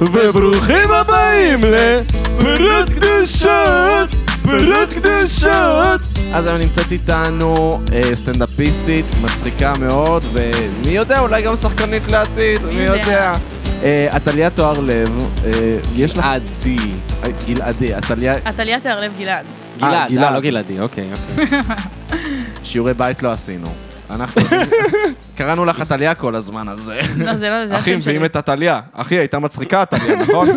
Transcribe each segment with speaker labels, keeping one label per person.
Speaker 1: וברוכים הבאים לפרות קדושות, פרות קדושות. אז היום נמצאת איתנו אה, סטנדאפיסטית מצחיקה מאוד, ומי יודע, אולי גם שחקנית לעתיד, מי
Speaker 2: יודע.
Speaker 1: יודע. אה, עתליה תואר לב, אה, יש לך...
Speaker 3: עדי.
Speaker 1: אה, גלעדי, עתליה,
Speaker 2: עתליה תיארלב גלעד.
Speaker 1: אה,
Speaker 3: גלעד,
Speaker 1: גלעד.
Speaker 3: אה, לא גלעדי, אוקיי, אוקיי.
Speaker 1: שיעורי בית לא עשינו. אנחנו... קראנו לך עתליה כל הזמן, אז... אה,
Speaker 2: לא, זה לא, זה
Speaker 1: אחי,
Speaker 2: השם שלי.
Speaker 1: מביאים את עתליה. אחי, הייתה מצחיקה עתליה, נכון?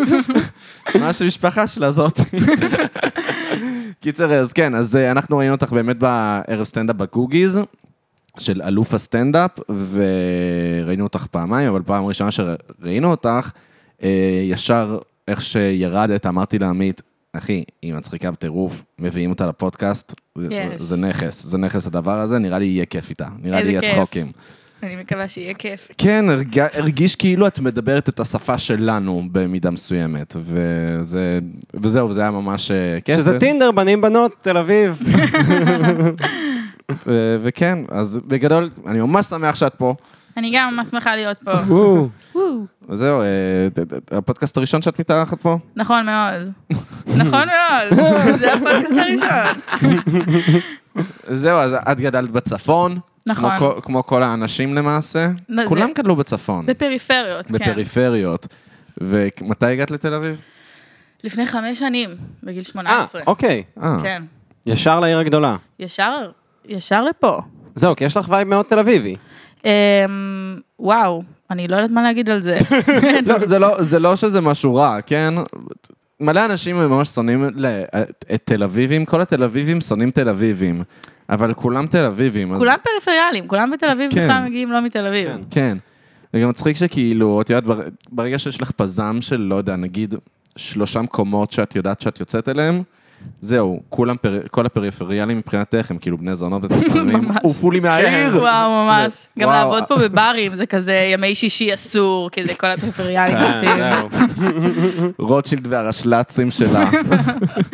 Speaker 1: מה שהמשפחה שלה זאת. קיצר, אז כן, אז אה, אנחנו ראינו אותך באמת בערב סטנדאפ בקוגיז, של אלוף הסטנדאפ, וראינו אותך פעמיים, אבל פעם ראשונה שראינו אותך, אה, ישר איך שירדת, אמרתי לעמית, אחי, היא מצחיקה בטירוף, מביאים אותה לפודקאסט, זה-
Speaker 2: יש.
Speaker 1: זה נכס, זה נכס הדבר הזה, נראה לי יהיה כיף איתה, נראה לי
Speaker 2: איזה
Speaker 1: יהיה
Speaker 2: כיף.
Speaker 1: צחוקים.
Speaker 2: אני מקווה שיהיה כיף.
Speaker 1: כן, הרג... הרגיש כאילו את מדברת את השפה שלנו במידה מסוימת, וזה... וזהו, זה היה ממש אה, כיף.
Speaker 3: שזה טינדר, בנים בנות, תל אביב.
Speaker 1: ו... אה, וכן, אז בגדול, אני ממש שמח שאת פה.
Speaker 2: אני גם ממש שמחה להיות פה. וואו.
Speaker 1: וזהו, אה, ת- ת- הפודקאסט הראשון שאת מתארחת פה?
Speaker 2: נכון מאוד. נכון מאוד. זה הפודקאסט הראשון.
Speaker 1: זהו, אז את גדלת בצפון.
Speaker 2: נכון.
Speaker 1: כמו, כל- כמו כל האנשים למעשה.
Speaker 2: לא, זה-
Speaker 1: כולם גדלו בצפון,
Speaker 2: בפריפריות, כן.
Speaker 1: בפריפריות. ומתי הגעת לתל אביב?
Speaker 2: לפני חמש שנים, בגיל
Speaker 3: אה,
Speaker 2: 18.
Speaker 3: אוקיי.
Speaker 1: אה,
Speaker 2: כן.
Speaker 3: ישר לעיר הגדולה.
Speaker 2: ישר, ישר לפה.
Speaker 3: זהו, כי יש לך וייב מאוד תל אביבי.
Speaker 2: אמ, וואו, אני לא יודעת מה להגיד על זה.
Speaker 1: לא, זה לא, זה לא שזה משהו רע, כן? מלא אנשים ממש שונאים ל- את תל אביבים, כל התל אביבים שונאים תל אביבים, אבל כולם תל אביבים. אז-
Speaker 2: כולם פריפריאליים, כולם בתל אביב
Speaker 1: כן.
Speaker 2: בכלל מגיעים לא מתל אביב.
Speaker 3: כן.
Speaker 1: כן. זה גם מצחיק שכאילו, את יודעת, בר- ברגע שיש לך פזם של, לא יודע, נגיד שלושה מקומות שאת יודעת שאת יוצאת אליהם, זהו, כולם, פר... כל הפריפריאלים מבחינתך הם כאילו בני זונות ותחתונים,
Speaker 2: ממש. כן.
Speaker 1: עופו לי מהעיר!
Speaker 2: וואו, ממש. גם
Speaker 1: וואו.
Speaker 2: לעבוד פה בברים זה כזה ימי שישי אסור, כי זה כל הפריפריאליים
Speaker 1: כן,
Speaker 3: אה,
Speaker 2: רוצים.
Speaker 1: רוטשילד והרשל"צים שלה.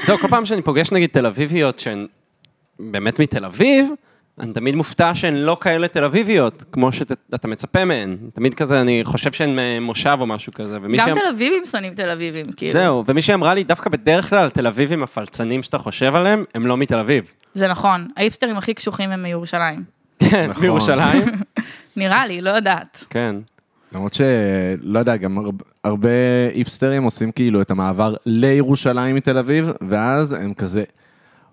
Speaker 3: זהו, כל פעם שאני פוגש נגיד תל אביביות שהן באמת מתל אביב, אני תמיד מופתע שהן לא כאלה תל אביביות, כמו שאתה מצפה מהן. תמיד כזה, אני חושב שהן אה, מושב או משהו כזה. ומי
Speaker 2: גם
Speaker 3: שהן-
Speaker 2: תל אביבים שונאים תל אביבים, כאילו.
Speaker 3: זהו, ומי שאמרה לי, דווקא בדרך כלל תל אביבים הפלצנים שאתה חושב עליהם, הם לא מתל אביב.
Speaker 2: זה נכון, האיפסטרים הכי קשוחים הם מירושלים.
Speaker 3: כן,
Speaker 1: נכון.
Speaker 3: מירושלים.
Speaker 2: נראה לי, לא יודעת.
Speaker 3: כן.
Speaker 1: למרות שלא יודע, גם הרבה, הרבה היפסטרים עושים כאילו את המעבר לירושלים מתל אביב, ואז הם כזה,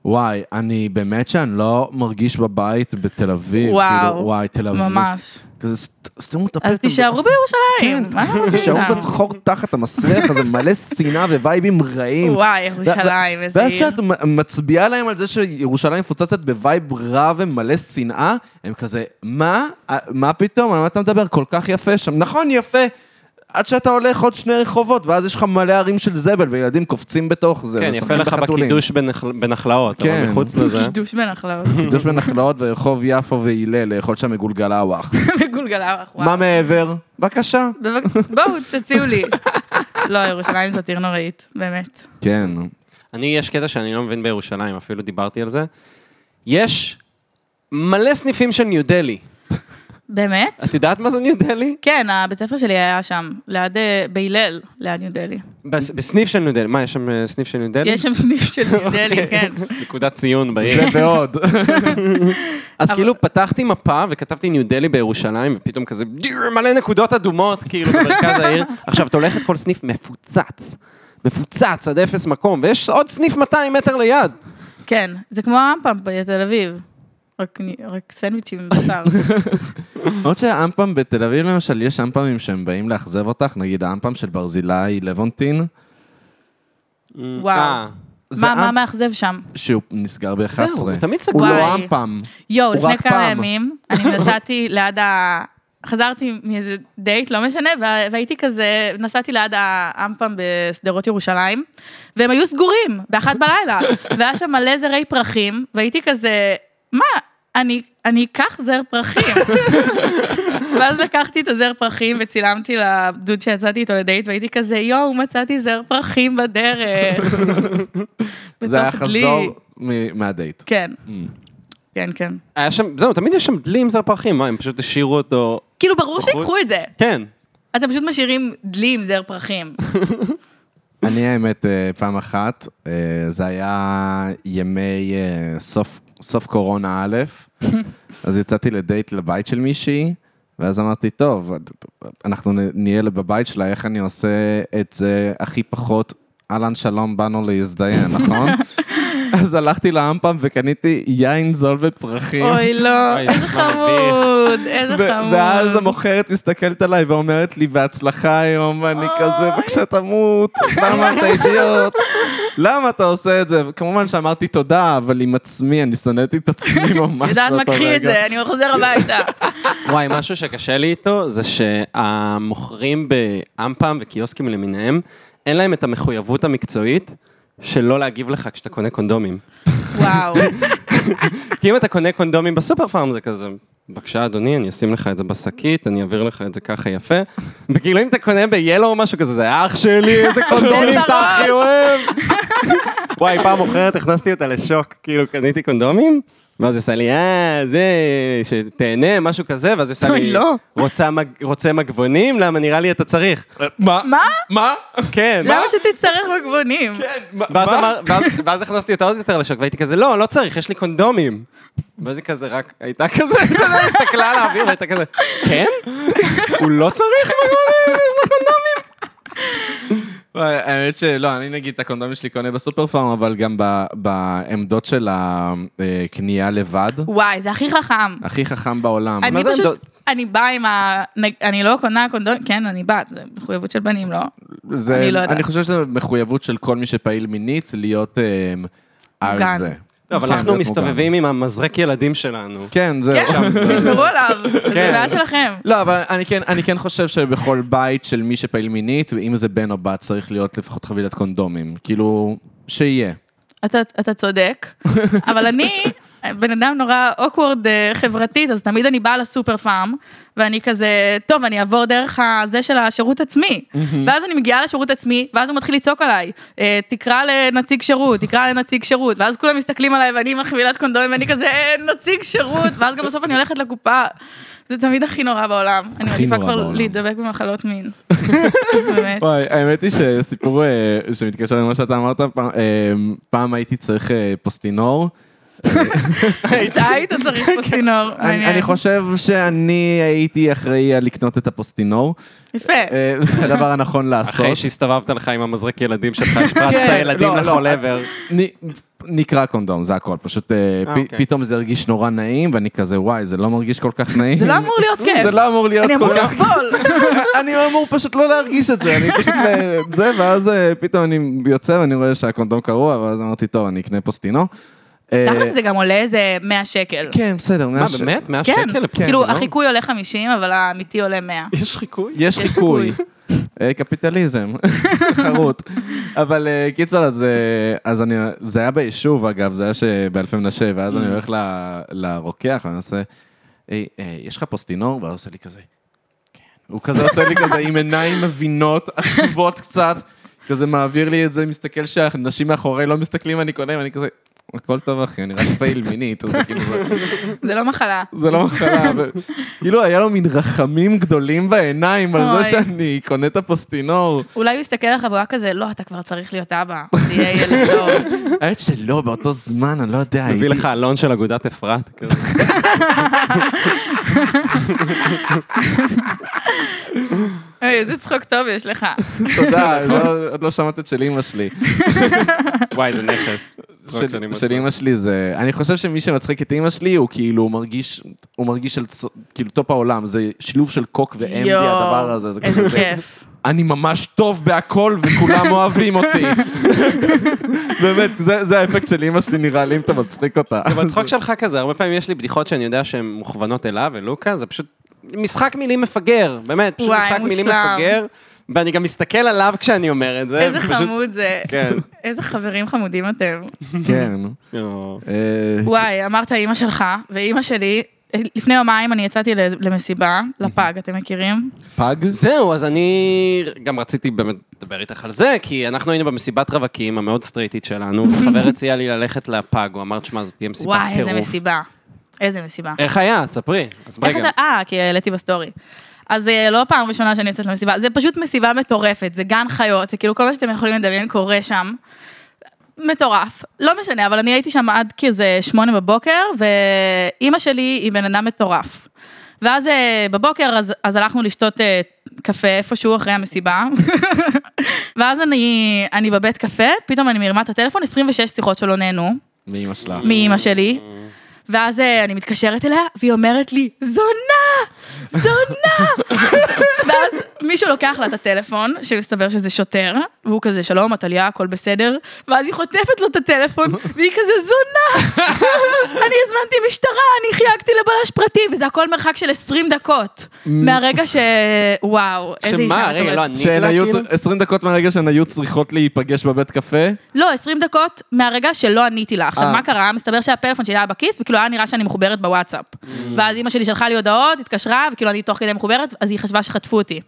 Speaker 1: וואי, אני באמת שאני לא מרגיש בבית בתל אביב.
Speaker 2: וואו,
Speaker 1: כאילו, וואי, תל אביב.
Speaker 2: ממש.
Speaker 1: כזה "סת- סתמו את הפה.
Speaker 2: אז
Speaker 1: אתם-
Speaker 2: תישארו בירושלים.
Speaker 1: כן,
Speaker 2: מה אתם עושים
Speaker 1: תישארו
Speaker 2: איתנו?
Speaker 1: בחור תחת המסריח הזה, מלא שנאה ווייבים רעים.
Speaker 2: וואי, ירושלים, איזה
Speaker 1: ואז
Speaker 2: עיר.
Speaker 1: כשאת מ- מצביעה להם על זה שירושלים מפוצצת בווייב רע ומלא שנאה, הם כזה, מה? אה, מה פתאום? על מה אתה מדבר? כל כך יפה שם. נכון, יפה. עד שאתה הולך עוד שני רחובות, ואז יש לך מלא ערים של זבל, וילדים קופצים בתוך זה,
Speaker 3: כן, יפה
Speaker 1: ומשחקים
Speaker 3: לך
Speaker 1: בחתולים.
Speaker 3: בקידוש בנחל- בנחלאות,
Speaker 1: כן.
Speaker 3: אבל מחוץ לזה.
Speaker 2: דשדוש בנחלאות.
Speaker 1: קידוש בנחלאות ורחוב יפו והילל, לאכול שם מגולגלווח.
Speaker 2: מגולגלה,
Speaker 1: מה
Speaker 2: וואו.
Speaker 1: מעבר? בבקשה.
Speaker 2: בבק- בואו, תציעו לי. לא, ירושלים זאת עיר נוראית, באמת.
Speaker 1: כן.
Speaker 3: אני, יש קטע שאני לא מבין בירושלים, אפילו דיברתי על זה. יש מלא סניפים של ניו דלהי.
Speaker 2: באמת?
Speaker 3: את יודעת מה זה ניו דלהי?
Speaker 2: כן, הבית ספר שלי היה שם, ליד, אה, בהלל, ליד ניו דלהי.
Speaker 1: כן?
Speaker 3: בס- בסניף של ניו דלהי. מה, יש שם אה, סניף של ניו דלהי?
Speaker 2: יש שם סניף של ניו
Speaker 1: אוקיי.
Speaker 2: דלהי, כן.
Speaker 3: נקודת ציון בעיר.
Speaker 1: זה ועוד.
Speaker 3: אז
Speaker 2: אבל-
Speaker 3: כאילו פתחתי מפה וכתבתי ניו דלהי בירושלים, ופתאום כזה "דיר", מלא נקודות אדומות, כאילו, במרכז העיר. עכשיו, אתה הולך את כל סניף מפוצץ. מפוצץ עד אפס מקום, ויש עוד סניף 200 מטר ליד.
Speaker 2: כן, זה כמו האמפם בתל אביב. רק אני- רק סנדוויצ'ים עם בשר.
Speaker 1: למרות שהאמפם בתל אביב למשל, יש אמפמים שהם באים לאכזב אותך, נגיד האמפם של ברזילי לבונטין,
Speaker 2: וואו.
Speaker 3: אה,
Speaker 1: זה
Speaker 2: מה, מה
Speaker 1: אמפ-
Speaker 2: מאכזב שם?
Speaker 1: שהוא נסגר ב-11.
Speaker 3: זהו, הוא תמיד סגור.
Speaker 1: הוא לא
Speaker 2: וואי.
Speaker 1: אמפם.
Speaker 2: יואו,
Speaker 1: הוא
Speaker 2: לפני
Speaker 1: רק
Speaker 2: כמה
Speaker 1: פעם.
Speaker 2: ימים, אני נסעתי ליד ה... חזרתי מאיזה דייט, לא משנה, וה- והייתי כזה, נסעתי ליד האמפם בשדרות ירושלים, והם היו סגורים, באחת בלילה, והיה שם מלא זרי פרחים, והייתי כזה, מה, אני, אני אקח זר פרחים. ואז לקחתי את הזר פרחים וצילמתי לדוד שיצאתי איתו לדייט, והייתי כזה, יואו, מצאתי זר פרחים בדרך.
Speaker 1: זה היה
Speaker 2: בתוך דלי.
Speaker 1: חזור Mm. מ- מהדייט.
Speaker 2: כן, כן, כן.
Speaker 3: היה שם, זהו, תמיד יש שם דלי עם זר פרחים, מה, הם פשוט השאירו אותו,
Speaker 2: כאילו, ברור שיקחו את זה.
Speaker 3: כן.
Speaker 2: אתם פשוט משאירים דלי עם זר פרחים.
Speaker 1: אני האמת, אה, פעם אחת, אה, זה היה ימי אה, סוף- סוף קורונה א', אז יצאתי לדייט לבית של מישהי, ואז אמרתי, טוב, אנחנו נ- נהיה בבית שלה, איך אני עושה את זה הכי פחות, אהלן שלום, באנו להזדיין, נכון? אז הלכתי לאמפם וקניתי יין זול ופרחים.
Speaker 2: אוי, לא,
Speaker 3: אוי, זה
Speaker 2: איזה
Speaker 3: כבר מביך.
Speaker 2: חמוד, איזה
Speaker 1: ו-
Speaker 2: חמוד.
Speaker 1: ואז המוכרת מסתכלת עליי ואומרת לי, בהצלחה היום, אני כזה,
Speaker 2: אוי.
Speaker 1: בבקשה תמות, למה אתה אידיוט? למה אתה עושה את זה? וכמובן שאמרתי תודה, אבל עם עצמי, אני שנאתי את עצמי ממש באותו רגע.
Speaker 2: יודעת מה, קחי את זה, אני חוזר הביתה.
Speaker 3: וואי, משהו שקשה לי איתו, זה שהמוכרים באמפם וקיוסקים למיניהם, אין להם את המחויבות המקצועית של לא להגיב לך כשאתה קונה קונדומים.
Speaker 2: וואו.
Speaker 3: כי אם אתה קונה קונדומים בסופר פארם זה כזה, בבקשה אדוני, אני אשים לך את זה בשקית, אני אעביר לך את זה ככה יפה. וכאילו אם אתה קונה ביאלו או משהו כזה, זה אח שלי, איזה קונדומים אתה הכי אוהב. וואי, פעם אחרת הכנסתי אותה לשוק, כאילו קניתי קונדומים. ואז היא עושה לי, אה, זה, שתהנה, משהו כזה, ואז היא עושה
Speaker 2: אוי,
Speaker 3: לי,
Speaker 2: לא.
Speaker 3: "רוצה מג- רוצה מגבונים? למה נראה לי אתה צריך.
Speaker 1: מה? כן.
Speaker 2: מה?
Speaker 1: מה?
Speaker 3: כן.
Speaker 2: למה שתצטרך מגבונים?
Speaker 3: ואז, אמר, ואז, ואז הכנסתי אותה עוד יותר לשוק, והייתי כזה, לא, לא צריך, יש לי קונדומים. ואז היא כזה רק, הייתה כזה, אתה יודע, הסתכלה על האוויר, הייתה כזה, כן? הוא לא צריך מגבונים, יש לו קונדומים.
Speaker 1: וואי, האמת שלא, אני נגיד את הקונדומים שלי קונה בסופר פארם, אבל גם ב- בעמדות של הקנייה לבד,
Speaker 2: וואי, זה הכי חכם.
Speaker 1: הכי חכם בעולם.
Speaker 2: אני
Speaker 3: מה זה
Speaker 2: פשוט,
Speaker 3: עמדות?
Speaker 2: אני באה עם ה... אני לא קונה קונדום, כן, אני באה, זה מחויבות של בנים, לא?
Speaker 1: זה,
Speaker 2: אני
Speaker 1: אני,
Speaker 2: לא יודעת.
Speaker 1: אני חושב שזו מחויבות של כל מי שפעיל מינית להיות אה, על
Speaker 2: מוגן.
Speaker 1: זה.
Speaker 3: לא, אבל
Speaker 1: כן,
Speaker 3: אנחנו
Speaker 1: להיות
Speaker 3: מסתובבים עם המזרק ילדים שלנו.
Speaker 1: מוגן. כן, זהו.
Speaker 2: כן, תשמרו עליו, זה
Speaker 3: כן.
Speaker 2: בעיה שלכם.
Speaker 1: לא, אבל אני כן, אני כן חושב שבכל בית של מי שפעיל מינית, אם זה בן או בת, צריך להיות לפחות חבילת קונדומים. כאילו, שיהיה.
Speaker 2: אתה, אתה צודק, אבל אני בן אדם נורא אוקוורד אה, חברתית, אז תמיד אני באה לסופר פארם, ואני כזה, טוב, אני אעבור דרך הזה של השירות עצמי. ואז אני מגיעה לשירות עצמי, ואז הוא מתחיל לצעוק עליי, אה, תקרא לנציג שירות, תקרא לנציג שירות, ואז כולם מסתכלים עליי ואני עם החבילת קונדומים, ואני כזה, "אה, נציג שירות, ואז גם בסוף אני הולכת לקופה. זה תמיד הכי נורא בעולם. אני
Speaker 1: הכי
Speaker 2: מעדיפה
Speaker 1: נורא
Speaker 2: כבר
Speaker 1: בעולם.
Speaker 2: להידבק במחלות מין. באמת.
Speaker 1: וואי, האמת היא שסיפור אה, שמתקשר למה שאתה אמרת, פעם, אה, פעם הייתי צריך אה, פוסטינור.
Speaker 2: אתה היית צריך פוסטינור.
Speaker 1: כן. אני,
Speaker 2: מעניין.
Speaker 1: אני חושב שאני הייתי אחראי על לקנות את הפוסטינור.
Speaker 2: יפה.
Speaker 1: אה, זה הדבר הנכון לעשות.
Speaker 3: אחרי שהסתובבת לך עם המזרק ילדים שלך, השפרצת
Speaker 1: כן,
Speaker 3: ילדים
Speaker 1: לא, לא.
Speaker 3: לכל עבר.
Speaker 1: נ- נקרא קונדום, זה הכל. פשוט אה, פ-
Speaker 3: אוקיי.
Speaker 1: פתאום זה הרגיש נורא נעים, ואני כזה, וואי, זה לא מרגיש כל כך נעים.
Speaker 2: זה לא אמור להיות כיף.
Speaker 1: זה לא אמור להיות
Speaker 2: אני אמור
Speaker 1: כל כך...
Speaker 2: לסבול.
Speaker 1: אני אמור פשוט לא להרגיש את זה, אני פשוט... ל- זה, ואז אה, פתאום אני יוצא ואני רואה שהקונדום קרוע, ואז אמרתי, טוב, אני אקנה פוסטינו. אה,
Speaker 2: תכל'ס זה גם עולה איזה 100 שקל.
Speaker 1: כן, בסדר,
Speaker 3: מה,
Speaker 1: ש-
Speaker 3: באמת? 100
Speaker 2: כן,
Speaker 3: שקל? לא-
Speaker 2: כאילו
Speaker 1: לא?
Speaker 3: לפוסטינור?
Speaker 2: החיקוי עולה 50, אבל האמיתי עולה 100.
Speaker 3: יש חיקוי?
Speaker 1: יש
Speaker 2: יש
Speaker 1: חיקוי.
Speaker 2: חיקוי.
Speaker 1: אה, קפיטליזם, חרוט. אבל אה, קיצר, אז, אה, אז אני, זה היה ביישוב אגב, זה היה שבאלפי מנשה, ואז אני הולך ל- לרוקח ואני עושה, היי, אה, יש לך פוסטינור? והוא עושה לי כזה, "כן." הוא כזה עושה לי כזה עם עיניים מבינות, עצובות קצת, כזה מעביר לי את זה, מסתכל שהאנשים מאחורי לא מסתכלים, אני קונה, ואני כזה, הכל טוב אחי, אני רק פעיל מינית, אז זה כאילו... זה-
Speaker 2: זה לא מחלה.
Speaker 1: זה לא מחלה, אבל כאילו היה לו מין רחמים גדולים בעיניים על
Speaker 2: אוי.
Speaker 1: זה שאני קונה את הפוסטינור.
Speaker 2: אולי הוא יסתכל עליך והוא היה כזה, לא, אתה כבר צריך להיות אבא. תהיה ילד טוב.
Speaker 1: האמת שלא, באותו זמן, אני לא יודע.
Speaker 3: מביא
Speaker 1: הייתי-
Speaker 3: לך אלון של אגודת אפרת. כזה.
Speaker 2: אוי, איזה צחוק טוב יש לך.
Speaker 1: תודה, לא- עוד לא שמעת את של אימא שלי.
Speaker 3: וואי, זה נכס.
Speaker 1: של- של אימא שלי זה... אני חושב שמי שמצחיק את אימא שלי, הוא כאילו הוא מרגיש, הוא מרגיש על צ- כאילו טופ העולם, זה שילוב של קוק ואמדי,
Speaker 2: יואו,
Speaker 1: הדבר הזה. זה
Speaker 2: איזה
Speaker 1: כזה- זה-
Speaker 2: כיף.
Speaker 1: אני ממש טוב בהכל וכולם אוהבים אותי. באמת, זה זה האפקט של אימא שלי נראה לי, אם אתה מצחיק אותה.
Speaker 3: אבל הצחוק שלך כזה, הרבה פעמים יש לי בדיחות שאני יודע שהן מוכוונות אליו, ולוקה, זה פשוט משחק מילים מפגר, באמת, פשוט
Speaker 2: וואי,
Speaker 3: משחק מילים
Speaker 2: מושלם.
Speaker 3: מפגר, ואני גם מסתכל עליו כשאני אומר את זה.
Speaker 2: איזה
Speaker 3: ופשוט-
Speaker 2: חמוד זה.
Speaker 3: כן.
Speaker 2: איזה חברים חמודים אתם.
Speaker 1: כן.
Speaker 3: יואו.
Speaker 1: אה,
Speaker 2: וואי, אמרת אימא שלך, ואימא שלי, לפני יומיים אני יצאתי למסיבה, לפג, אתם מכירים?
Speaker 1: פג?
Speaker 3: זהו, אז אני גם רציתי באמת לדבר איתך על זה, כי אנחנו היינו במסיבת רווקים המאוד סטרייטית שלנו, וחבר הציע לי ללכת לפאג, הוא אמר, תשמע, זאת תהיה מסיבת
Speaker 2: וואי, איזה
Speaker 3: טירוף.
Speaker 2: מסיבה. איזה מסיבה.
Speaker 3: איך היה? תספרי. אז
Speaker 2: איך
Speaker 3: רגע.
Speaker 2: אתה... אה, כי העליתי בסטורי. אז זה לא פעם ראשונה שאני יוצאת למסיבה, זה פשוט מסיבה מטורפת, זה גן חיות, זה כאילו כל מה שאתם יכולים לדמיין קורה שם. מטורף, לא משנה, אבל אני הייתי שם עד כזה שמונה בבוקר, ואימא שלי היא בן אדם מטורף. ואז אה, בבוקר, אז, אז הלכנו לשתות אה, קפה איפשהו אחרי המסיבה. ואז אני, אני בבית קפה, פתאום אני מרימה את הטלפון, 26 שיחות שלא נהנו,
Speaker 1: מאמא שלך.
Speaker 2: מאימא שלי. ואז אה, אני מתקשרת אליה, והיא אומרת לי, זונה! זונה! ואז מישהו לוקח לה את הטלפון, שמסתבר שזה שוטר, והוא כזה, שלום, עתליה, הכל בסדר, ואז היא חוטפת לו את הטלפון, והיא כזה, זונה! אני הזמנתי משטרה, אני חייגתי לבלש פרטי, וזה הכל מרחק של 20 דקות. מהרגע ש... וואו, איזה אישה.
Speaker 3: שמה, רגע,
Speaker 2: מטורפת.
Speaker 3: לא, ענית
Speaker 1: שהן
Speaker 3: לה
Speaker 1: היו,
Speaker 3: כאילו?
Speaker 1: 20 דקות מהרגע שהן היו צריכות להיפגש בבית קפה,
Speaker 2: לא, 20 דקות מהרגע שלא עניתי לה. עכשיו,
Speaker 1: אה.
Speaker 2: מה קרה? מסתבר שהפלאפון שלי היה בכיס, וכאילו היה נראה שאני מחוברת בוואטסאפ.
Speaker 3: Mm.
Speaker 2: ואז אימא שלי שלחה לי הודעות, התקשרה, וכאילו אני תוך כדי מחוברת, אז היא חשבה שחטפו אותי.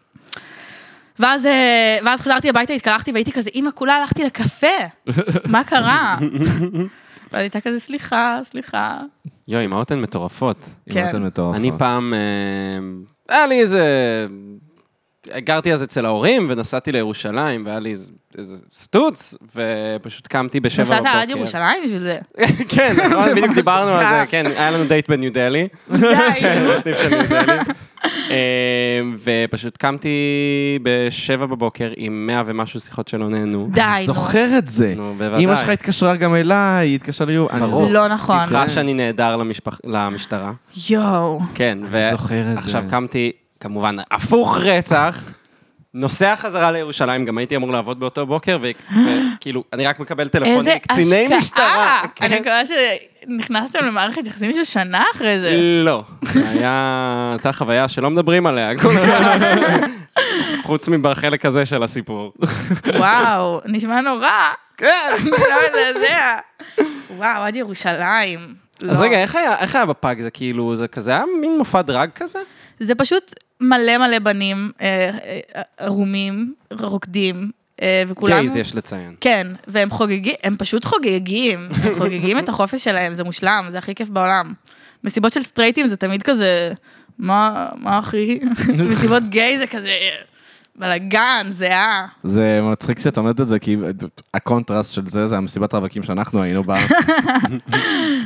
Speaker 2: ואז, אה, ואז חזרתי הביתה, התקלחתי, והייתי כזה, אימא, כולה הלכתי לקפה, מה קרה? ואז הייתה כזה, סליחה, סליחה.
Speaker 3: יואי, אימהות הן מטורפות.
Speaker 1: אם
Speaker 2: כן.
Speaker 1: אתן מטורפות.
Speaker 3: אני פעם, אה, היה לי איזה... גרתי אז אצל ההורים, ונסעתי לירושלים, והיה לי איזה- איזה סטוץ, ופשוט קמתי בשבע בבוקר.
Speaker 2: נסעת עד ירושלים בשביל זה.
Speaker 3: כן, נכון,
Speaker 2: זה
Speaker 3: בדיוק
Speaker 2: ממש
Speaker 3: דיברנו על זה,
Speaker 2: השקעה.
Speaker 3: כן, היה לנו דייט בניו דלהי.
Speaker 2: די.
Speaker 3: כן, בסניף של ניו דלהי. אמ, ופשוט קמתי בשבע בבוקר עם מאה ומשהו שיחות שלא נהנו.
Speaker 2: די, נו.
Speaker 1: זוכר את זה.
Speaker 3: נו, בוודאי.
Speaker 1: אימא שלך התקשרה גם אליי, היא התקשרה לי... אני
Speaker 3: ברור.
Speaker 1: זוכר.
Speaker 2: לא נכון.
Speaker 3: חש שאני נעדר למשפח- למשטרה.
Speaker 2: יואו.
Speaker 3: כן,
Speaker 1: אני זוכר את זה.
Speaker 3: עכשיו קמתי, כמובן, הפוך רצח. נוסע חזרה לירושלים, גם הייתי אמור לעבוד באותו בוקר, וכאילו, אני רק מקבל טלפון
Speaker 2: איזה
Speaker 3: מקציני נכון, משטרה.
Speaker 2: השקעה.
Speaker 3: כן.
Speaker 2: אני מקווה שנכנסתם למערכת יחסים של שנה אחרי זה.
Speaker 3: לא. זה היה, הייתה חוויה שלא מדברים עליה כל כך. חוץ מבחלק הזה של הסיפור.
Speaker 2: וואו, נשמע נורא. כן. לא מזעזע. וואו, עד ירושלים.
Speaker 3: אז
Speaker 2: לא.
Speaker 3: רגע, איך היה- איך היה בפאג זה כאילו, זה כזה היה מין מופע דרג כזה?
Speaker 2: זה פשוט מלא מלא בנים, אה, אה, ערומים, רוקדים, אה, וכולם...
Speaker 3: גייז יש לציין.
Speaker 2: כן, והם חוגגים, הם פשוט חוגגים. הם חוגגים את החופש שלהם, זה מושלם, זה הכי כיף בעולם. מסיבות של סטרייטים זה תמיד כזה, מה, מה אחי? מסיבות גיי זה כזה... בלאגן, זהה.
Speaker 1: זה מצחיק שאת אומרת את זה, כי הקונטרסט של זה, זה המסיבת רווקים שאנחנו היינו בה.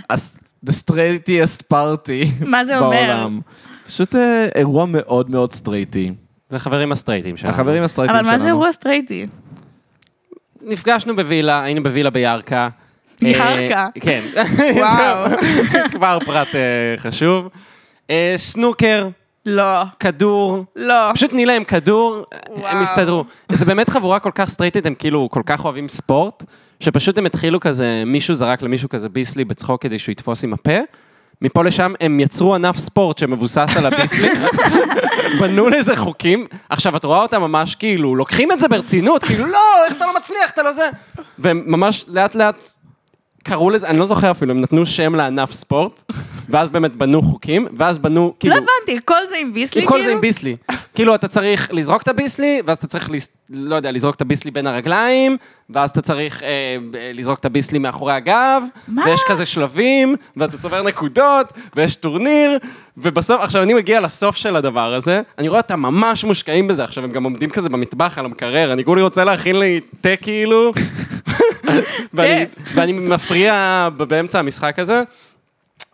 Speaker 1: הס- The straightiest party
Speaker 2: מה זה אומר?
Speaker 1: בעולם. פשוט אה, אירוע מאוד מאוד סטרייטי.
Speaker 3: זה חברים הסטרייטים שלנו.
Speaker 1: החברים הסטרייטים
Speaker 2: אבל
Speaker 1: שלנו.
Speaker 2: מה זה אירוע סטרייטי?
Speaker 3: נפגשנו בווילה, היינו בווילה בירכא.
Speaker 2: ירכא.
Speaker 3: אה, כן.
Speaker 2: וואו.
Speaker 3: זהו, כבר פרט אה, חשוב. אה, סנוקר,
Speaker 2: לא,
Speaker 3: כדור.
Speaker 2: לא.
Speaker 3: פשוט תני להם כדור, הם
Speaker 2: וואו.
Speaker 3: הסתדרו. זה באמת חבורה כל כך סטרייטית, הם כאילו כל כך אוהבים ספורט, שפשוט הם התחילו כזה, מישהו זרק למישהו כזה ביסלי בצחוק כדי שהוא יתפוס עם הפה. מפה לשם הם יצרו ענף ספורט שמבוסס על הביסלי, בנו לזה חוקים. עכשיו, את רואה אותם ממש כאילו, לוקחים את זה ברצינות, כאילו, לא, איך אתה לא מצליח, אתה לא זה. והם ממש לאט לאט קראו לזה, אני לא זוכר אפילו, הם נתנו שם לענף ספורט, ואז באמת בנו חוקים, ואז בנו,
Speaker 2: לא
Speaker 3: כאילו...
Speaker 2: הבנתי, כל זה עם ביסלי
Speaker 3: עם
Speaker 2: כאילו?
Speaker 3: כל זה עם ביסלי. כאילו, אתה צריך לזרוק את הביסלי, ואז אתה צריך, לס- לא יודע, לזרוק את הביסלי בין הרגליים, ואז אתה צריך אה, ב- לזרוק את הביסלי מאחורי הגב,
Speaker 2: מה?
Speaker 3: ויש כזה שלבים, ואתה צובר נקודות, ויש טורניר, ובסוף, עכשיו, אני מגיע לסוף של הדבר הזה, אני רואה אותם ממש מושקעים בזה, עכשיו, הם גם עומדים כזה במטבח על המקרר, אני כולי רוצה להכין לי תה כאילו, ואני, ואני מפריע ב- באמצע המשחק הזה,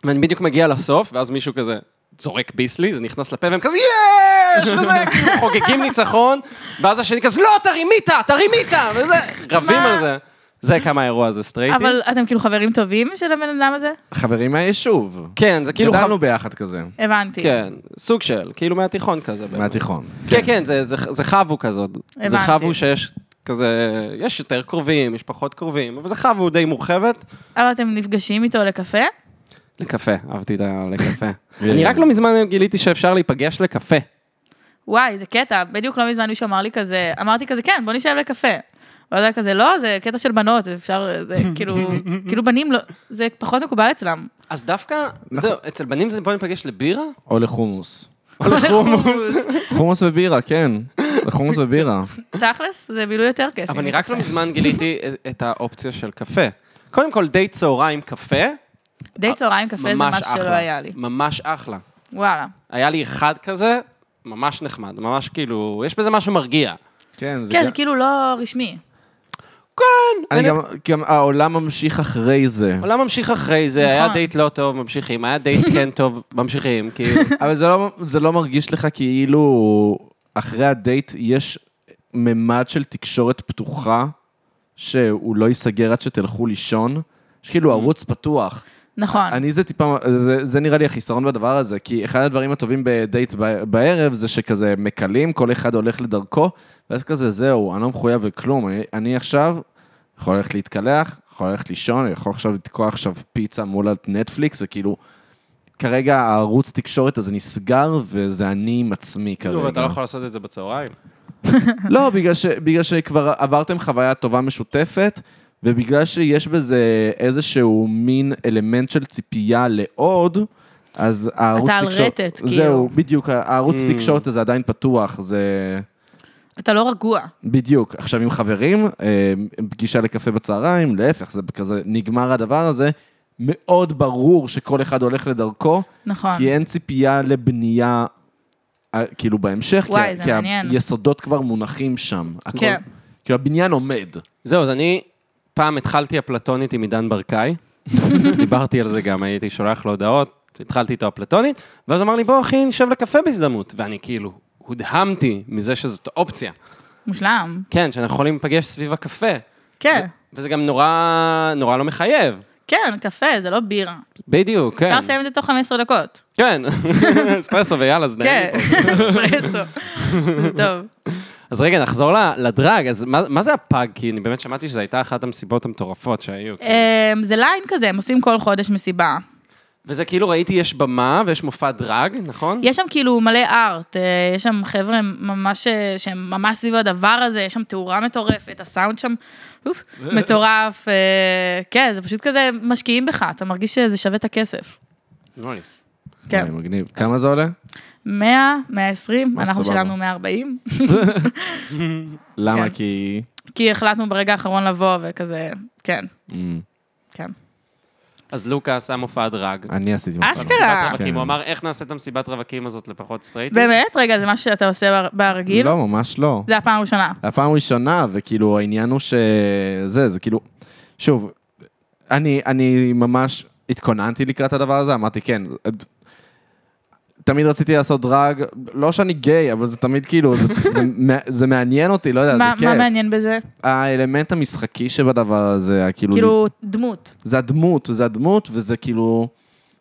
Speaker 3: ואני בדיוק מגיע לסוף, ואז מישהו כזה זורק ביסלי, זה נכנס לפה, והם כזה יש! וזה, כאילו חוגגים ניצחון, ואז השני כזה, לא, תרימית, תרימית! וזה, רבים
Speaker 2: מה?
Speaker 3: על זה. זה כמה האירוע הזה סטרייטי.
Speaker 2: אבל אתם כאילו חברים טובים של הבן אדם הזה?
Speaker 1: חברים מהיישוב.
Speaker 3: כן, זה כאילו...
Speaker 1: גדלנו
Speaker 3: חב-
Speaker 1: ביחד כזה,
Speaker 2: הבנתי.
Speaker 3: כן, סוג של, כאילו מהתיכון כזה. באמת.
Speaker 1: מהתיכון.
Speaker 3: כן, כן, זה- זה זה חבו כזאת. זה
Speaker 2: הבנתי.
Speaker 3: חבו שיש כזה, יש יותר קרובים, יש פחות קרובים, אבל זה חבו די מורחבת.
Speaker 2: אבל אתם נפגשים איתו לקפה?
Speaker 3: לקפה, אהבתי את ה... לקפה. אני רק לא מזמן גיליתי שאפשר להיפגש לקפה.
Speaker 2: וואי, זה קטע. בדיוק לא מזמן מישהו אמר לי כזה, אמרתי כזה, כן, בוא נשב לקפה. הוא היה כזה, לא, זה קטע של בנות, אפשר, זה כאילו, כאילו בנים, לא, זה פחות מקובל אצלם.
Speaker 3: אז דווקא,
Speaker 1: נכון.
Speaker 3: זהו, אצל בנים זה בוא ניפגש לבירה?
Speaker 1: או לחומוס.
Speaker 2: לחומוס.
Speaker 1: חומוס ובירה, כן. זה חומוס ובירה.
Speaker 2: תכלס, זה בילוי יותר כיף.
Speaker 3: אבל אני רק לא מזמן גיליתי את- את האופציה של קפה. קודם כל, די צהריים קפה,
Speaker 2: די צהריים קפה זה
Speaker 3: ממש
Speaker 2: משהו שלא
Speaker 3: אחלה.
Speaker 2: היה לי.
Speaker 3: ממש אחלה.
Speaker 2: וואלה.
Speaker 3: היה לי אחד כזה, ממש נחמד, ממש כאילו, יש בזה משהו מרגיע.
Speaker 1: כן, זה
Speaker 2: כן,
Speaker 1: גם-
Speaker 2: זה כאילו לא רשמי.
Speaker 3: כן,
Speaker 1: אני
Speaker 3: באמת.
Speaker 1: גם, גם העולם ממשיך אחרי זה.
Speaker 3: העולם ממשיך אחרי זה, היה
Speaker 2: נכון.
Speaker 3: דייט לא טוב, ממשיכים, היה דייט כן טוב, ממשיכים, כאילו.
Speaker 1: אבל זה לא, זה לא מרגיש לך כאילו אחרי הדייט יש ממד של תקשורת פתוחה, שהוא לא ייסגר עד שתלכו לישון, שכאילו ערוץ פתוח.
Speaker 2: נכון.
Speaker 1: אני זה טיפה, זה, זה נראה לי החיסרון בדבר הזה, כי אחד הדברים הטובים בדייט ב- בערב זה שכזה מקלים, כל אחד הולך לדרכו, ואז כזה, זהו, אני לא מחויב לכלום, אני, אני עכשיו יכול ללכת להתקלח, יכול ללכת לישון, אני יכול עכשיו לתקוע עכשיו פיצה מול נטפליקס, זה כאילו, כרגע הערוץ תקשורת הזה נסגר, וזה אני עם עצמי כרגע.
Speaker 3: נו, ואתה לא יכול לעשות את זה בצהריים.
Speaker 1: לא, בגלל, ש, בגלל שכבר עברתם חוויה טובה משותפת, ובגלל שיש בזה איזשהו מין אלמנט של ציפייה לעוד, אז הערוץ
Speaker 2: אתה על
Speaker 1: תקשורת...
Speaker 2: רטט,
Speaker 1: זהו,
Speaker 2: כאילו.
Speaker 1: זהו, בדיוק, הערוץ
Speaker 3: Mm.
Speaker 1: תקשורת הזה עדיין פתוח, זה...
Speaker 2: אתה לא רגוע.
Speaker 1: בדיוק. עכשיו, עם חברים, אה, פגישה לקפה בצהריים, להפך, זה כזה, נגמר הדבר הזה. מאוד ברור שכל אחד הולך לדרכו,
Speaker 2: נכון.
Speaker 1: כי אין ציפייה לבנייה, אה, כאילו, בהמשך, כי-
Speaker 2: וואי, זה
Speaker 1: כי
Speaker 2: מעניין.
Speaker 1: היסודות כבר מונחים שם. הכל-
Speaker 2: כן.
Speaker 1: כאילו, הבניין עומד.
Speaker 3: זהו, אז אני פעם התחלתי אפלטונית עם עידן ברקאי, דיברתי על זה גם, הייתי שולח לו הודעות, התחלתי איתו אפלטונית, ואז אמר לי, בוא אחי, נשב לקפה בהזדמנות, ואני כאילו הודהמתי מזה שזאת אופציה.
Speaker 2: מושלם. כן.
Speaker 3: כן, שאנחנו יכולים להיפגש סביב הקפה,
Speaker 2: כן.
Speaker 3: וזה גם נורא, נורא לא מחייב.
Speaker 2: כן, קפה, זה לא בירה.
Speaker 3: בדיוק, כן.
Speaker 2: אפשר לסיים את זה תוך 15 דקות.
Speaker 3: כן, אספרסו ויאללה, אז נהנה
Speaker 2: כן,
Speaker 3: פה.
Speaker 2: אספרסו. זה טוב.
Speaker 3: אז רגע, נחזור ל- לדרג, אז מה, מה זה הפאג? כי אני באמת שמעתי שזו הייתה אחת המסיבות המטורפות שהיו. כאילו.
Speaker 2: אמ, זה ליין כזה, הם עושים כל חודש מסיבה.
Speaker 3: וזה כאילו, ראיתי, יש במה ויש מופע דרג, נכון?
Speaker 2: יש שם כאילו מלא ארט, אה, יש שם חבר'ה ממש, אה, שהם ממש סביב הדבר הזה, יש שם תאורה מטורפת, הסאונד שם אוף, מטורף. אה, כן, זה פשוט כזה, משקיעים בך, אתה מרגיש שזה שווה את הכסף.
Speaker 3: נויס.
Speaker 2: כן.
Speaker 1: וואי, מגניב. כמה זה עולה?
Speaker 2: 100, 120,
Speaker 1: מה,
Speaker 2: אנחנו
Speaker 1: סבבה.
Speaker 2: שילמנו 140,
Speaker 1: למה?
Speaker 2: כן.
Speaker 1: כי...
Speaker 2: כי החלטנו ברגע האחרון לבוא וכזה, כן,
Speaker 1: אמ,
Speaker 2: כן.
Speaker 3: אז לוקה עשה מופע
Speaker 2: אה.
Speaker 3: דרג.
Speaker 1: אני עשיתי מופע.
Speaker 2: אשכרה.
Speaker 3: מסיבת רווקים,
Speaker 1: כן.
Speaker 3: הוא אמר, איך נעשה את המסיבת רווקים הזאת לפחות סטרייטים?
Speaker 2: באמת? רגע, זה משהו שאתה עושה בר- ברגיל?
Speaker 1: לא, ממש לא.
Speaker 2: כאילו? זה הפעם הראשונה.
Speaker 1: הפעם הראשונה, וכאילו העניין הוא שזה, זה כאילו... שוב, אני, אני ממש התכוננתי לקראת הדבר הזה, אמרתי כן. ד- תמיד רציתי לעשות דרג, לא שאני גיי, אבל זה תמיד כאילו, זה, זה, מע- זה מעניין אותי, לא יודע,
Speaker 2: מה
Speaker 1: זה כיף.
Speaker 2: מה מעניין בזה? האלמנט
Speaker 1: האלמנט המשחקי שבדבר הזה, כאילו,
Speaker 2: כאילו, דמות.
Speaker 1: זה הדמות, זה הדמות, וזה כאילו,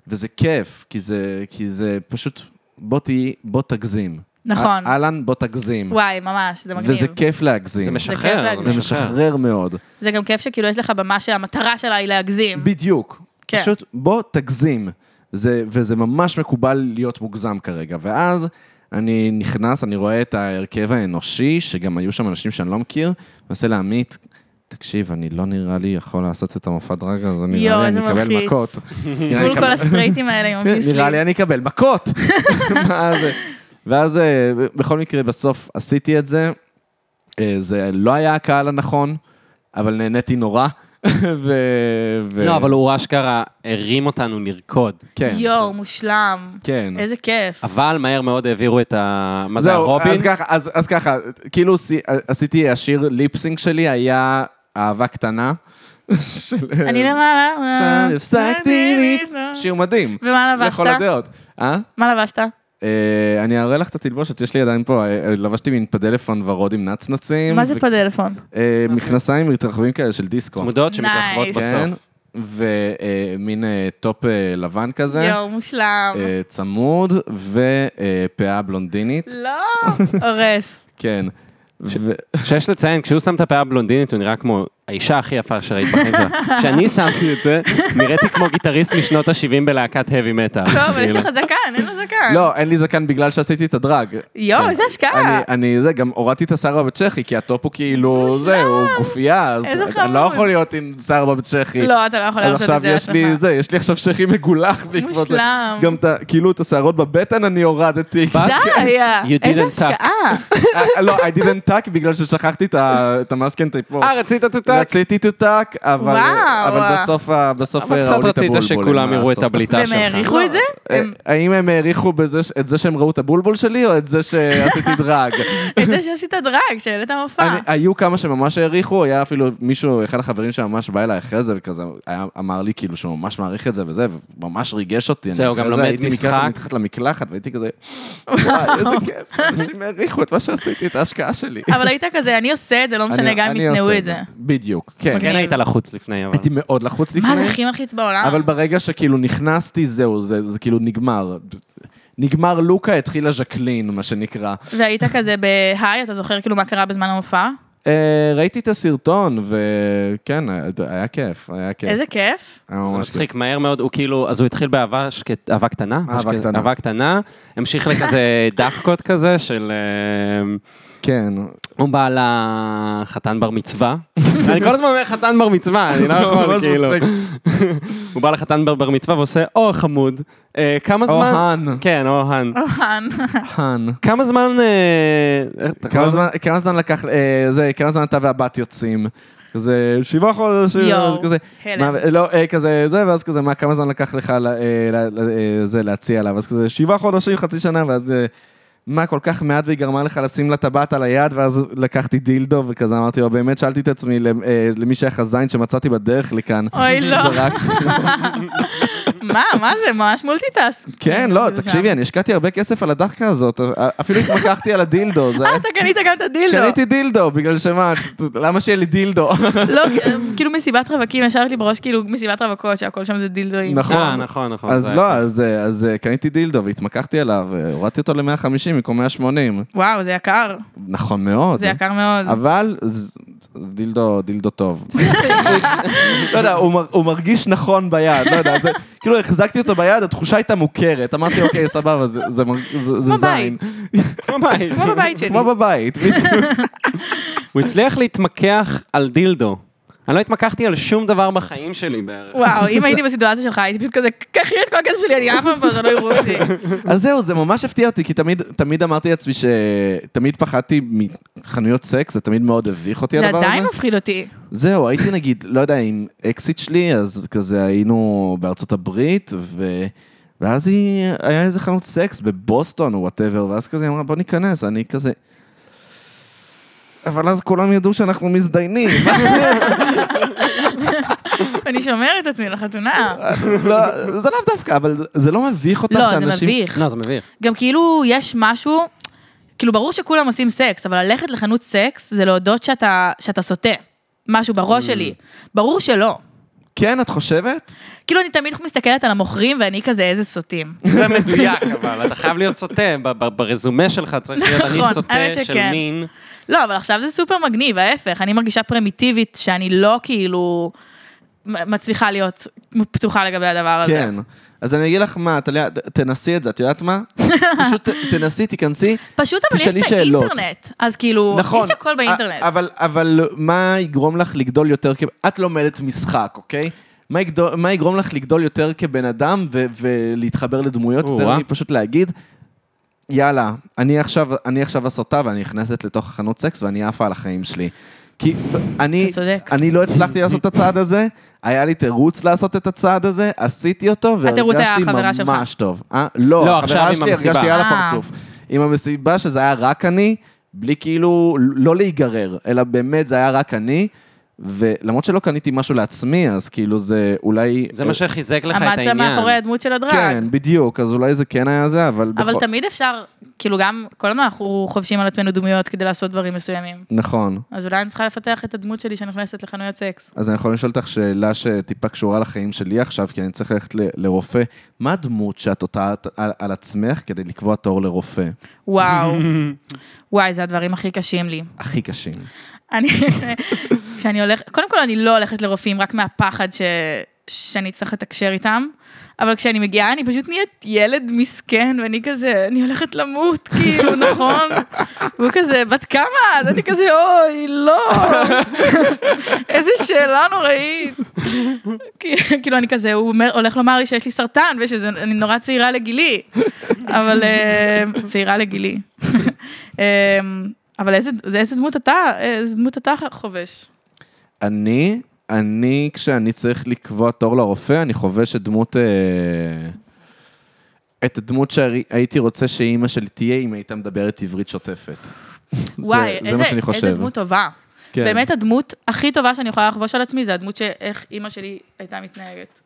Speaker 1: וזה כיף, כי זה, כי זה פשוט, בוא תהיי, בוא תגזים.
Speaker 2: נכון.
Speaker 1: אל- אהלן, בוא תגזים.
Speaker 2: וואי, ממש, זה מגניב.
Speaker 1: וזה כיף להגזים.
Speaker 3: זה משחרר.
Speaker 2: להגזים.
Speaker 1: זה משחרר מאוד.
Speaker 2: זה גם כיף שכאילו יש לך במה שהמטרה שלה היא להגזים.
Speaker 1: בדיוק.
Speaker 2: כן.
Speaker 1: פשוט בוא תגזים. זה, וזה ממש מקובל להיות מוגזם כרגע. ואז אני נכנס, אני רואה את ההרכב האנושי, שגם היו שם אנשים שאני לא מכיר, מנסה להמית. תקשיב, אני לא נראה לי יכול לעשות את המופע דרג הזה,
Speaker 2: יואו,
Speaker 1: נראה לי
Speaker 2: איזה
Speaker 1: אני אקבל
Speaker 2: מלחיץ.
Speaker 1: מכות. נראה לי
Speaker 2: מול כל
Speaker 1: אקבל- כן,
Speaker 2: הסטרייטים האלה עם הביסלים.
Speaker 1: אה, נראה לי אני אקבל מכות. מה זה? ואז אה, בכל מקרה, בסוף עשיתי את זה. אה, זה לא היה הקהל הנכון, אבל נהניתי נורא. ו... ו-
Speaker 3: לא, אבל הוא אשכרה הרים אותנו לרקוד.
Speaker 1: כן.
Speaker 2: יואו, מושלם.
Speaker 1: כן.
Speaker 2: איזה כיף.
Speaker 3: אבל מהר מאוד העבירו את ה... מה זה,
Speaker 1: זהו,
Speaker 3: הרובין?
Speaker 1: אז ככה, אז, אז ככה, כאילו סי- עשיתי, השיר ליפסינג שלי היה אהבה קטנה. של-
Speaker 2: אני למעלה. אה, לא-
Speaker 1: הפסקתי לי. שיר מדהים.
Speaker 2: ומה לבשת?
Speaker 1: לכל הדעות. אה?
Speaker 2: מה לבשת?
Speaker 1: אה, אני אראה לך את התלבושת, יש לי עדיין פה, אה, אה, לבשתי מין פדלפון ורוד עם נצנצים.
Speaker 2: מה זה
Speaker 1: ו-
Speaker 2: פדלפון?
Speaker 1: אה, מכנסיים מתרחבים כאלה של דיסקו.
Speaker 3: צמודות שמתרחבות
Speaker 2: נייס.
Speaker 1: כן,
Speaker 3: בסוף.
Speaker 1: ומין טופ אה, לבן כזה,
Speaker 2: יואו, מושלם.
Speaker 1: אה, צמוד, ופאה בלונדינית,
Speaker 2: לא, הורס.
Speaker 1: כן. ו-
Speaker 3: שיש לציין, כשהוא שם את הפאה הבלונדינית, הוא נראה כמו האישה הכי יפה שראית בחיים שלה. כשאני שמתי את זה, נראיתי כמו גיטריסט משנות ה-70 בלהקת heavy metal.
Speaker 2: טוב, אבל יש
Speaker 3: כאילו.
Speaker 2: לך זקן, אין לו זקן.
Speaker 1: לא, אין לי זקן בגלל שעשיתי את הדרג.
Speaker 2: יואו, איזה השקעה.
Speaker 1: אני, אני זה, גם הורדתי את השיער בצ'כי, כי הטופ הוא כאילו, זה, הוא גופייה, אז
Speaker 2: איזה
Speaker 1: אני לא
Speaker 2: חמוד.
Speaker 1: יכול להיות עם שיער בצ'כי.
Speaker 2: לא, אתה לא יכול
Speaker 1: אז
Speaker 2: לעשות
Speaker 1: עכשיו
Speaker 2: את זה
Speaker 1: יש לי זה, יש לי עכשיו צ'כי מגולח בעקבות זה.
Speaker 2: מושלם.
Speaker 1: גם את ה- כאילו את השערות בבטן אני הורדתי.
Speaker 3: בת-
Speaker 2: די,
Speaker 3: You
Speaker 2: איזה
Speaker 3: didn't tuck.
Speaker 2: השקעה.
Speaker 1: אה, לא, I didn't tuck בגלל ששכחתי את ה- את המאסקן טייפו.
Speaker 3: אה, רצית תותק? טוטק?
Speaker 1: רציתי טוטק, אבל
Speaker 2: וואו.
Speaker 1: אבל בסוף ה- בסוף
Speaker 3: אבל
Speaker 1: ראו
Speaker 3: קצת
Speaker 1: לי את
Speaker 3: רצית
Speaker 1: הבולבול.
Speaker 3: שכולם
Speaker 1: מה
Speaker 3: יראו את
Speaker 1: לעשות?
Speaker 3: הבליטה
Speaker 2: והם
Speaker 3: שלך.
Speaker 2: העריכו את זה?
Speaker 1: אה, האם הם העריכו בזה ש- את זה שהם ראו את הבולבול שלי, או את זה שעשיתי דרג?
Speaker 2: את זה שעשית דרג, שהעלית מופע.
Speaker 1: אני- היו כמה שממש העריכו, היה אפילו מישהו, אחד החברים שממש בא אליי אחרי זה, וכזה היה- אמר לי כאילו שהוא ממש מעריך את זה וזה, וממש ריגש אותי. אני
Speaker 3: זהו,
Speaker 1: אחרי
Speaker 3: גם לומד
Speaker 1: הייתי מתחת-
Speaker 3: משחק.
Speaker 1: מתחת למקלחת, והייתי כזה, וואי, איזה כיף, אנשים העריכו את מה שעשיתי, את ההשקעה שלי.
Speaker 2: אבל היית כזה, אני עושה את זה, לא משנה,
Speaker 1: אני-
Speaker 2: גם אם
Speaker 1: אני
Speaker 2: ישנאו
Speaker 1: עושה
Speaker 2: את זה. אוקיי.
Speaker 1: בדיוק, כן.
Speaker 3: כן היית לחוץ לפני, אבל.
Speaker 1: הייתי מאוד לחוץ לפני.
Speaker 2: מה זה הכי מלחיץ בעולם?
Speaker 1: אבל ברגע שכאילו נכנסתי, זהו, זה, זה כאילו נגמר. נגמר לוקה, התחילה ז'קלין, מה שנקרא.
Speaker 2: והיית כזה בהיי, אתה זוכר כאילו מה קרה בזמן המופע?
Speaker 1: אה, ראיתי את הסרטון, וכן, היה- היה כיף, היה כיף.
Speaker 2: איזה כיף.
Speaker 1: היה
Speaker 3: זה
Speaker 1: ממש
Speaker 3: מצחיק, מהר מאוד, הוא כאילו, אז הוא התחיל באהבה שקט- אהבה קטנה.
Speaker 1: אה, אהבה
Speaker 3: משהו כזה,
Speaker 1: קטנה.
Speaker 3: אהבה קטנה, המשיך לכזה דחקות כזה של... אה,
Speaker 1: כיף. כן.
Speaker 3: הוא בא לחתן בר מצווה. אני כל הזמן אומר חתן בר מצווה, אני לא יכול,
Speaker 1: ממש
Speaker 3: כאילו.
Speaker 1: מצחיק.
Speaker 3: הוא בא לחתן בר בר מצווה ועושה, או חמוד, אה, כמה זמן...
Speaker 1: אוהן,
Speaker 3: כן, או האן.
Speaker 2: אוהן.
Speaker 1: אוהן.
Speaker 3: כמה זמן... אה,
Speaker 2: כן.
Speaker 3: אתה יכול-
Speaker 1: כמה זמן- כמה זמן לקח, אה, זה, כמה זמן אתה והבת יוצאים? כזה שבעה חודשים,
Speaker 2: יואו,
Speaker 1: אז
Speaker 2: כן.
Speaker 1: כזה,
Speaker 2: הלם.
Speaker 1: מה, לא, אה, כזה, זה, ואז כזה, מה, כמה זמן לקח לך ל- אה, ל- ל- אה, זה, להציע לה, ואז כזה, שבעה חודשים, חצי שנה, ואז, אה, מה, כל כך מעט והיא גרמה לך לשים לה טבעת על היד, ואז לקחתי דילדו, וכזה אמרתי לו, באמת שאלתי את עצמי, למ- אה, למי שהיה חזיין שמצאתי בדרך לכאן.
Speaker 2: אוי, לא.
Speaker 1: זרקתי.
Speaker 2: מה, מה זה? ממש מולטיטאסט.
Speaker 1: כן, לא,
Speaker 2: כאילו זה
Speaker 1: תקשיבי,
Speaker 2: שם.
Speaker 1: אני השקעתי הרבה כסף על הדחקה הזאת, אפילו התמקחתי על הדילדו, זה
Speaker 2: אה,
Speaker 1: היה
Speaker 2: אתה קנית גם את הדילדו.
Speaker 1: קניתי דילדו, בגלל שמה, למה שיהיה לי דילדו?
Speaker 2: לא, כאילו מסיבת רווקים, ישבת לי בראש כאילו מסיבת רווקות, שהכל שם זה דילדואים.
Speaker 3: אה,
Speaker 1: נכון.
Speaker 3: נכון, נכון.
Speaker 1: אז
Speaker 3: זה-
Speaker 1: לא, אז, אה, אז אה, קניתי דילדו והתמקחתי עליו, אה, הורדתי אותו ל-150 במקום 180.
Speaker 2: וואו, זה יקר.
Speaker 1: נכון מאוד.
Speaker 2: זה יקר מאוד.
Speaker 1: אבל ז- ז- דילדו, דילדו טוב. לא יודע, הוא מר- הוא מרגיש נכון ביד, לא יודע, זה- כאילו החזקתי אותו ביד, התחושה הייתה מוכרת, אמרתי, אוקיי, סבבה, זה- זה מר- זה- זה
Speaker 2: כמו כאילו.
Speaker 1: זין.
Speaker 2: בבית.
Speaker 1: אה,
Speaker 3: כמו
Speaker 2: כמו
Speaker 3: בית.
Speaker 2: בבית שלי.
Speaker 1: כמו בבית. בדיוק.
Speaker 3: הוא הצליח להתמקח על דילדו. אני לא התמקחתי על שום דבר בחיים שלי בערך.
Speaker 2: וואו, אם הייתי בסיטואציה שלך, הייתי פשוט כזה, קחי את כל הכסף שלי, אני אף פעם כבר לא יראו אותי.
Speaker 1: אז זהו, זה ממש הפתיע אותי, כי תמיד, תמיד אמרתי לעצמי שתמיד פחדתי מחנויות סקס, זה תמיד מאוד הביך אותי
Speaker 2: זה
Speaker 1: הדבר הזה.
Speaker 2: עדיין מפחיד אותי.
Speaker 1: זהו, הייתי נגיד, לא יודע, עם אקסיט שלי, אז כזה היינו בארצות הברית, ו... ואז היא, היה איזה חנות סקס בבוסטון או וואטאבר, ואז כזה היא אמרה, בוא ניכנס, אני כזה... אבל אז כולם ידעו שאנחנו מזדיינים,
Speaker 2: אני שומרת את עצמי לחתונה.
Speaker 1: לא, זה לאו דווקא, אבל זה- זה לא מביך אותך
Speaker 2: לא, זה
Speaker 1: שאנשים...
Speaker 2: מביך.
Speaker 3: לא, זה מביך.
Speaker 2: גם כאילו יש משהו, כאילו ברור שכולם עושים סקס, אבל ללכת לחנות סקס זה להודות שאתה, שאתה סוטה. משהו
Speaker 1: Mm.
Speaker 2: בראש שלי. ברור שלא.
Speaker 1: כן, את חושבת?
Speaker 2: כאילו אני תמיד מסתכלת על המוכרים ואני כזה איזה סוטים.
Speaker 3: זה מדויק, אבל אתה חייב להיות סוטה. ב- ב- ברזומה שלך צריך להיות אני
Speaker 2: נכון, האמת
Speaker 3: סוטה של
Speaker 2: שכן.
Speaker 3: מין.
Speaker 2: לא, אבל עכשיו זה סופר מגניב, ההפך, אני מרגישה פרימיטיבית שאני לא כאילו מ- מצליחה להיות פתוחה לגבי הדבר הזה.
Speaker 1: כן. אז אני אגיד לך מה, טליה, ת- תנסי את זה, את יודעת מה? פשוט ת- תנסי, תיכנסי.
Speaker 2: פשוט אבל יש
Speaker 1: תשאלי
Speaker 2: את
Speaker 1: שאלות.
Speaker 2: האינטרנט, אז כאילו,
Speaker 1: נכון.
Speaker 2: יש הכל באינטרנט.
Speaker 1: א- אבל, אבל מה יגרום לך לגדול יותר כ... את לומדת משחק, אוקיי? מה, יגדול, מה יגרום לך לגדול יותר כבן אדם ו- ולהתחבר לדמויות יותר
Speaker 3: או-אה.
Speaker 1: מפשוט להגיד, יאללה, אני עכשיו, אני עכשיו הסוטה ואני נכנסת לתוך החנות סקס ואני עפה על החיים שלי. כי ב- אני,
Speaker 2: אתה צודק.
Speaker 1: אני לא הצלחתי לעשות את הצעד הזה, היה לי תירוץ לעשות את הצעד הזה, עשיתי אותו
Speaker 2: התירוץ היה
Speaker 1: והרגשתי
Speaker 2: החברה
Speaker 1: ממש
Speaker 2: שלך.
Speaker 1: טוב. אה? לא,
Speaker 3: לא,
Speaker 1: לא,
Speaker 3: עכשיו
Speaker 1: החברה
Speaker 3: עם
Speaker 1: שלי
Speaker 3: המסיבה.
Speaker 1: הרגשתי על
Speaker 2: אה.
Speaker 1: הפרצוף. עם המסיבה שזה היה רק אני, בלי כאילו, לא להיגרר, אלא באמת זה היה רק אני, ולמרות שלא קניתי משהו לעצמי, אז כאילו זה אולי... אה,
Speaker 3: זה מה שחיזק לך את העניין.
Speaker 2: עמדת מאחורי הדמות של הדרג.
Speaker 1: כן, בדיוק, אז אולי זה כן היה זה, אבל...
Speaker 2: אבל
Speaker 1: בכל-
Speaker 2: תמיד אפשר, כאילו גם, כל הזמן אנחנו חובשים על עצמנו דמויות כדי לעשות דברים מסוימים.
Speaker 1: נכון.
Speaker 2: אז אולי אני צריכה לפתח את הדמות שלי שנכנסת לחנויות סקס.
Speaker 1: אז אני יכול לשאול אותך שאלה שטיפה קשורה לחיים שלי עכשיו, כי אני צריך ללכת ל- לרופא. מה הדמות שאת הותרת על, על עצמך כדי לקבוע תור לרופא?
Speaker 2: וואו. וואי, זה הדברים הכי קשים לי.
Speaker 1: הכי קשים.
Speaker 2: אני, כשאני הולכת, קודם כל אני לא הולכת לרופאים רק מהפחד ש... שאני אצטרך לתקשר איתם, אבל כשאני מגיעה אני פשוט נהיית ילד מסכן, ואני כזה, אני הולכת למות, כאילו, נכון? והוא כזה, בת כמה? את?" אני כזה, אוי, לא. איזה שאלה נוראית. כי- כאילו, אני כזה, הוא אומר, הולך לומר לי שיש לי סרטן, ושאני נורא צעירה לגילי, אבל אה, צעירה לגילי. אמ, אבל איזה, זה- איזה דמות אתה, איזה דמות אתה חובש?
Speaker 1: אני, אני, כשאני צריך לקבוע תור לרופא, אני חובש את דמות... אה, את הדמות שהייתי רוצה שאימא שלי תהיה אם הייתה מדברת עברית שוטפת. זה-
Speaker 2: וואי,
Speaker 1: זה מה
Speaker 2: איזה,
Speaker 1: שאני
Speaker 2: איזה
Speaker 1: חושב.
Speaker 2: דמות טובה.
Speaker 1: כן.
Speaker 2: באמת הדמות הכי טובה שאני יכולה לחבוש על עצמי, זה הדמות שאיך אימא שלי הייתה מתנהגת.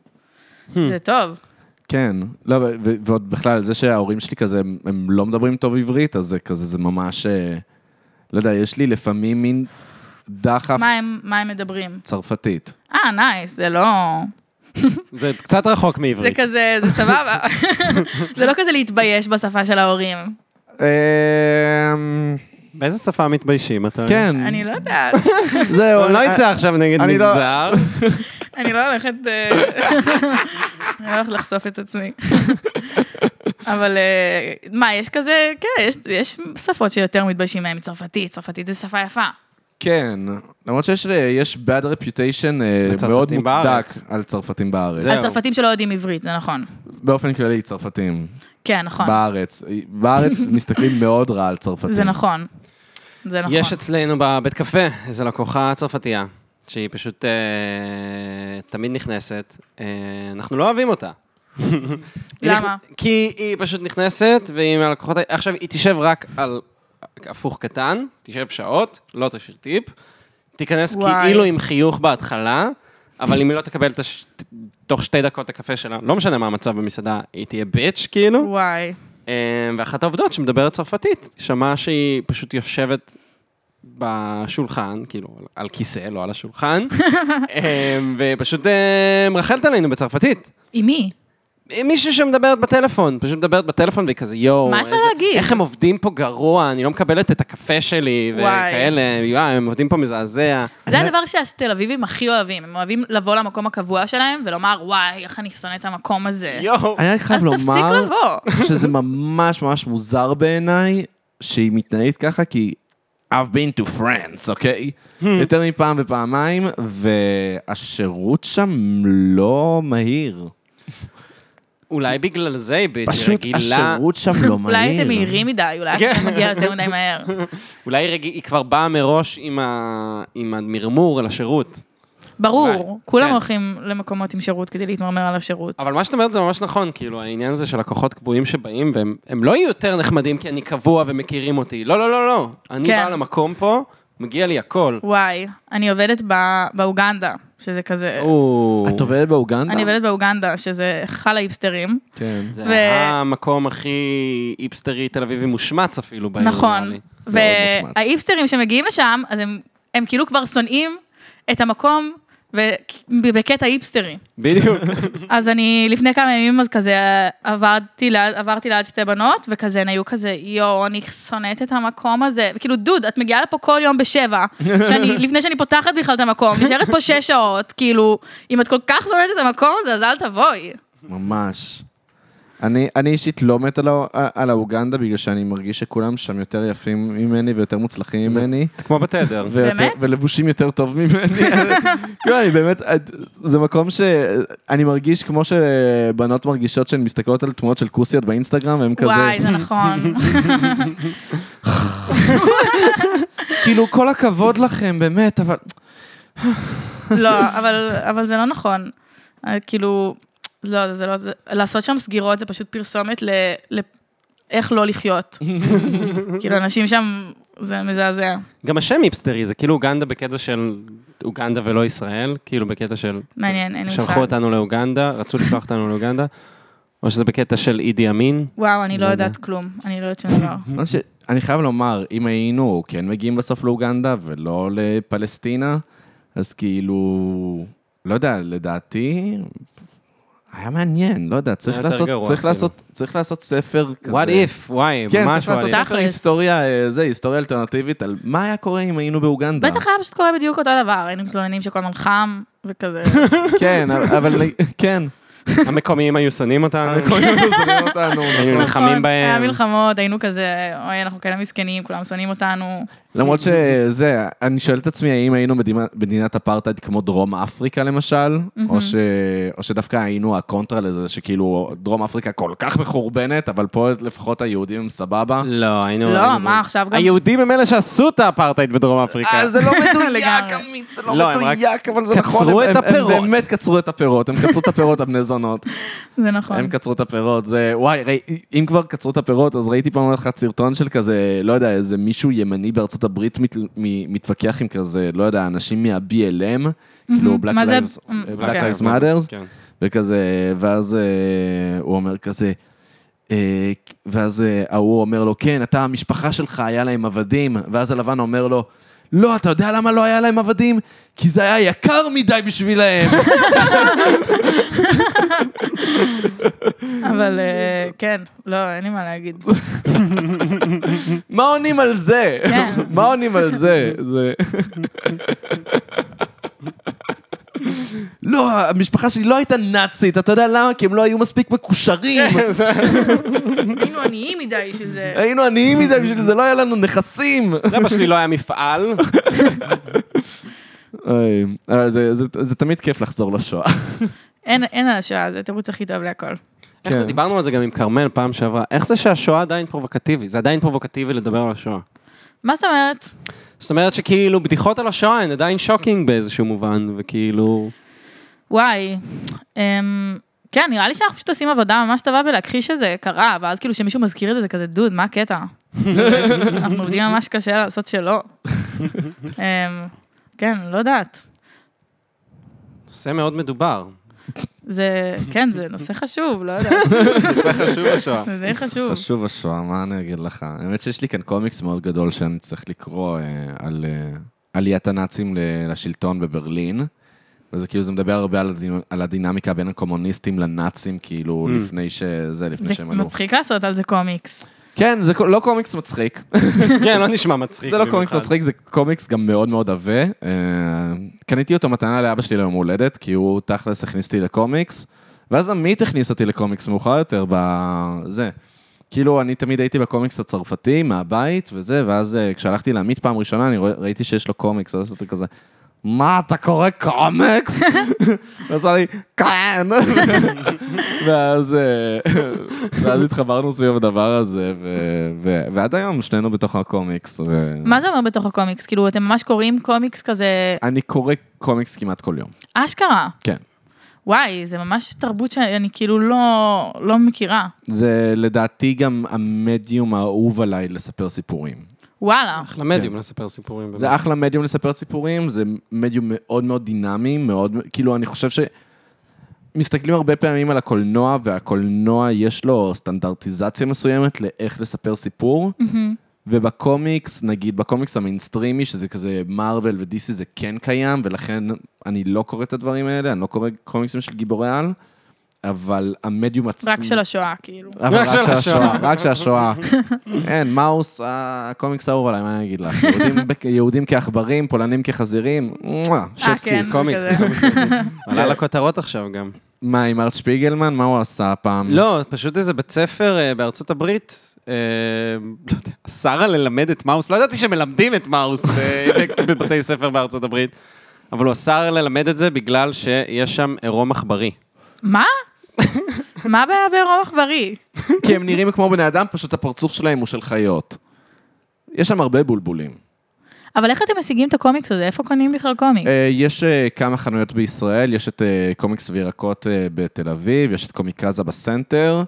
Speaker 1: Hmm.
Speaker 2: זה טוב.
Speaker 1: כן, לא, ו- ו- ועוד בכלל, זה שההורים שלי כזה, הם, הם לא מדברים טוב עברית, אז זה כזה, זה ממש, אה, לא יודע, יש לי לפעמים מין דחף
Speaker 2: מה הם, מה הם מדברים?
Speaker 1: צרפתית.
Speaker 2: אה, נייס, זה לא...
Speaker 3: זה קצת רחוק
Speaker 2: זה
Speaker 3: מעברית.
Speaker 1: אוקיי.
Speaker 2: כזה, זה סבבה. זה לא כזה להתבייש בשפה של ההורים.
Speaker 1: Hmm. אמ,
Speaker 3: באיזה שפה מתביישים אתה?
Speaker 1: כן,
Speaker 2: אני לא יודעת,
Speaker 1: זהו, אה,
Speaker 3: הוא לא
Speaker 1: אני-
Speaker 3: יצא עכשיו נגד
Speaker 1: אני לא-
Speaker 3: מגזר.
Speaker 2: אני לא הולכת... אה, אני לא הולכת לחשוף את עצמי. אבל אה, מה, יש כזה, כן, יש- יש שפות שיותר מתביישים מהן מצרפתית, צרפתית זה שפה יפה.
Speaker 1: כן, למרות שיש ל- יש bad reputation אה,
Speaker 3: לצרפתים
Speaker 1: מאוד מוצדק
Speaker 3: בארץ.
Speaker 1: על צרפתים בארץ.
Speaker 3: זהו.
Speaker 2: אז צרפתים שלא יודעים עברית, זה נכון.
Speaker 1: באופן כללי, צרפתים
Speaker 2: כן, נכון.
Speaker 1: בארץ. אה, בארץ מסתכלים מאוד רע על צרפתים.
Speaker 2: זה נכון. זה נכון.
Speaker 3: יש אצלנו בבית קפה איזו לקוחה צרפתייה, שהיא פשוט אה, תמיד נכנסת. אה, אנחנו לא אוהבים אותה. היא
Speaker 2: למה?
Speaker 3: נכ- כי היא פשוט נכנסת, והיא מהלקוחות... ה- עכשיו, היא תשב רק על הפוך קטן, תשב שעות, לא תשאיר טיפ, תיכנס
Speaker 2: וואי.
Speaker 3: כאילו עם חיוך בהתחלה, אבל אם היא לא תקבל את הש... ת- תוך שתי דקות את הקפה שלה, לא משנה מה המצב במסעדה, היא תהיה ביץ' כאילו.
Speaker 2: וואי.
Speaker 3: אה, ואחת העובדות שמדברת צרפתית, שמעה שהיא פשוט יושבת בשולחן, כאילו, על- על כיסא, לא על השולחן, אה, ופשוט אה, מרחלת עלינו בצרפתית.
Speaker 2: עם מי?
Speaker 3: עם מישהי שמדברת בטלפון, פשוט מדברת בטלפון והיא כזה יואו.
Speaker 2: מה יש לה
Speaker 3: איזה-
Speaker 2: להגיד?"
Speaker 3: איך הם עובדים פה גרוע, אני לא מקבלת את הקפה שלי,
Speaker 2: וואי.
Speaker 3: וכאלה, יואו, הם עובדים פה מזעזע.
Speaker 2: זה הדבר שהתל אביבים הכי אוהבים. הם אוהבים לבוא למקום הקבוע שלהם ולומר, וואי, איך אני שונא את המקום הזה.
Speaker 3: יואו.
Speaker 1: אני רק חייב
Speaker 2: אז
Speaker 1: לומר...
Speaker 2: תפסיק
Speaker 3: לא
Speaker 2: לבוא.
Speaker 1: שזה ממש ממש מוזר בעיניי שהיא מתנהגת ככה, כי I've been to France, אוקיי?
Speaker 2: Hmm.
Speaker 1: יותר מפעם ופעמיים, והשירות שם לא מהיר.
Speaker 3: אולי בגלל זה היא ביץ' היא
Speaker 1: פשוט
Speaker 3: רגילה,
Speaker 1: השירות שם לא מהיר.
Speaker 2: אולי אתם מהירים מדי, אולי
Speaker 3: כן.
Speaker 2: אתה מגיע יותר מדי מהר.
Speaker 3: אולי היא רג- היא כבר באה מראש עם ה- עם המרמור על השירות. אולי,
Speaker 2: ברור, כולם
Speaker 3: כן.
Speaker 2: הולכים למקומות עם שירות כדי להתמרמר על השירות.
Speaker 3: אבל מה שאת אומרת זה ממש נכון, כאילו העניין הזה של לקוחות קבועים שבאים, והם הם לא יהיו יותר נחמדים כי אני קבוע ומכירים אותי. לא, לא, לא, לא. אני
Speaker 2: כן.
Speaker 3: בא למקום פה, מגיע לי הכל.
Speaker 2: וואי, אני עובדת ב- באוגנדה, שזה כזה...
Speaker 3: או,
Speaker 1: את עובדת באוגנדה?
Speaker 2: אני עובדת באוגנדה, שזה חל האיפסטרים.
Speaker 1: כן.
Speaker 3: זה
Speaker 2: ו-
Speaker 3: המקום הכי היפסטרי תל אביבי מושמץ אפילו בעיר. נראה
Speaker 2: נכון.
Speaker 3: לי.
Speaker 1: מאוד מושמץ.
Speaker 2: והאיפסטרים שמגיעים לשם, אז הם- הם כאילו כבר שונאים את המקום, ו- בקטע היפסטרי.
Speaker 3: בדיוק.
Speaker 2: אז אני לפני כמה ימים אז כזה עברתי ליד, עברתי ליד שתי בנות, וכזה הן היו כזה, יואו, אני שונאת את המקום הזה. וכאילו, דוד, את מגיעה לפה כל יום בשבע, שאני, לפני שאני פותחת בכלל את המקום, נשארת פה שש שעות, כאילו, אם את כל כך שונאת את המקום הזה, אז אל תבואי.
Speaker 1: ממש. אני, אני אישית לא מת על, האו- על האוגנדה, בגלל שאני מרגיש שכולם שם יותר יפים ממני ויותר מוצלחים ממני.
Speaker 3: זה כמו בתדר.
Speaker 1: ויותר-
Speaker 2: באמת?
Speaker 1: ולבושים יותר טוב ממני. כאילו, אני באמת, זה מקום שאני מרגיש כמו שבנות מרגישות שהן מסתכלות על תמונות של כוסיות באינסטגרם, והן
Speaker 2: וואי,
Speaker 1: כזה,
Speaker 2: זה נכון.
Speaker 1: כאילו, כל הכבוד לכם, באמת, אבל...
Speaker 2: לא, אבל, אבל זה לא נכון. אה, כאילו, לא, זה לא, זה, לעשות שם סגירות זה פשוט פרסומת ל... ל איך לא לחיות. כאילו, אנשים שם, זה מזעזע.
Speaker 3: גם השם היפסטרי, זה כאילו אוגנדה בקטע של אוגנדה ולא ישראל, כאילו בקטע של...
Speaker 2: מעניין, אין לי מושג.
Speaker 3: שלחו אותנו לאוגנדה, רצו לשלוח אותנו לאוגנדה, או שזה בקטע של אידי אמין.
Speaker 2: וואו, אני לא
Speaker 3: לא יודע.
Speaker 2: יודעת כלום, אני לא יודעת שום דבר.
Speaker 1: מה ש- אני חייב לומר, אם היינו כן מגיעים בסוף לאוגנדה ולא לפלסטינה, אז כאילו, לא יודע, לדעתי... היה מעניין, לא יודע, צריך
Speaker 3: היה יותר
Speaker 1: לעשות,
Speaker 3: גרוע,
Speaker 1: צריך
Speaker 3: כאילו.
Speaker 1: לעשות, צריך לעשות ספר כזה.
Speaker 3: וואט איף, וואי,
Speaker 1: כן,
Speaker 3: ממש
Speaker 1: צריך לעשות
Speaker 3: וואט איף.
Speaker 1: ספר
Speaker 2: תכלס.
Speaker 1: היסטוריה, אה, זה, היסטוריה אלטרנטיבית, על מה היה קורה אם היינו באוגנדה.
Speaker 2: בטח היה פשוט קורה בדיוק אותו דבר, היינו כאילו מתלוננים שכל הזמן חם, וכזה.
Speaker 1: כן, אבל- אבל כן.
Speaker 3: המקומיים היו שונאים אותנו.
Speaker 1: כל יום מזמינים אותנו.
Speaker 3: היו
Speaker 1: נכון.
Speaker 3: נלחמים
Speaker 2: נכון, היה
Speaker 3: בהם.
Speaker 2: מלחמות, היינו כזה, אוי, אנחנו כאלה מסכנים, כולם שונאים אותנו.
Speaker 1: למרות שזה, אני שואל את עצמי, האם היינו מדינה- מדינת אפרטהייד כמו דרום אפריקה למשל, או, ש, או שדווקא היינו הקונטרה לזה, שכאילו דרום אפריקה כל כך מחורבנת, אבל פה לפחות היהודים הם סבבה.
Speaker 3: לא, היינו...
Speaker 2: לא,
Speaker 3: היינו-
Speaker 2: מה עכשיו גם...
Speaker 3: היהודים הם אלה שעשו את האפרטהייד בדרום אפריקה.
Speaker 1: זה לא
Speaker 2: לגמרי.
Speaker 1: עמית, זה
Speaker 3: לא, הם רק
Speaker 1: אבל זה נכון,
Speaker 3: קצרו
Speaker 1: הם-
Speaker 3: את
Speaker 1: הם-
Speaker 3: הפירות.
Speaker 1: הם באמת קצרו את הפירות, הם קצרו את הפירות, הבני זונות.
Speaker 2: זה נכון.
Speaker 1: הם קצרו את הפירות, זה... וואי, ראי, אם כבר קצרו את הפירות, אז ראיתי פעם אחת סרטון של כזה, לא יודע, איזה מישהו ימני בארצות הברית מת, מ, מתווכח עם כזה, לא יודע, אנשים מה-BLM, כאילו Black
Speaker 2: מה זה- Mm,
Speaker 1: Lives,
Speaker 2: מ-
Speaker 1: Black
Speaker 3: אוקיי,
Speaker 1: Lives Matters,
Speaker 3: כן.
Speaker 1: וכזה, ואז אה, הוא אומר כזה, אה, ואז אה, ההוא אומר לו, כן, אתה, המשפחה שלך, היה להם עבדים, ואז הלבן אומר לו, לא, אתה יודע למה לא היה להם עבדים? כי זה היה יקר מדי בשבילהם.
Speaker 2: אבל אה, כן, לא, אין לי מה להגיד.
Speaker 1: מה עונים על זה?
Speaker 2: כן.
Speaker 1: מה עונים על זה? זה... לא, המשפחה שלי לא הייתה נאצית, אתה יודע למה? כי הם לא היו מספיק מקושרים.
Speaker 2: היינו עניים מדי בשביל זה.
Speaker 1: היינו עניים מדי בשביל זה, לא היה לנו נכסים.
Speaker 3: לאבא שלי לא היה מפעל.
Speaker 1: אוי, אבל אה, זה- זה- זה תמיד כיף לחזור לשואה.
Speaker 2: אין אין על השעה, זה התירוץ הכי טוב להכל.
Speaker 3: איך זה, דיברנו על זה גם עם כרמל פעם שעברה. איך זה שהשואה עדיין פרובוקטיבי? זה עדיין פרובוקטיבי לדבר על השואה.
Speaker 2: מה זאת אומרת?
Speaker 3: זאת אומרת שכאילו בדיחות על השואה הן עדיין שוקינג באיזשהו מובן, וכאילו...
Speaker 2: וואי, אמ, כן, נראה לי שאנחנו פשוט עושים עבודה ממש טובה בלהכחיש שזה קרה, ואז כאילו שמישהו מזכיר את זה, זה כזה, דוד, מה הקטע? אנחנו עובדים ממש קשה לעשות שלא. אמ, כן, לא יודעת.
Speaker 3: נושא מאוד מדובר.
Speaker 2: זה, כן, זה נושא חשוב, לא יודעת,
Speaker 3: נושא חשוב השואה.
Speaker 2: זה די חשוב.
Speaker 1: חשוב השואה, מה אני אגיד לך? האמת שיש לי כאן קומיקס מאוד גדול שאני צריך לקרוא אה, על אה, עליית הנאצים ל- לשלטון בברלין. וזה כאילו, זה מדבר הרבה על, הדינ... על הדינמיקה בין הקומוניסטים לנאצים, כאילו,
Speaker 3: Mm.
Speaker 1: לפני שזה, לפני
Speaker 2: זה
Speaker 1: שהם עלו.
Speaker 2: מצחיק לעשות על זה קומיקס.
Speaker 1: כן, זה קו- לא קומיקס מצחיק.
Speaker 3: כן, לא נשמע מצחיק.
Speaker 1: זה לא
Speaker 3: במיוחד.
Speaker 1: קומיקס מצחיק, זה קומיקס גם מאוד מאוד עבה. אה, קניתי אותו מתנה לאבא שלי ליום הולדת, כי הוא תכלס הכניס אותי לקומיקס, ואז עמית הכניס אותי לקומיקס מאוחר יותר, בזה. כאילו, אני תמיד הייתי בקומיקס הצרפתי, מהבית וזה, ואז אה, כשהלכתי לעמית פעם ראשונה, אני רוא- ראיתי שיש לו קומיקס, אז עשיתי כזה, מה, אתה קורא קומיקס? ואז אמר לי, כן. ואז אה, ואז התחברנו סביב הדבר הזה, ו- ו- ועד היום שנינו בתוך הקומיקס. ו-
Speaker 2: מה זה אומר בתוך הקומיקס? כאילו, אתם ממש קוראים קומיקס כזה
Speaker 1: אני קורא קומיקס כמעט כל יום.
Speaker 2: אשכרה.
Speaker 1: כן.
Speaker 2: וואי, זה ממש תרבות שאני כאילו לא, לא מכירה.
Speaker 1: זה לדעתי גם המדיום האהוב עליי לספר סיפורים.
Speaker 2: וואלה.
Speaker 3: אחלה מדיום לספר סיפורים. באמת.
Speaker 1: זה אחלה מדיום לספר סיפורים, זה מדיום מאוד מאוד דינמי, מאוד, כאילו, אני חושב ש... מסתכלים הרבה פעמים על הקולנוע, והקולנוע יש לו סטנדרטיזציה מסוימת לאיך לספר סיפור,
Speaker 2: Mm-hmm.
Speaker 1: ובקומיקס, נגיד בקומיקס המיינסטרימי, שזה כזה מארוול ודיסי, זה כן קיים, ולכן אני לא קורא את הדברים האלה, אני לא קורא קומיקסים של גיבורי על, אבל המדיום עצמו...
Speaker 2: רק של השואה, כאילו.
Speaker 1: אבל רק
Speaker 3: רק של
Speaker 1: של השואה,
Speaker 3: השואה.
Speaker 1: רק של השואה. אין, מאוס, הקומיקס האהוב עליי, מה אני אגיד לך? יהודים ב- יהודים כעכברים, פולנים כחזירים, מואה,
Speaker 2: כן.
Speaker 3: אה.
Speaker 1: שופסקי.
Speaker 3: קומיקס.
Speaker 2: כזה.
Speaker 3: עלה לכותרות עכשיו גם.
Speaker 1: מה, עם ארט שפיגלמן? מה הוא עשה הפעם?
Speaker 3: לא, פשוט איזה בית ספר אה, בארצות הברית, אה, לא יודע, אסר על ללמד את מאוס, לא ידעתי שמלמדים את מאוס אה, בבתי ספר בארצות הברית, אבל הוא אסר ללמד את זה בגלל שיש שם עירום עכברי.
Speaker 2: מה? מה הבעיה בעירום עכברי?
Speaker 1: כי הם נראים כמו בני אדם, פשוט הפרצוף שלהם הוא של חיות. יש שם הרבה בולבולים.
Speaker 2: אבל איך אתם משיגים את הקומיקס הזה? איפה קונים בכלל קומיקס?
Speaker 1: אה, יש אה, כמה חנויות בישראל, יש את אה, קומיקס וירקות אה, בתל אביב, יש את קומיקזה בסנטר,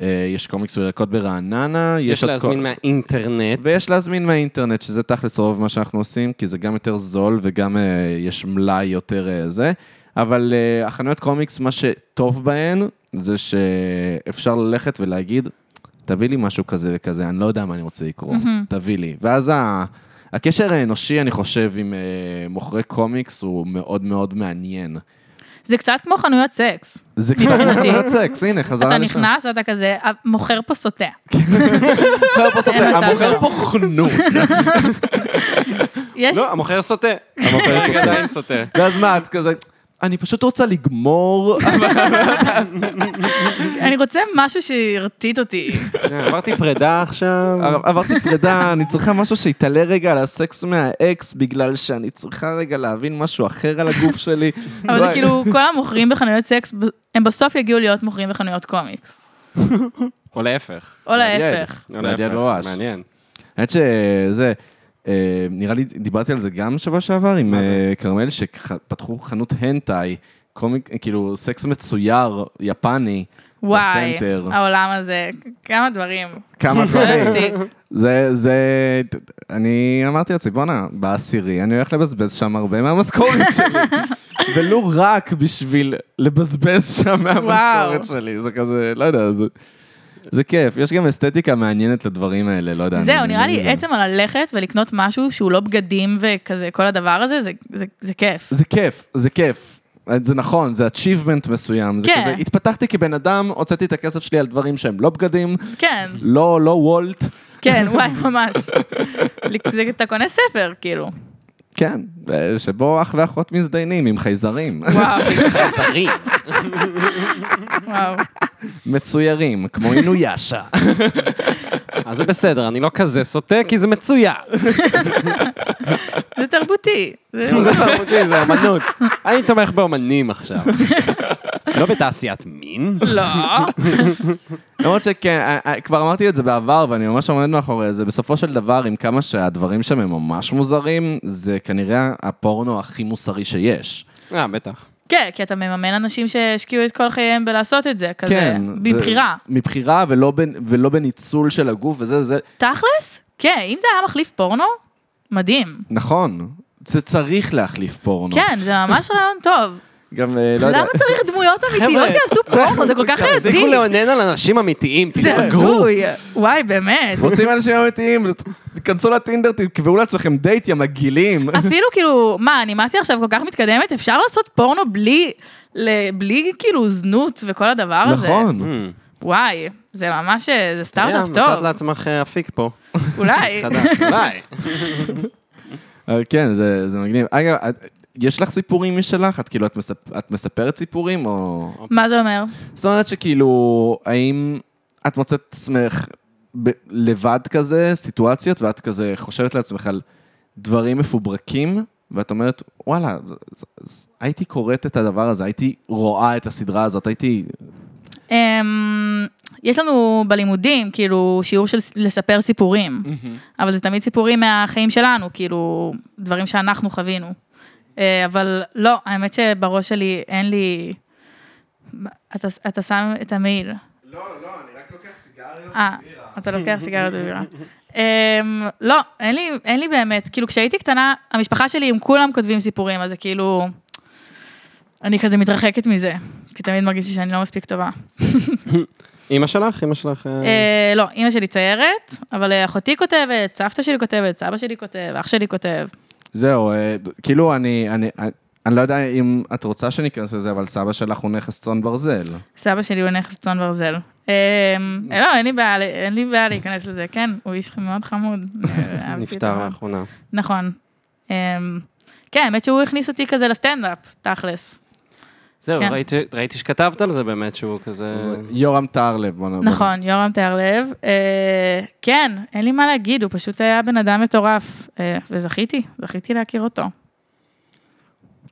Speaker 1: אה, יש קומיקס וירקות ברעננה,
Speaker 3: יש
Speaker 1: עוד
Speaker 3: להזמין
Speaker 1: כל-
Speaker 3: מהאינטרנט.
Speaker 1: ויש להזמין מהאינטרנט, שזה תכלס רוב מה שאנחנו עושים, כי זה גם יותר זול וגם אה, יש מלאי יותר אה, זה. אבל אה, החנויות קומיקס, מה שטוב בהן, זה שאפשר ללכת ולהגיד, תביא לי משהו כזה וכזה, אני לא יודע מה אני רוצה לקרוא, תביא לי. ואז ה... הקשר האנושי, אני חושב, עם אה, מוכרי קומיקס הוא מאוד מאוד מעניין.
Speaker 2: זה קצת כמו חנויות סקס.
Speaker 1: זה קצת מתנת סקס, הנה, חזרה
Speaker 2: אתה
Speaker 1: לשם.
Speaker 2: נכנס ואתה כזה, "המוכר פה סוטה.
Speaker 1: המוכר פה סוטה,
Speaker 2: אין מצב
Speaker 1: לא, המוכר
Speaker 2: שלא.
Speaker 1: פה חנות.
Speaker 2: יש,
Speaker 1: לא.
Speaker 3: לא, המוכר סוטה. המוכר עדיין סוטה.
Speaker 1: ואז מה, את כזה, אני פשוט רוצה לגמור,
Speaker 2: אני רוצה משהו שירטיט אותי.
Speaker 3: כן, עברתי פרידה עכשיו.
Speaker 1: עברתי פרידה, אמ, אני צריכה משהו שיתעלה רגע על הסקס מהאקס, בגלל שאני צריכה רגע להבין משהו אחר על הגוף שלי.
Speaker 2: אבל זה
Speaker 1: וואי.
Speaker 2: כאילו, כל המוכרים בחנויות סקס, ב- הם בסוף יגיעו להיות מוכרים בחנויות קומיקס.
Speaker 3: או להפך.
Speaker 2: או להפך.
Speaker 3: או
Speaker 1: מעניין
Speaker 3: לא,
Speaker 1: ממש.
Speaker 3: להפך, מעניין.
Speaker 1: האמת שזה, אה, נראה לי, דיברתי על זה גם שבוע שעבר עם
Speaker 3: מה זה?
Speaker 1: אה, כרמל, שפתחו חנות הנטאי, קומיק, כאילו סקס מצויר, יפני,
Speaker 2: וואי, אה,
Speaker 1: בסנטר.
Speaker 2: העולם הזה, כמה דברים.
Speaker 1: כמה
Speaker 2: לא
Speaker 1: דברים.
Speaker 2: יפסיק.
Speaker 1: זה, זה, אני אמרתי לעצמי, בואנה, בעשירי, אני הולך לבזבז שם הרבה מהמשכורת שלי. ולו רק בשביל לבזבז שם מהמשכורת שלי, זה כזה, לא יודע, זה... זה כיף, יש גם אסתטיקה מעניינת לדברים האלה, לא יודע. אני
Speaker 2: זהו,
Speaker 1: נהנה
Speaker 2: נראה לי
Speaker 1: מזה.
Speaker 2: עצם על ללכת ולקנות משהו שהוא לא בגדים וכזה, כל הדבר הזה, זה- זה- זה כיף.
Speaker 1: זה כיף, זה כיף. זה נכון, זה achievement מסוים. זה
Speaker 2: כן.
Speaker 1: כזה, התפתחתי כבן אדם, הוצאתי את הכסף שלי על דברים שהם לא בגדים,
Speaker 2: כן,
Speaker 1: לא, לא וולט.
Speaker 2: כן, וואי, ממש. זה- אתה קונה ספר, כאילו.
Speaker 1: כן, אה, שבו אח ואחות מזדיינים עם חייזרים,
Speaker 2: וואו,
Speaker 3: חסרי.
Speaker 2: וואו.
Speaker 1: מצוירים, כמו אינויאשה.
Speaker 3: אז זה בסדר, אני לא כזה סוטה, כי זה מצוין.
Speaker 2: זה תרבותי. זה-
Speaker 3: זה תרבותי, זה אמנות. אני תומך באמנים עכשיו. לא בתעשיית מין.
Speaker 2: לא.
Speaker 1: למרות שכן, אה, אה, כבר אמרתי את זה בעבר, ואני ממש עומד מאחורי זה, בסופו של דבר, עם כמה שהדברים שם הם ממש מוזרים, זה כנראה הפורנו הכי מוסרי שיש.
Speaker 3: אה, בטח.
Speaker 2: כן, כי אתה מממן אנשים שהשקיעו את כל חייהם בלעשות את זה, כזה,
Speaker 1: כן.
Speaker 2: בבחירה.
Speaker 1: ו- מבחירה ולא, בנ- ולא בניצול של הגוף וזה, זה,
Speaker 2: תכלס? כן, אם זה היה מחליף פורנו, מדהים.
Speaker 1: נכון. זה צריך להחליף פורנו.
Speaker 2: כן, זה ממש רעיון טוב.
Speaker 1: גם, אה, לא יודע.
Speaker 2: למה צריך דמויות אמיתיות
Speaker 3: חבר'ה,
Speaker 2: שיעשו פורנו? זה כל כך
Speaker 3: תפסיקו
Speaker 2: רעיוני.
Speaker 3: לאונן על אנשים אמיתיים,
Speaker 2: אה, זה
Speaker 3: תתרגעו.
Speaker 2: הזוי. וואי, באמת.
Speaker 1: רוצים אנשים אמיתיים, תיכנסו לטינדר, תקבעו לעצמכם דייט, יא מגעילים.
Speaker 2: אפילו כאילו, מה, האנימציה עכשיו כל כך מתקדמת, אפשר לעשות פורנו בלי, ל- בלי כאילו זנות וכל הדבר הזה.
Speaker 1: נכון.
Speaker 3: Hmm.
Speaker 2: וואי, זה ממש, אה, זה סטארט-אפ
Speaker 3: אה, מצאת
Speaker 2: טוב.
Speaker 3: לעצמך אה, אפיק פה.
Speaker 2: אולי.
Speaker 3: חדש. אולי.
Speaker 1: אבל כן, זה זה מגניב. אגב, את- יש לך סיפורים משלך? את כאילו, את מספ- את מספרת סיפורים או...
Speaker 2: מה זה אומר?
Speaker 1: זאת אומרת שכאילו, האם את מוצאת את עצמך ב- לבד כזה, סיטואציות, ואת כזה חושבת לעצמך על דברים מפוברקים, ואת אומרת, וואלה, ז- ז- ז- הייתי קוראת את הדבר הזה, הייתי רואה את הסדרה הזאת, הייתי...
Speaker 2: אמ, יש לנו בלימודים, כאילו, שיעור של ס- לספר סיפורים, אבל זה תמיד סיפורים מהחיים שלנו, כאילו, דברים שאנחנו חווינו. אה, אבל לא, האמת שבראש שלי אין לי... אתה, אתה שם את המעיל.
Speaker 1: לא, לא, אני רק לוקח סיגריות
Speaker 2: אה, אתה לוקח סיגריות ובירה. אמ, לא, אין לי, אין לי באמת, כאילו כשהייתי קטנה, המשפחה שלי, הם כולם כותבים סיפורים, אז זה כאילו, אני כזה מתרחקת מזה, כי תמיד מרגישתי שאני לא מספיק טובה.
Speaker 3: אמא שלך, אמא שלך... אה,
Speaker 2: אה, לא, אימא שלי ציירת, אבל אה, אחותי כותבת, סבתא שלי כותבת, סבא שלי כותב, אח שלי כותב.
Speaker 1: זהו, אה, כאילו, אני... אני אני לא יודע אם את רוצה שניכנס לזה, אבל סבא שלך הוא נכס צאן ברזל.
Speaker 2: סבא שלי הוא נכס צאן ברזל. אמ, אה, לא, אין לי בעיה, אין לי בעיה להיכנס לזה, כן, הוא איש מאוד חמוד. אה, אהבתי אותו
Speaker 3: נפטר
Speaker 2: מאוד.
Speaker 3: לאחרונה.
Speaker 2: נכון. אמ, כן, האמת שהוא הכניס אותי כזה לסטנדאפ, תכלס.
Speaker 3: זהו,
Speaker 2: כן.
Speaker 3: ראיתי- ראיתי שכתבת על זה באמת, שהוא כזה...
Speaker 1: זה יורם טהרלב. בוא
Speaker 3: אוקיי.
Speaker 1: נ- בוא נ-
Speaker 2: נכון, יורם תיארלב. אה, כן, אין לי מה להגיד, הוא פשוט היה בן אדם מטורף, אה, וזכיתי, זכיתי להכיר אותו.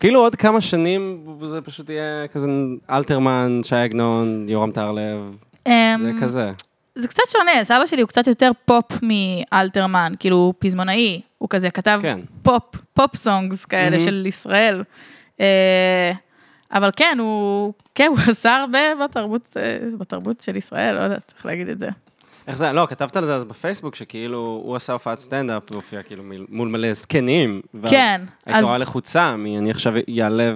Speaker 3: כאילו עוד כמה שנים זה פשוט יהיה כזה אלתרמן, שי עגנון, יורם טהרלב,
Speaker 2: אמ,
Speaker 3: זה כזה.
Speaker 2: זה קצת שונה, סבא שלי הוא קצת יותר פופ מאלתרמן, כאילו הוא פזמונאי, הוא כזה כתב
Speaker 3: כן.
Speaker 2: פופ, פופ סונגס כאלה
Speaker 3: Mhm.
Speaker 2: של ישראל. אה, אבל כן, הוא, כן, הוא עשה הרבה בתרבות, אה, בתרבות של ישראל, לא יודעת איך להגיד את זה.
Speaker 3: איך זה, לא, כתבת על זה אז בפייסבוק, שכאילו הוא עשה הופעת סטנדאפ והופיע כאילו מול- מול מלא זקנים. ואז
Speaker 2: כן,
Speaker 3: היית
Speaker 2: אז-
Speaker 3: נורא לחוצה, מ- אני עכשיו יעלה,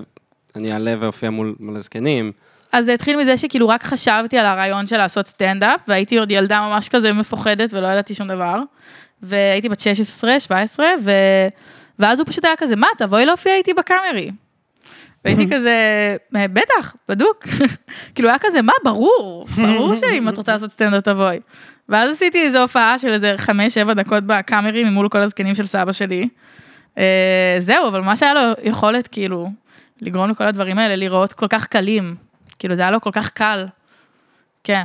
Speaker 3: אני אעלה ואופיע מול מלא זקנים.
Speaker 2: אז זה התחיל מזה שכאילו רק חשבתי על הרעיון של לעשות סטנדאפ, והייתי עוד ילדה ממש כזה מפוחדת ולא ידעתי שום דבר. והייתי בת 16, 17, ו... ואז הוא פשוט היה כזה, מה, תבואי להופיע איתי בקאמרי. והייתי כזה, "אה, בטח, בדוק. כאילו היה כזה, מה, ברור, ברור שאם את רוצה לעשות סטנדאפ תבואי. ואז עשיתי איזו הופעה של איזה חמש, שבע דקות בקאמרי ממול כל הזקנים של סבא שלי. אה, זהו, אבל מה שהיה לו יכולת, כאילו, לגרום לכל הדברים האלה להיראות כל כך קלים. כאילו, זה היה לו כל כך קל. כן.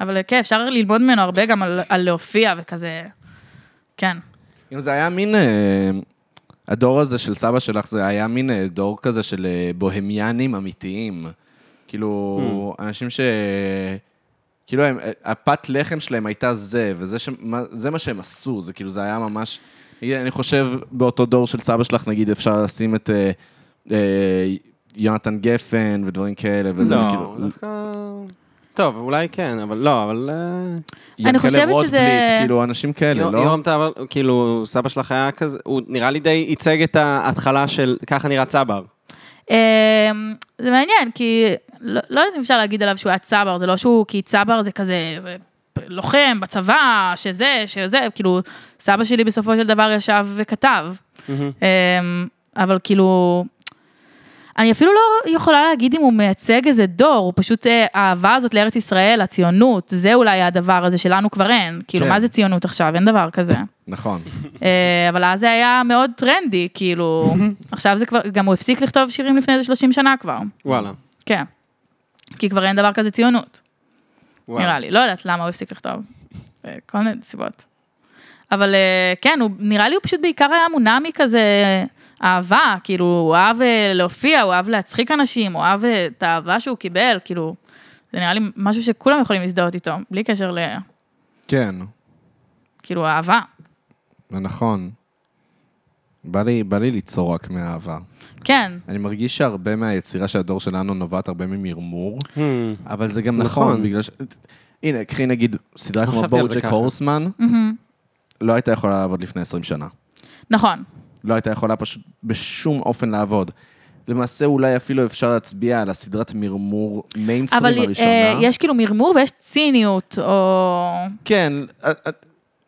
Speaker 2: אבל כן, אפשר ללמוד ממנו הרבה גם על, על להופיע וכזה... כן.
Speaker 1: אם זה היה מין... אה, הדור הזה של סבא שלך, זה היה מין אה, דור כזה של אה, בוהמיאנים אמיתיים. כאילו,
Speaker 2: Mm.
Speaker 1: אנשים ש... כאילו, הם, אה, הפת לחם שלהם הייתה זה, וזה ש, מה, זה מה שהם עשו, זה כאילו, זה היה ממש... אה, אני חושב, באותו דור של סבא שלך, נגיד, אפשר לשים את אה, אה, יונתן גפן ודברים כאלה, וזה
Speaker 3: לא,
Speaker 1: כאילו...
Speaker 3: דווקא... טוב, אולי כן, אבל לא, אבל... אה,
Speaker 2: אני חושבת שזה-
Speaker 1: יענקלה רוטבליט, כאילו, אנשים כאלה,
Speaker 3: יו-
Speaker 1: לא?
Speaker 3: יורם טאבר, כאילו, סבא שלך היה כזה, הוא נראה לי די ייצג את ההתחלה של ככה נראה צבר.
Speaker 2: אמ, זה מעניין, כי לא לא יודעת אם אפשר להגיד עליו שהוא היה צבר, זה לא שהוא, כי צבר זה כזה אה, לוחם בצבא, שזה, שזה, כאילו, סבא שלי בסופו של דבר ישב וכתב. אמ, אבל כאילו, אני אפילו לא יכולה להגיד אם הוא מייצג איזה דור, הוא פשוט אה, האהבה הזאת לארץ ישראל, הציונות, זה אולי הדבר הזה שלנו כבר אין. כאילו,
Speaker 1: כן.
Speaker 2: מה זה ציונות עכשיו? אין דבר כזה.
Speaker 1: נכון.
Speaker 2: אה, אבל אז זה היה מאוד טרנדי, כאילו, עכשיו זה כבר, גם הוא הפסיק לכתוב שירים לפני איזה 30 שנה כבר,
Speaker 3: וואלה.
Speaker 2: כן. כי כבר אין דבר כזה ציונות,
Speaker 3: וואלה.
Speaker 2: נראה לי. לא יודעת למה הוא הפסיק לכתוב, אה, כל מיני סיבות. אבל אה, כן, הוא, נראה לי הוא פשוט בעיקר היה מונע מכזה אהבה, כאילו, הוא אהב אה, להופיע, הוא אהב להצחיק אנשים, הוא אהב אה, את האהבה שהוא קיבל, כאילו, זה נראה לי משהו שכולם יכולים להזדהות איתו, בלי קשר ל...
Speaker 1: כן,
Speaker 2: כאילו, אהבה.
Speaker 1: זה נכון. בא לי, בא לי ליצור רק מהעבר.
Speaker 2: כן,
Speaker 1: אני מרגיש שהרבה מהיצירה של הדור שלנו נובעת הרבה ממרמור,
Speaker 3: Hmm.
Speaker 1: אבל זה גם
Speaker 3: נכון. לא
Speaker 1: נכון, בגלל ש... הנה, קחי נגיד סדרה כמו
Speaker 3: חשבתי על זה
Speaker 1: בורג'ק
Speaker 3: ככה.
Speaker 1: הורסמן,
Speaker 2: מהמם.
Speaker 1: לא הייתה יכולה לעבוד לפני 20 שנה.
Speaker 2: נכון.
Speaker 1: לא הייתה יכולה פשוט בשום אופן לעבוד. למעשה אולי אפילו אפשר להצביע על הסדרת מרמור מיינסטרים
Speaker 2: אבל
Speaker 1: הראשונה.
Speaker 2: אה, יש כאילו מרמור ויש ציניות, או...
Speaker 1: כן, אה, אה,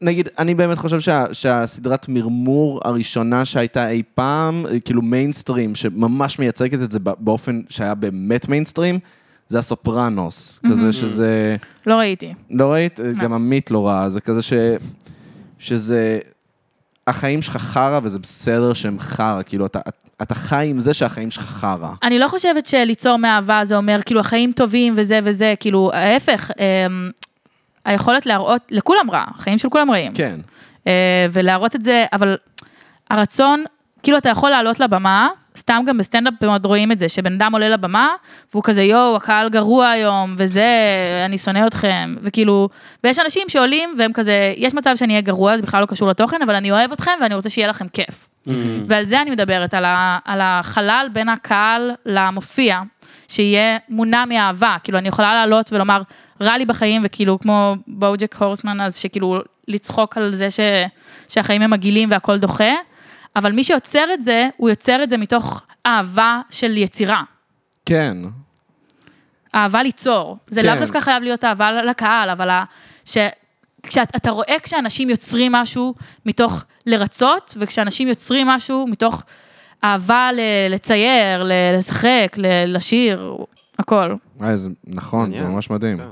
Speaker 1: נגיד, אני באמת חושב שה, שהסדרת מרמור הראשונה שהייתה אי פעם, אה, כאילו מיינסטרים, שממש מייצגת את זה בא- באופן שהיה באמת מיינסטרים, זה הסופרנוס, כזה שזה,
Speaker 2: לא ראיתי.
Speaker 1: לא ראית? אה,
Speaker 2: לא.
Speaker 1: גם עמית לא ראה, זה כזה ש... שזה... החיים שלך חרא וזה בסדר שהם חרא, כאילו אתה, אתה חי עם זה שהחיים שלך חרא.
Speaker 2: אני לא חושבת שליצור מאהבה זה אומר, כאילו, החיים טובים וזה וזה, כאילו, ההפך, אמ, היכולת להראות, לכולם רע, החיים של כולם רעים.
Speaker 1: כן,
Speaker 2: אה, ולהראות את זה, אבל הרצון, כאילו אתה יכול לעלות לבמה, סתם גם בסטנדאפ מאוד רואים את זה, שבן אדם עולה לבמה, והוא כזה, יואו, הקהל גרוע היום, וזה, אני שונא אתכם, וכאילו, ויש אנשים שעולים והם כזה, יש מצב שאני אהיה גרוע, זה בכלל לא קשור לתוכן, אבל אני אוהב אתכם ואני רוצה שיהיה לכם כיף. ועל זה אני מדברת, על, ה, על החלל בין הקהל למופיע, שיהיה מונע מאהבה. כאילו, אני יכולה לעלות ולומר, רע לי בחיים, וכאילו, כמו בואוג'ק הורסמן, אז שכאילו, לצחוק על זה ש, שהחיים הם מגעילים והכל דוחה, אבל מי שיוצר את זה, הוא יוצר את זה מתוך אהבה של יצירה.
Speaker 1: כן,
Speaker 2: אהבה ליצור. זה
Speaker 1: כן.
Speaker 2: לאו דווקא חייב להיות אהבה לקהל, אבל ה... ש... כשאתה רואה כשאנשים יוצרים משהו מתוך לרצות, וכשאנשים יוצרים משהו מתוך אהבה ל... לצייר, ל... לשחק, ל... לשיר, הכל.
Speaker 1: אה, זה, נכון, זה
Speaker 3: מעניין.
Speaker 1: ממש מדהים.
Speaker 3: כן.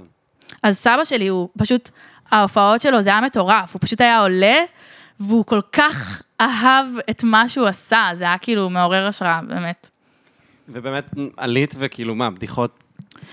Speaker 2: אז סבא שלי הוא פשוט, ההופעות שלו זה היה מטורף, הוא פשוט היה עולה, והוא כל כך אהב את מה שהוא עשה, זה היה כאילו מעורר השראה, באמת.
Speaker 3: ובאמת עלית וכאילו מה, בדיחות,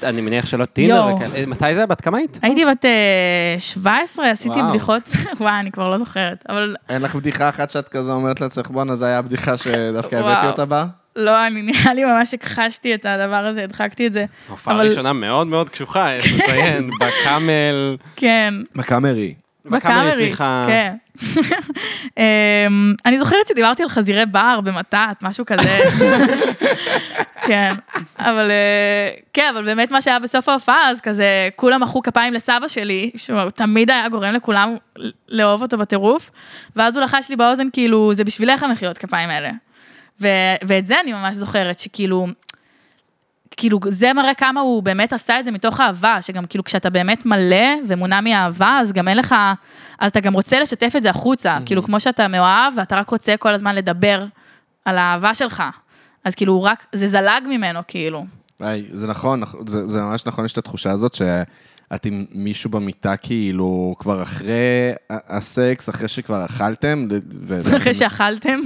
Speaker 3: אני מניח שלא טינדר
Speaker 2: יואו.
Speaker 3: וכאלה. אה, מתי זה? בת כמה היית?
Speaker 2: הייתי בת אה, 17, עשיתי
Speaker 3: וואו.
Speaker 2: בדיחות, וואי, אני כבר לא זוכרת, אבל
Speaker 1: אין לך בדיחה אחת שאת כזה אומרת לעצמך, בואנה, זו הייתה הבדיחה שדווקא הבאתי
Speaker 2: וואו.
Speaker 1: אותה בה?
Speaker 2: לא, אני נראה לי ממש הכחשתי את הדבר הזה, הדחקתי את זה.
Speaker 3: הופעה
Speaker 2: אבל-
Speaker 3: ראשונה מאוד מאוד קשוחה, יש לציין, בקאמל.
Speaker 2: כן.
Speaker 1: בקאמרי.
Speaker 3: בקאמרי, סליחה.
Speaker 2: כן. אמ, אני זוכרת שדיברתי על חזירי בר במתת, משהו כזה. כן, אבל אה, כן, אבל באמת מה שהיה בסוף ההופעה, אז כזה, כולם מחאו כפיים לסבא שלי, שהוא תמיד היה גורם לכולם לאהוב אותו בטירוף, ואז הוא לחש לי באוזן, כאילו, זה בשבילך המחיאות כפיים האלה. ו- ואת זה אני ממש זוכרת, שכאילו, כאילו, זה מראה כמה הוא באמת עשה את זה מתוך אהבה, שגם כאילו כשאתה באמת מלא ומונע מאהבה, אז גם אין לך, אז אתה גם רוצה לשתף את זה החוצה, כאילו, כמו שאתה מאוהב, ואתה רק רוצה כל הזמן לדבר על האהבה שלך. אז כאילו, הוא רק, זה זלג ממנו, כאילו.
Speaker 1: היי, זה נכון, נכ- זה, זה ממש נכון, יש את התחושה הזאת את עם מישהו במיטה כאילו כבר אחרי ה- הסקס, אחרי שכבר אכלתם, ו-
Speaker 2: אחרי שאכלתם,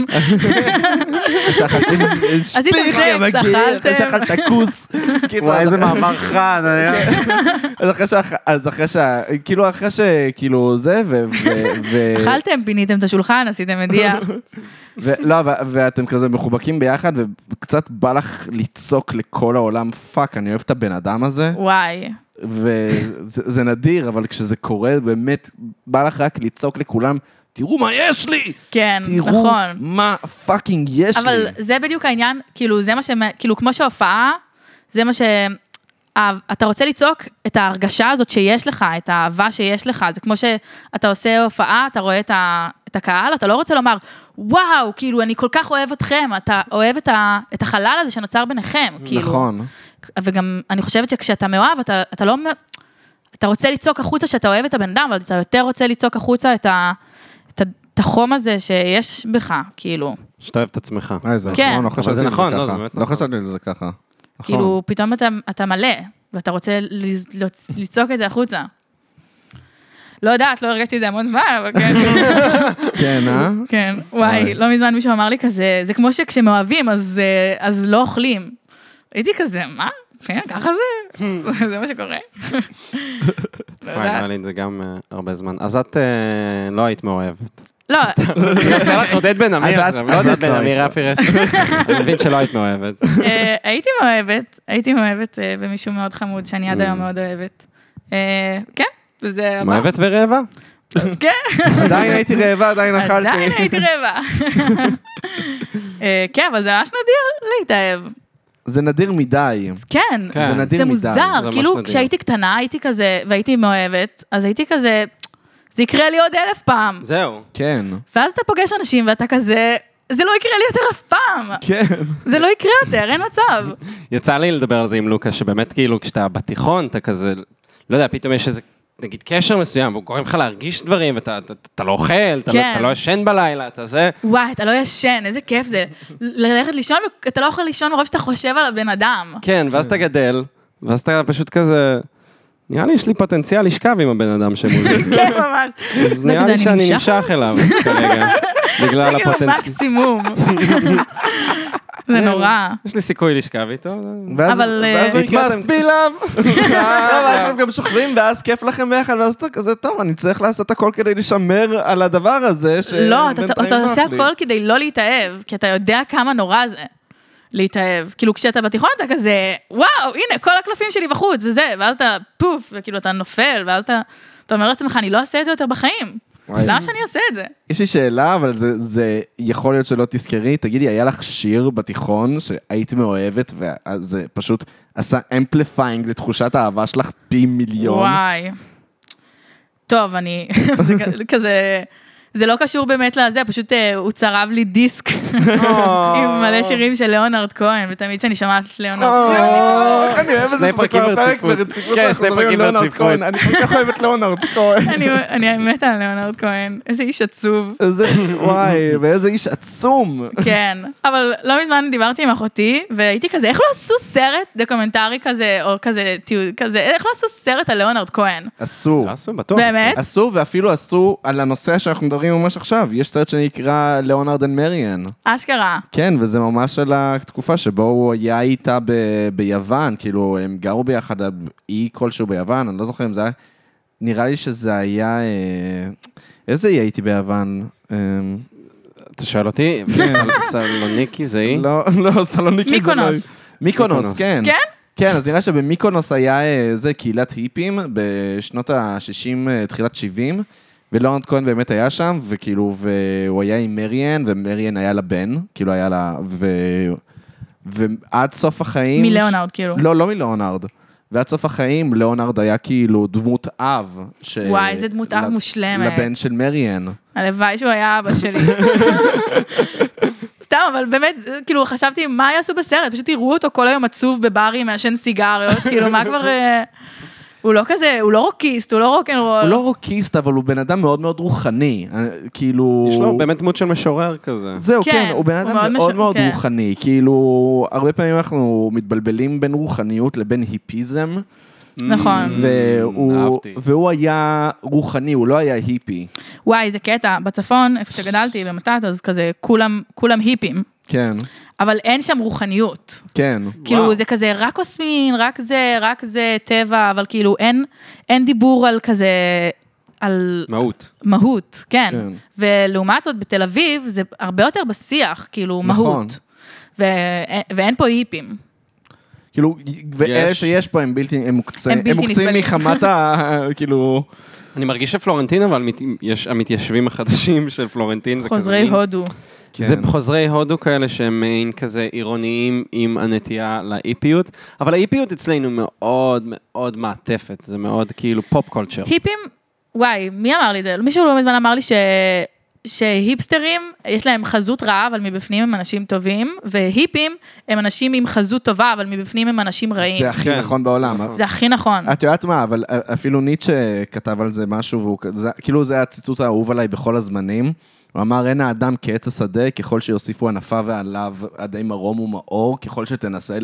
Speaker 1: שאכלתם
Speaker 2: עשיתם
Speaker 1: שפיגל,
Speaker 2: סקס,
Speaker 1: מגעיל, אחרי
Speaker 2: אכלתם.
Speaker 1: שאכלת כוס. קיצור,
Speaker 4: וואי,
Speaker 1: אז-
Speaker 4: איזה מאמר חד. אני לא-
Speaker 1: אז אחרי שאכ... אז אחרי ש... כאילו, אחרי ש... כאילו, זה, ו... ו... ו...
Speaker 2: אכלתם, פיניתם את השולחן, עשיתם מדיח.
Speaker 1: ו... לא, ו... ואתם כזה מחובקים ביחד, וקצת בא לך לצעוק לכל העולם, פאק, אני אוהב את הבן אדם הזה,
Speaker 2: וואי.
Speaker 1: וזה זה נדיר, אבל כשזה קורה, באמת, בא לך רק לצעוק לכולם, תראו מה יש לי!
Speaker 2: כן,
Speaker 1: תראו
Speaker 2: נכון.
Speaker 1: מה פאקינג יש
Speaker 2: אבל
Speaker 1: לי!
Speaker 2: זה בדיוק העניין, כאילו, זה מה ש... כאילו, כמו שהופעה, זה מה ש... אה, אתה רוצה לצעוק את ההרגשה הזאת שיש לך, את האהבה שיש לך, זה כמו שאתה עושה הופעה, אתה רואה את, ה, את הקהל, אתה לא רוצה לומר, וואו, כאילו, אני כל כך אוהב אתכם, אתה אוהב את, ה, את החלל הזה שנוצר ביניכם, כאילו.
Speaker 1: נכון.
Speaker 2: וגם, אני חושבת שכשאתה מאוהב, אתה, אתה לא... מ- אתה רוצה לצעוק החוצה שאתה אוהב את הבן אדם, אבל אתה יותר רוצה לצעוק החוצה את, ה, את, ה, את החום הזה שיש בך, כאילו.
Speaker 3: שאתה אוהב את עצמך.
Speaker 1: אה, זה
Speaker 2: כן.
Speaker 1: נכון, לא
Speaker 3: אבל
Speaker 1: חשבתי
Speaker 3: זה
Speaker 1: על זה
Speaker 3: נכון, לא, זה
Speaker 1: ככה.
Speaker 3: באמת
Speaker 1: לא
Speaker 3: נכון.
Speaker 1: חשבתי על זה ככה. נכון.
Speaker 2: כאילו, פתאום אתה, אתה מלא, ואתה רוצה לז- לצ- לצעוק את זה החוצה. לא יודעת, לא הרגשתי את זה המון זמן, אבל כן,
Speaker 1: כן, אה?
Speaker 2: כן.
Speaker 1: וואי.
Speaker 2: וואי, לא מזמן מישהו אמר לי כזה, זה כמו שכשמאוהבים, אז, אה, אז לא אוכלים. הייתי כזה, מה? כן, ככה זה? זה מה שקורה? לא
Speaker 3: וואי, נראה
Speaker 2: יודעת.
Speaker 3: לי את זה גם אה, הרבה זמן. אז את אה, לא היית מאוהבת.
Speaker 2: לא,
Speaker 3: אני עושה לך עודד בן אמיר
Speaker 1: את-
Speaker 3: עכשיו,
Speaker 1: את
Speaker 3: לא עודד
Speaker 1: לא
Speaker 3: בן
Speaker 1: היית.
Speaker 3: אמיר, רפי רשת. אני מבין שלא היית מאוהבת.
Speaker 2: אה, הייתי מאוהבת, הייתי מאוהבת אה, במישהו מאוד חמוד, שאני עד היום מאוד אוהבת. אה, כן, וזה... עבר.
Speaker 3: מאוהבת ורעבה?
Speaker 2: כן.
Speaker 1: עדיין הייתי רעבה, עדיין אכלתי.
Speaker 2: עדיין הייתי רבע. אה, כן, אבל זה ממש נדיר להתאהב.
Speaker 1: זה נדיר מדי.
Speaker 2: כן,
Speaker 3: כן. זה
Speaker 1: נדיר
Speaker 2: זה
Speaker 1: מדי,
Speaker 2: מוזר.
Speaker 3: זה ממש
Speaker 2: כאילו,
Speaker 3: נדיר.
Speaker 2: כשהייתי קטנה הייתי כזה, והייתי מאוהבת, אז הייתי כזה, זה יקרה לי עוד אלף פעם.
Speaker 3: זהו.
Speaker 1: כן.
Speaker 2: ואז אתה פוגש אנשים ואתה כזה, זה לא יקרה לי יותר אף פעם.
Speaker 1: כן.
Speaker 2: זה לא יקרה יותר, אין מצב.
Speaker 3: יצא לי לדבר על זה עם לוקה, שבאמת כאילו כשאתה בתיכון, אתה כזה, לא יודע, פתאום יש איזה, נגיד קשר מסוים, והוא גורם לך להרגיש דברים, ואתה אתה- אתה לא אוכל, אתה לא-
Speaker 2: כן.
Speaker 3: אתה לא ישן בלילה, אתה זה.
Speaker 2: וואי, אתה לא ישן, איזה כיף זה. ללכת לישון, ואתה לא יכול לישון מרוב שאתה חושב על הבן אדם.
Speaker 3: כן, ואז אתה גדל, ואז אתה פשוט כזה, נראה לי יש לי פוטנציאל לשכב עם הבן אדם שמולי.
Speaker 2: כן, ממש.
Speaker 3: אז נראה לי
Speaker 2: אני
Speaker 3: שאני
Speaker 2: נמשך
Speaker 3: נמשך אליו כרגע, בגלל
Speaker 2: כאילו
Speaker 3: הפוטנציאל.
Speaker 2: מקסימום. זה נורא.
Speaker 3: יש לי סיכוי לשכב איתו.
Speaker 1: ואז-
Speaker 2: אבל,
Speaker 1: ואז
Speaker 2: אה,
Speaker 1: במקרה
Speaker 3: It
Speaker 1: אתם-
Speaker 3: must be love.
Speaker 1: לא, ואז אתם גם שוכבים, ואז כיף לכם ביחד, ואז אתה כזה, טוב, אני צריך לעשות הכל כדי לשמר על הדבר הזה, ש...
Speaker 2: לא, אתה-
Speaker 1: בינתיים
Speaker 2: אתה
Speaker 1: נוח
Speaker 2: עושה
Speaker 1: לי.
Speaker 2: הכל כדי לא להתאהב, כי אתה יודע כמה נורא זה להתאהב. כאילו, כשאתה בתיכון אתה כזה, וואו, הנה, כל הקלפים שלי בחוץ, וזה, ואז אתה פוף, וכאילו, אתה נופל, ואז אתה אתה אומר לעצמך, אני לא אעשה את זה יותר בחיים.
Speaker 1: וואי.
Speaker 2: למה שאני אעשה את זה?
Speaker 1: יש לי שאלה, אבל זה- זה יכול להיות שלא תזכרי. תגידי, היה לך שיר בתיכון שהיית מאוהבת, וזה פשוט עשה אמפליפיינג לתחושת האהבה שלך פי מיליון?
Speaker 2: וואי. טוב, אני... זה כ- כזה... זה לא קשור באמת לזה, פשוט אה, הוא צרב לי דיסק
Speaker 3: לא.
Speaker 2: עם מלא שירים של ליאונרד כהן, ותמיד כשאני שומעת את ליאונרד
Speaker 1: יואו,
Speaker 2: כהן,
Speaker 1: איך אה, אני אוהב את זה
Speaker 3: שני
Speaker 1: שזה
Speaker 3: פרקים
Speaker 1: כבר פרק
Speaker 3: ברציפות.
Speaker 1: ברציפות,
Speaker 3: כן,
Speaker 1: אנחנו
Speaker 3: שני
Speaker 1: מדברים על
Speaker 3: פרקים
Speaker 1: ליאונרד
Speaker 3: ברציפות.
Speaker 1: כהן, אני כל כך אוהב את ליאונרד כהן.
Speaker 2: אני, אני מתה על ליאונרד כהן, איזה איש עצוב.
Speaker 1: איזה, וואי, ואיזה איש עצום.
Speaker 2: כן, אבל לא מזמן דיברתי עם אחותי, והייתי כזה, איך לא עשו סרט דוקומנטרי כזה, או כזה, תיעוד- כזה, איך לא עשו סרט על ליאונרד כהן?
Speaker 1: אסור.
Speaker 3: עשו, בטוח.
Speaker 2: באמת?
Speaker 1: עשו, ואפילו עשו על הנושא שאנחנו מדברים ממש עכשיו. יש סרט שנקרא ליאונרד אנד מריאן.
Speaker 2: אשכרה.
Speaker 1: כן, וזה ממש על התקופה שבו הוא היה איתה ב- ביוון, כאילו, הם גרו ביחד על אי כלשהו ביוון, אני לא זוכר אם זה היה... נראה לי שזה היה... אה, איזה אי הייתי ביוון? אה,
Speaker 3: אתה שואל אותי?
Speaker 2: כן.
Speaker 3: סלוניקי זה היא?
Speaker 1: לא, לא, סלוניקי זה לא...
Speaker 2: מיקונוס.
Speaker 1: מיקונוס,
Speaker 3: מיקונוס.
Speaker 1: כן.
Speaker 2: כן?
Speaker 1: כן, אז נראה שבמיקונוס היה אה, איזה קהילת היפים בשנות ה-60, תחילת 70, ולאונד כהן באמת היה שם, וכאילו, והוא היה עם מריאן, ומריאן היה לה בן, כאילו היה לה... ו... ועד סוף החיים...
Speaker 2: מליאונרד, כאילו.
Speaker 1: לא, לא מלאונרד. ועד סוף החיים, ליאונרד היה כאילו דמות אב. ש...
Speaker 2: וואי, איזה דמות אב
Speaker 1: לב-
Speaker 2: מושלמת.
Speaker 1: לבן של מריאן.
Speaker 2: הלוואי שהוא היה אבא שלי. סתם, אבל באמת, זה- כאילו, חשבתי, מה יעשו בסרט? פשוט יראו אותו כל היום עצוב בברים, מעשן סיגריות, כאילו, מה כבר... אה, הוא לא כזה, הוא לא רוקיסט, הוא לא רוקנרול.
Speaker 1: הוא לא רוקיסט, אבל הוא בן אדם מאוד מאוד רוחני. אה, כאילו...
Speaker 3: יש לו באמת דמות של משורר כזה.
Speaker 1: זהו, כן,
Speaker 2: כן,
Speaker 1: כן הוא בן
Speaker 2: הוא
Speaker 1: אדם
Speaker 2: מאוד
Speaker 1: מאוד
Speaker 2: מש-
Speaker 1: מאוד
Speaker 2: כן.
Speaker 1: רוחני. כאילו, הרבה פעמים אנחנו מתבלבלים בין רוחניות לבין היפיזם.
Speaker 2: נכון.
Speaker 1: והוא,
Speaker 3: Mm, אהבתי.
Speaker 1: והוא היה רוחני, הוא לא היה היפי.
Speaker 2: וואי, זה קטע. בצפון, איפה שגדלתי, במתת, אז כזה, כולם, כולם היפים.
Speaker 1: כן,
Speaker 2: אבל אין שם רוחניות.
Speaker 1: כן.
Speaker 2: כאילו, זה כזה רק קוסמין, רק זה, רק זה, טבע, אבל כאילו, אין, אין דיבור על כזה, על
Speaker 3: מהות.
Speaker 2: מהות, כן.
Speaker 1: כן.
Speaker 2: ולעומת זאת, בתל אביב זה הרבה יותר בשיח, כאילו,
Speaker 1: נכון.
Speaker 2: מהות. ו... ואין פה היפים.
Speaker 1: כאילו, ואלה
Speaker 3: יש.
Speaker 1: שיש פה הם בלתי, הם מוקצים,
Speaker 2: הם
Speaker 1: הם
Speaker 2: בלתי
Speaker 1: מוקצים
Speaker 2: נסבלים.
Speaker 1: מחמת ה... כאילו...
Speaker 3: אני מרגיש שפלורנטין, אבל מת- יש המתיישבים החדשים של פלורנטין, זה כזה...
Speaker 2: חוזרי
Speaker 3: מין-
Speaker 2: הודו.
Speaker 1: כן.
Speaker 3: זה חוזרי הודו כאלה שהם מעין כזה עירוניים עם הנטייה לאיפיות, אבל האיפיות אצלנו מאוד מאוד מעטפת, זה מאוד כאילו פופ קולצ'ר.
Speaker 2: היפים, וואי, מי אמר לי את זה? מישהו לא מזמן אמר לי ש... שהיפסטרים, יש להם חזות רעה, אבל מבפנים הם אנשים טובים, והיפים הם אנשים עם חזות טובה, אבל מבפנים הם אנשים רעים.
Speaker 1: זה הכי
Speaker 3: כן.
Speaker 1: נכון בעולם.
Speaker 2: זה הכי נכון.
Speaker 1: את יודעת מה, אבל אה, אפילו ניטשה כתב על זה משהו, והוא כ- זה- כאילו זה הציטוט האהוב עליי בכל הזמנים. הוא אמר, אין האדם כעץ השדה, ככל שיוסיפו ענפיו ועליו, עד אם ערום ומאור, ככל שתנסה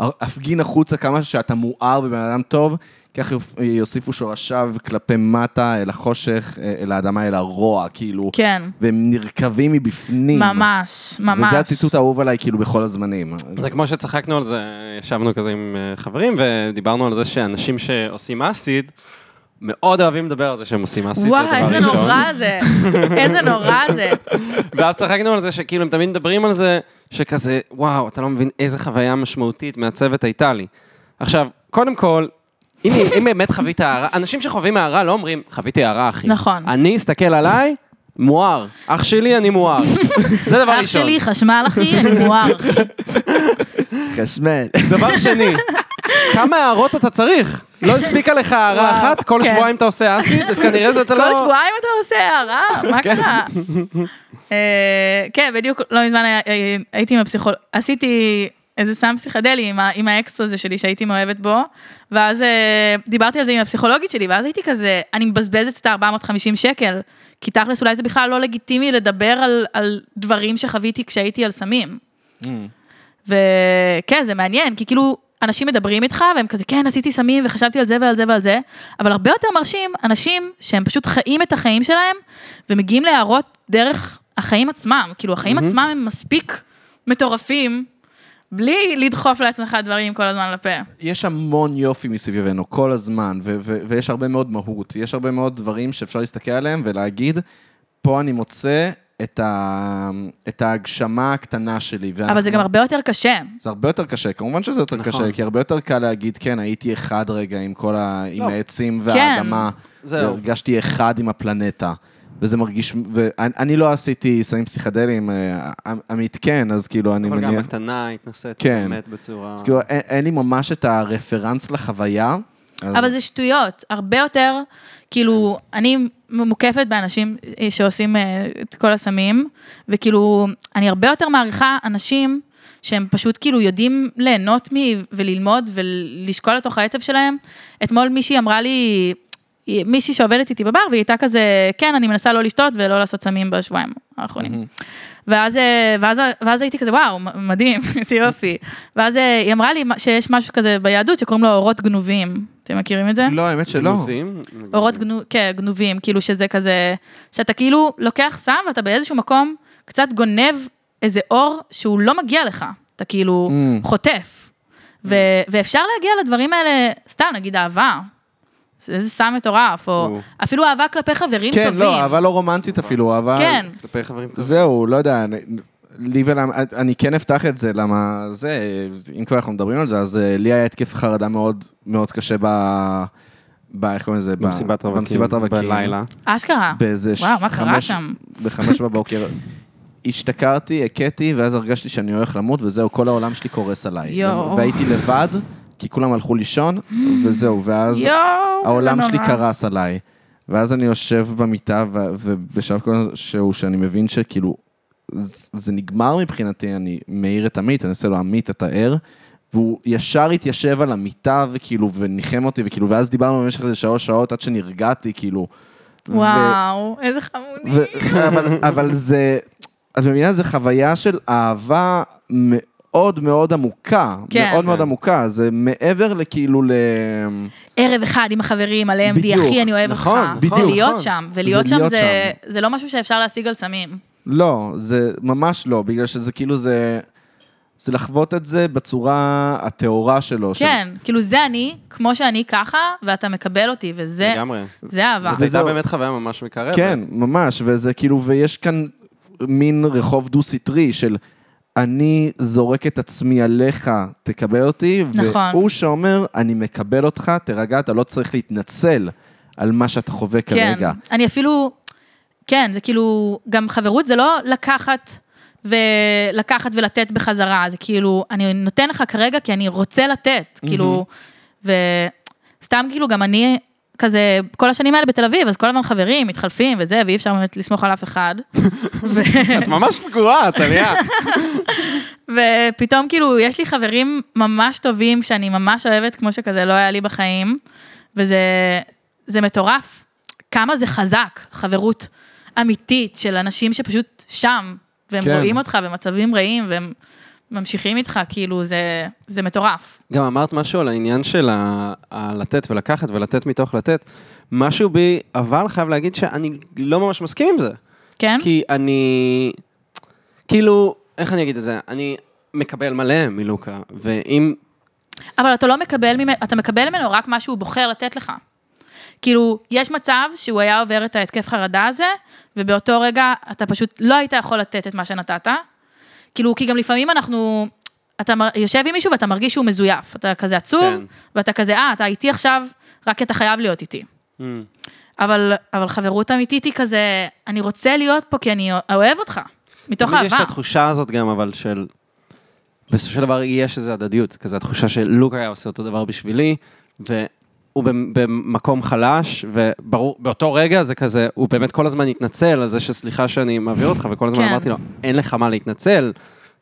Speaker 1: להפגין החוצה כמה שאתה מואר ובן אדם טוב, כך יופ- יוסיפו שורשיו כלפי מטה, אל החושך, אה, אל האדמה, אל הרוע, כאילו.
Speaker 2: כן,
Speaker 1: והם נרקבים מבפנים.
Speaker 2: ממש, ממש.
Speaker 1: וזה הציטוט האהוב עליי, כאילו, בכל הזמנים.
Speaker 3: זה כמו שצחקנו על זה, ישבנו כזה עם אה, חברים ודיברנו על זה שאנשים שעושים אסיד, מאוד אוהבים לדבר על זה שהם עושים אסיד,
Speaker 2: וואי,
Speaker 3: דבר
Speaker 2: איזה
Speaker 3: ראשון.
Speaker 2: נורא זה. איזה נורא זה.
Speaker 3: ואז צחקנו על זה שכאילו הם תמיד מדברים על זה, שכזה, וואו, אתה לא מבין איזה חוויה משמעותית מהצוות הייתה לי. עכשיו, קודם כל, אם, אם באמת חווית הערה, אנשים שחווים הערה לא אומרים, חוויתי הערה, אחי.
Speaker 2: נכון.
Speaker 3: אני, הסתכל עליי, מואר. אח שלי, אני מואר. זה דבר
Speaker 2: אח
Speaker 3: ראשון.
Speaker 2: שלי חשמל, אחי, אני מואר, אחי.
Speaker 1: חשמל.
Speaker 3: דבר שני, כמה הערות אתה צריך? לא הספיקה לך הערה
Speaker 2: וואו,
Speaker 3: אחת, כל
Speaker 2: כן.
Speaker 3: שבועיים אתה עושה אסיד, אז כנראה זה אתה לא...
Speaker 2: כל שבועיים אתה עושה הערה, מה
Speaker 3: כן.
Speaker 2: קרה? אה, כן, בדיוק לא מזמן היה- אה, הייתי עם הפסיכולוג, עשיתי איזה סם פסיכדלי עם ה- עם האקס הזה שלי שהייתי מאוהבת בו, ואז אה, דיברתי על זה עם הפסיכולוגית שלי, ואז הייתי כזה, אני מבזבזת את ה-450 שקל, כי תכלס אולי זה בכלל לא לגיטימי לדבר על- על דברים שחוויתי כשהייתי על סמים. וכן, זה מעניין, כי כאילו, אנשים מדברים איתך, והם כזה, כן, עשיתי סמים, וחשבתי על זה ועל זה ועל זה, אבל הרבה יותר מרשים אנשים שהם פשוט חיים את החיים שלהם, ומגיעים להערות דרך החיים עצמם. כאילו, החיים עצמם הם מספיק מטורפים, בלי לדחוף לעצמך דברים כל הזמן לפה.
Speaker 1: יש המון יופי מסביבנו, כל הזמן, ו- ו- ויש הרבה מאוד מהות, יש הרבה מאוד דברים שאפשר להסתכל עליהם ולהגיד, פה אני מוצא את, ה- את ההגשמה הקטנה שלי. ואנחנו-
Speaker 2: אבל זה גם הרבה יותר קשה.
Speaker 1: זה הרבה יותר קשה, כמובן שזה יותר
Speaker 3: נכון.
Speaker 1: נכון. קשה, כי הרבה יותר קל להגיד, כן, הייתי אחד רגע עם כל ה... עם
Speaker 3: לא.
Speaker 1: העצים
Speaker 2: כן.
Speaker 1: והאדמה,
Speaker 3: זהו.
Speaker 1: והרגשתי אחד עם הפלנטה. וזה מרגיש, ואני אני לא עשיתי סמים פסיכדליים, אה, עמית כן, אז כאילו אני
Speaker 3: אבל
Speaker 1: מניח...
Speaker 3: גם הקטנה התנוסעת
Speaker 1: כן.
Speaker 3: באמת בצורה...
Speaker 1: אז כאילו, אין, אין לי ממש את הרפרנס לחוויה. אז-
Speaker 2: אבל זה שטויות, הרבה יותר, כאילו, אני מוקפת באנשים שעושים אה, את כל הסמים, וכאילו, אני הרבה יותר מעריכה אנשים שהם פשוט כאילו יודעים ליהנות מ... וללמוד ולשקול לתוך העצב שלהם. אתמול מישהי אמרה לי, מישהי שעובדת איתי בבר, והיא הייתה כזה, כן, אני מנסה לא לשתות ולא לעשות סמים בשבועיים האחרונים. ואז, אה, ואז, ואז הייתי כזה, וואו, מ- מדהים, איזה יופי. ואז אה, היא אמרה לי מה- שיש משהו כזה ביהדות שקוראים לו אורות גנובים. אתם מכירים את זה?
Speaker 1: לא, האמת שלא.
Speaker 3: גנוזים.
Speaker 2: אורות גנו, כן, גנובים, כאילו שזה כזה, שאתה כאילו לוקח סם ואתה באיזשהו מקום קצת גונב איזה אור שהוא לא מגיע לך, אתה כאילו
Speaker 1: Mm.
Speaker 2: חוטף. ו, ואפשר להגיע לדברים האלה, סתם, נגיד אהבה. זה איזה סם מטורף, או
Speaker 3: או.
Speaker 2: אפילו אהבה כלפי חברים
Speaker 1: כן,
Speaker 2: טובים.
Speaker 1: לא, אהבה לא רומנטית אפילו, אהבה...
Speaker 2: כן,
Speaker 3: כלפי חברים טובים.
Speaker 1: זהו, לא יודע, אני- לי ולמה... אני כן אפתח את זה, למה זה, אם כבר אנחנו מדברים על זה, אז אה, לי היה התקף חרדה מאוד מאוד קשה ב... ב... איך קוראים לזה? ב-
Speaker 3: במסיבת רווקים.
Speaker 1: במסיבת רווקים.
Speaker 3: בלילה.
Speaker 2: אשכרה.
Speaker 1: באיזה...
Speaker 2: וואו, מה קרה
Speaker 1: חמש-
Speaker 2: שם?
Speaker 1: בחמש בבוקר. השתכרתי, הכיתי, ואז הרגשתי שאני הולך למות, וזהו, כל העולם שלי קורס עליי.
Speaker 2: יואו.
Speaker 1: והייתי לבד, כי כולם הלכו לישון, וזהו, ואז...
Speaker 2: יואו,
Speaker 1: העולם
Speaker 2: כן, זה
Speaker 1: שלי
Speaker 2: נורא.
Speaker 1: קרס עליי. ואז אני יושב במיטה, ו- ובשלב כלשהו שאני מבין שכאילו, ז- זה נגמר מבחינתי, אני מעיר את עמית, אני עושה לו עמית, אתה ער, והוא ישר התיישב על המיטה, וכאילו, וניחם אותי, וכאילו, ואז דיברנו במשך איזה שלוש שעות עד שנרגעתי, כאילו. ו-
Speaker 2: וואו, איזה חמודים.
Speaker 1: ו- אבל, אבל זה, את מבינה, זו חוויה של אהבה מאוד מאוד מאוד עמוקה.
Speaker 2: כן.
Speaker 1: מאוד
Speaker 2: כן.
Speaker 1: מאוד עמוקה, זה מעבר לכאילו ל...
Speaker 2: ערב אחד עם החברים על AMD,
Speaker 1: בדיוק.
Speaker 2: אחי, אני אוהב אותך.
Speaker 3: נכון,
Speaker 1: בדיוק.
Speaker 2: זה להיות
Speaker 3: נכון.
Speaker 2: שם, ולהיות
Speaker 1: זה
Speaker 2: שם
Speaker 1: להיות
Speaker 2: זה- זה לא משהו שאפשר להשיג על סמים.
Speaker 1: לא, זה ממש לא, בגלל שזה כאילו זה... זה לחוות את זה בצורה הטהורה שלו. של-
Speaker 2: כן, כאילו זה אני, כמו שאני ככה, ואתה מקבל אותי, וזה
Speaker 3: לגמרי.
Speaker 2: זה אהבה.
Speaker 3: זאת הייתה
Speaker 1: וזהו.
Speaker 3: באמת חוויה ממש מקרבת.
Speaker 1: כן, ממש, וזה כאילו, ויש כאן מין רחוב דו-סטרי של אני זורק את עצמי עליך, תקבל אותי,
Speaker 2: נכון.
Speaker 1: והוא שאומר, אני מקבל אותך, תירגע, אתה לא צריך להתנצל על מה שאתה חווה
Speaker 2: כן,
Speaker 1: כרגע.
Speaker 2: אני אפילו, כן, זה כאילו, גם חברות זה לא לקחת ולקחת ולתת בחזרה, זה כאילו, אני נותן לך כרגע כי אני רוצה לתת, כאילו, וסתם כאילו גם אני כזה, כל השנים האלה בתל אביב, אז כל הזמן חברים, מתחלפים וזה, ואי אפשר באמת לסמוך על אף אחד. ו...
Speaker 3: את ממש פגועה, טליה.
Speaker 2: ופתאום כאילו, יש לי חברים ממש טובים שאני ממש אוהבת, כמו שכזה לא היה לי בחיים, וזה זה מטורף. כמה זה חזק, חברות אמיתית של אנשים שפשוט שם, והם
Speaker 1: כן.
Speaker 2: רואים אותך במצבים רעים, והם ממשיכים איתך, כאילו, זה, זה מטורף.
Speaker 3: גם אמרת משהו על העניין של ה- הלתת ולקחת ולתת מתוך לתת. משהו בי, אבל חייב להגיד שאני לא ממש מסכים עם זה.
Speaker 2: כן?
Speaker 3: כי אני... כאילו, איך אני אגיד את זה? אני מקבל מלא מלוקה, ואם...
Speaker 2: אבל אתה לא מקבל ממנו, אתה מקבל ממנו רק מה שהוא בוחר לתת לך. כאילו, יש מצב שהוא היה עובר את ההתקף חרדה הזה, ובאותו רגע אתה פשוט לא היית יכול לתת את מה שנתת. כאילו, כי גם לפעמים אנחנו, אתה מר- יושב עם מישהו ואתה מרגיש שהוא מזויף. אתה כזה עצוב,
Speaker 3: כן.
Speaker 2: כן. ואתה כזה, אה, אתה איתי עכשיו, רק כי אתה חייב להיות איתי.
Speaker 1: Mm.
Speaker 2: אבל, אבל חברות אמיתית היא כזה, אני רוצה להיות פה כי אני אוהב אותך, מתוך
Speaker 3: תמיד יש
Speaker 2: אהבה.
Speaker 3: את התחושה הזאת גם, אבל של... בסופו של דבר יש איזו הדדיות, כזה התחושה שלוק היה עושה אותו דבר בשבילי, והוא במ- במקום חלש, וברור, באותו רגע זה כזה, הוא באמת כל הזמן התנצל על זה שסליחה שאני מעביר אותך, וכל הזמן
Speaker 2: כן.
Speaker 3: אמרתי לו, אין לך מה להתנצל,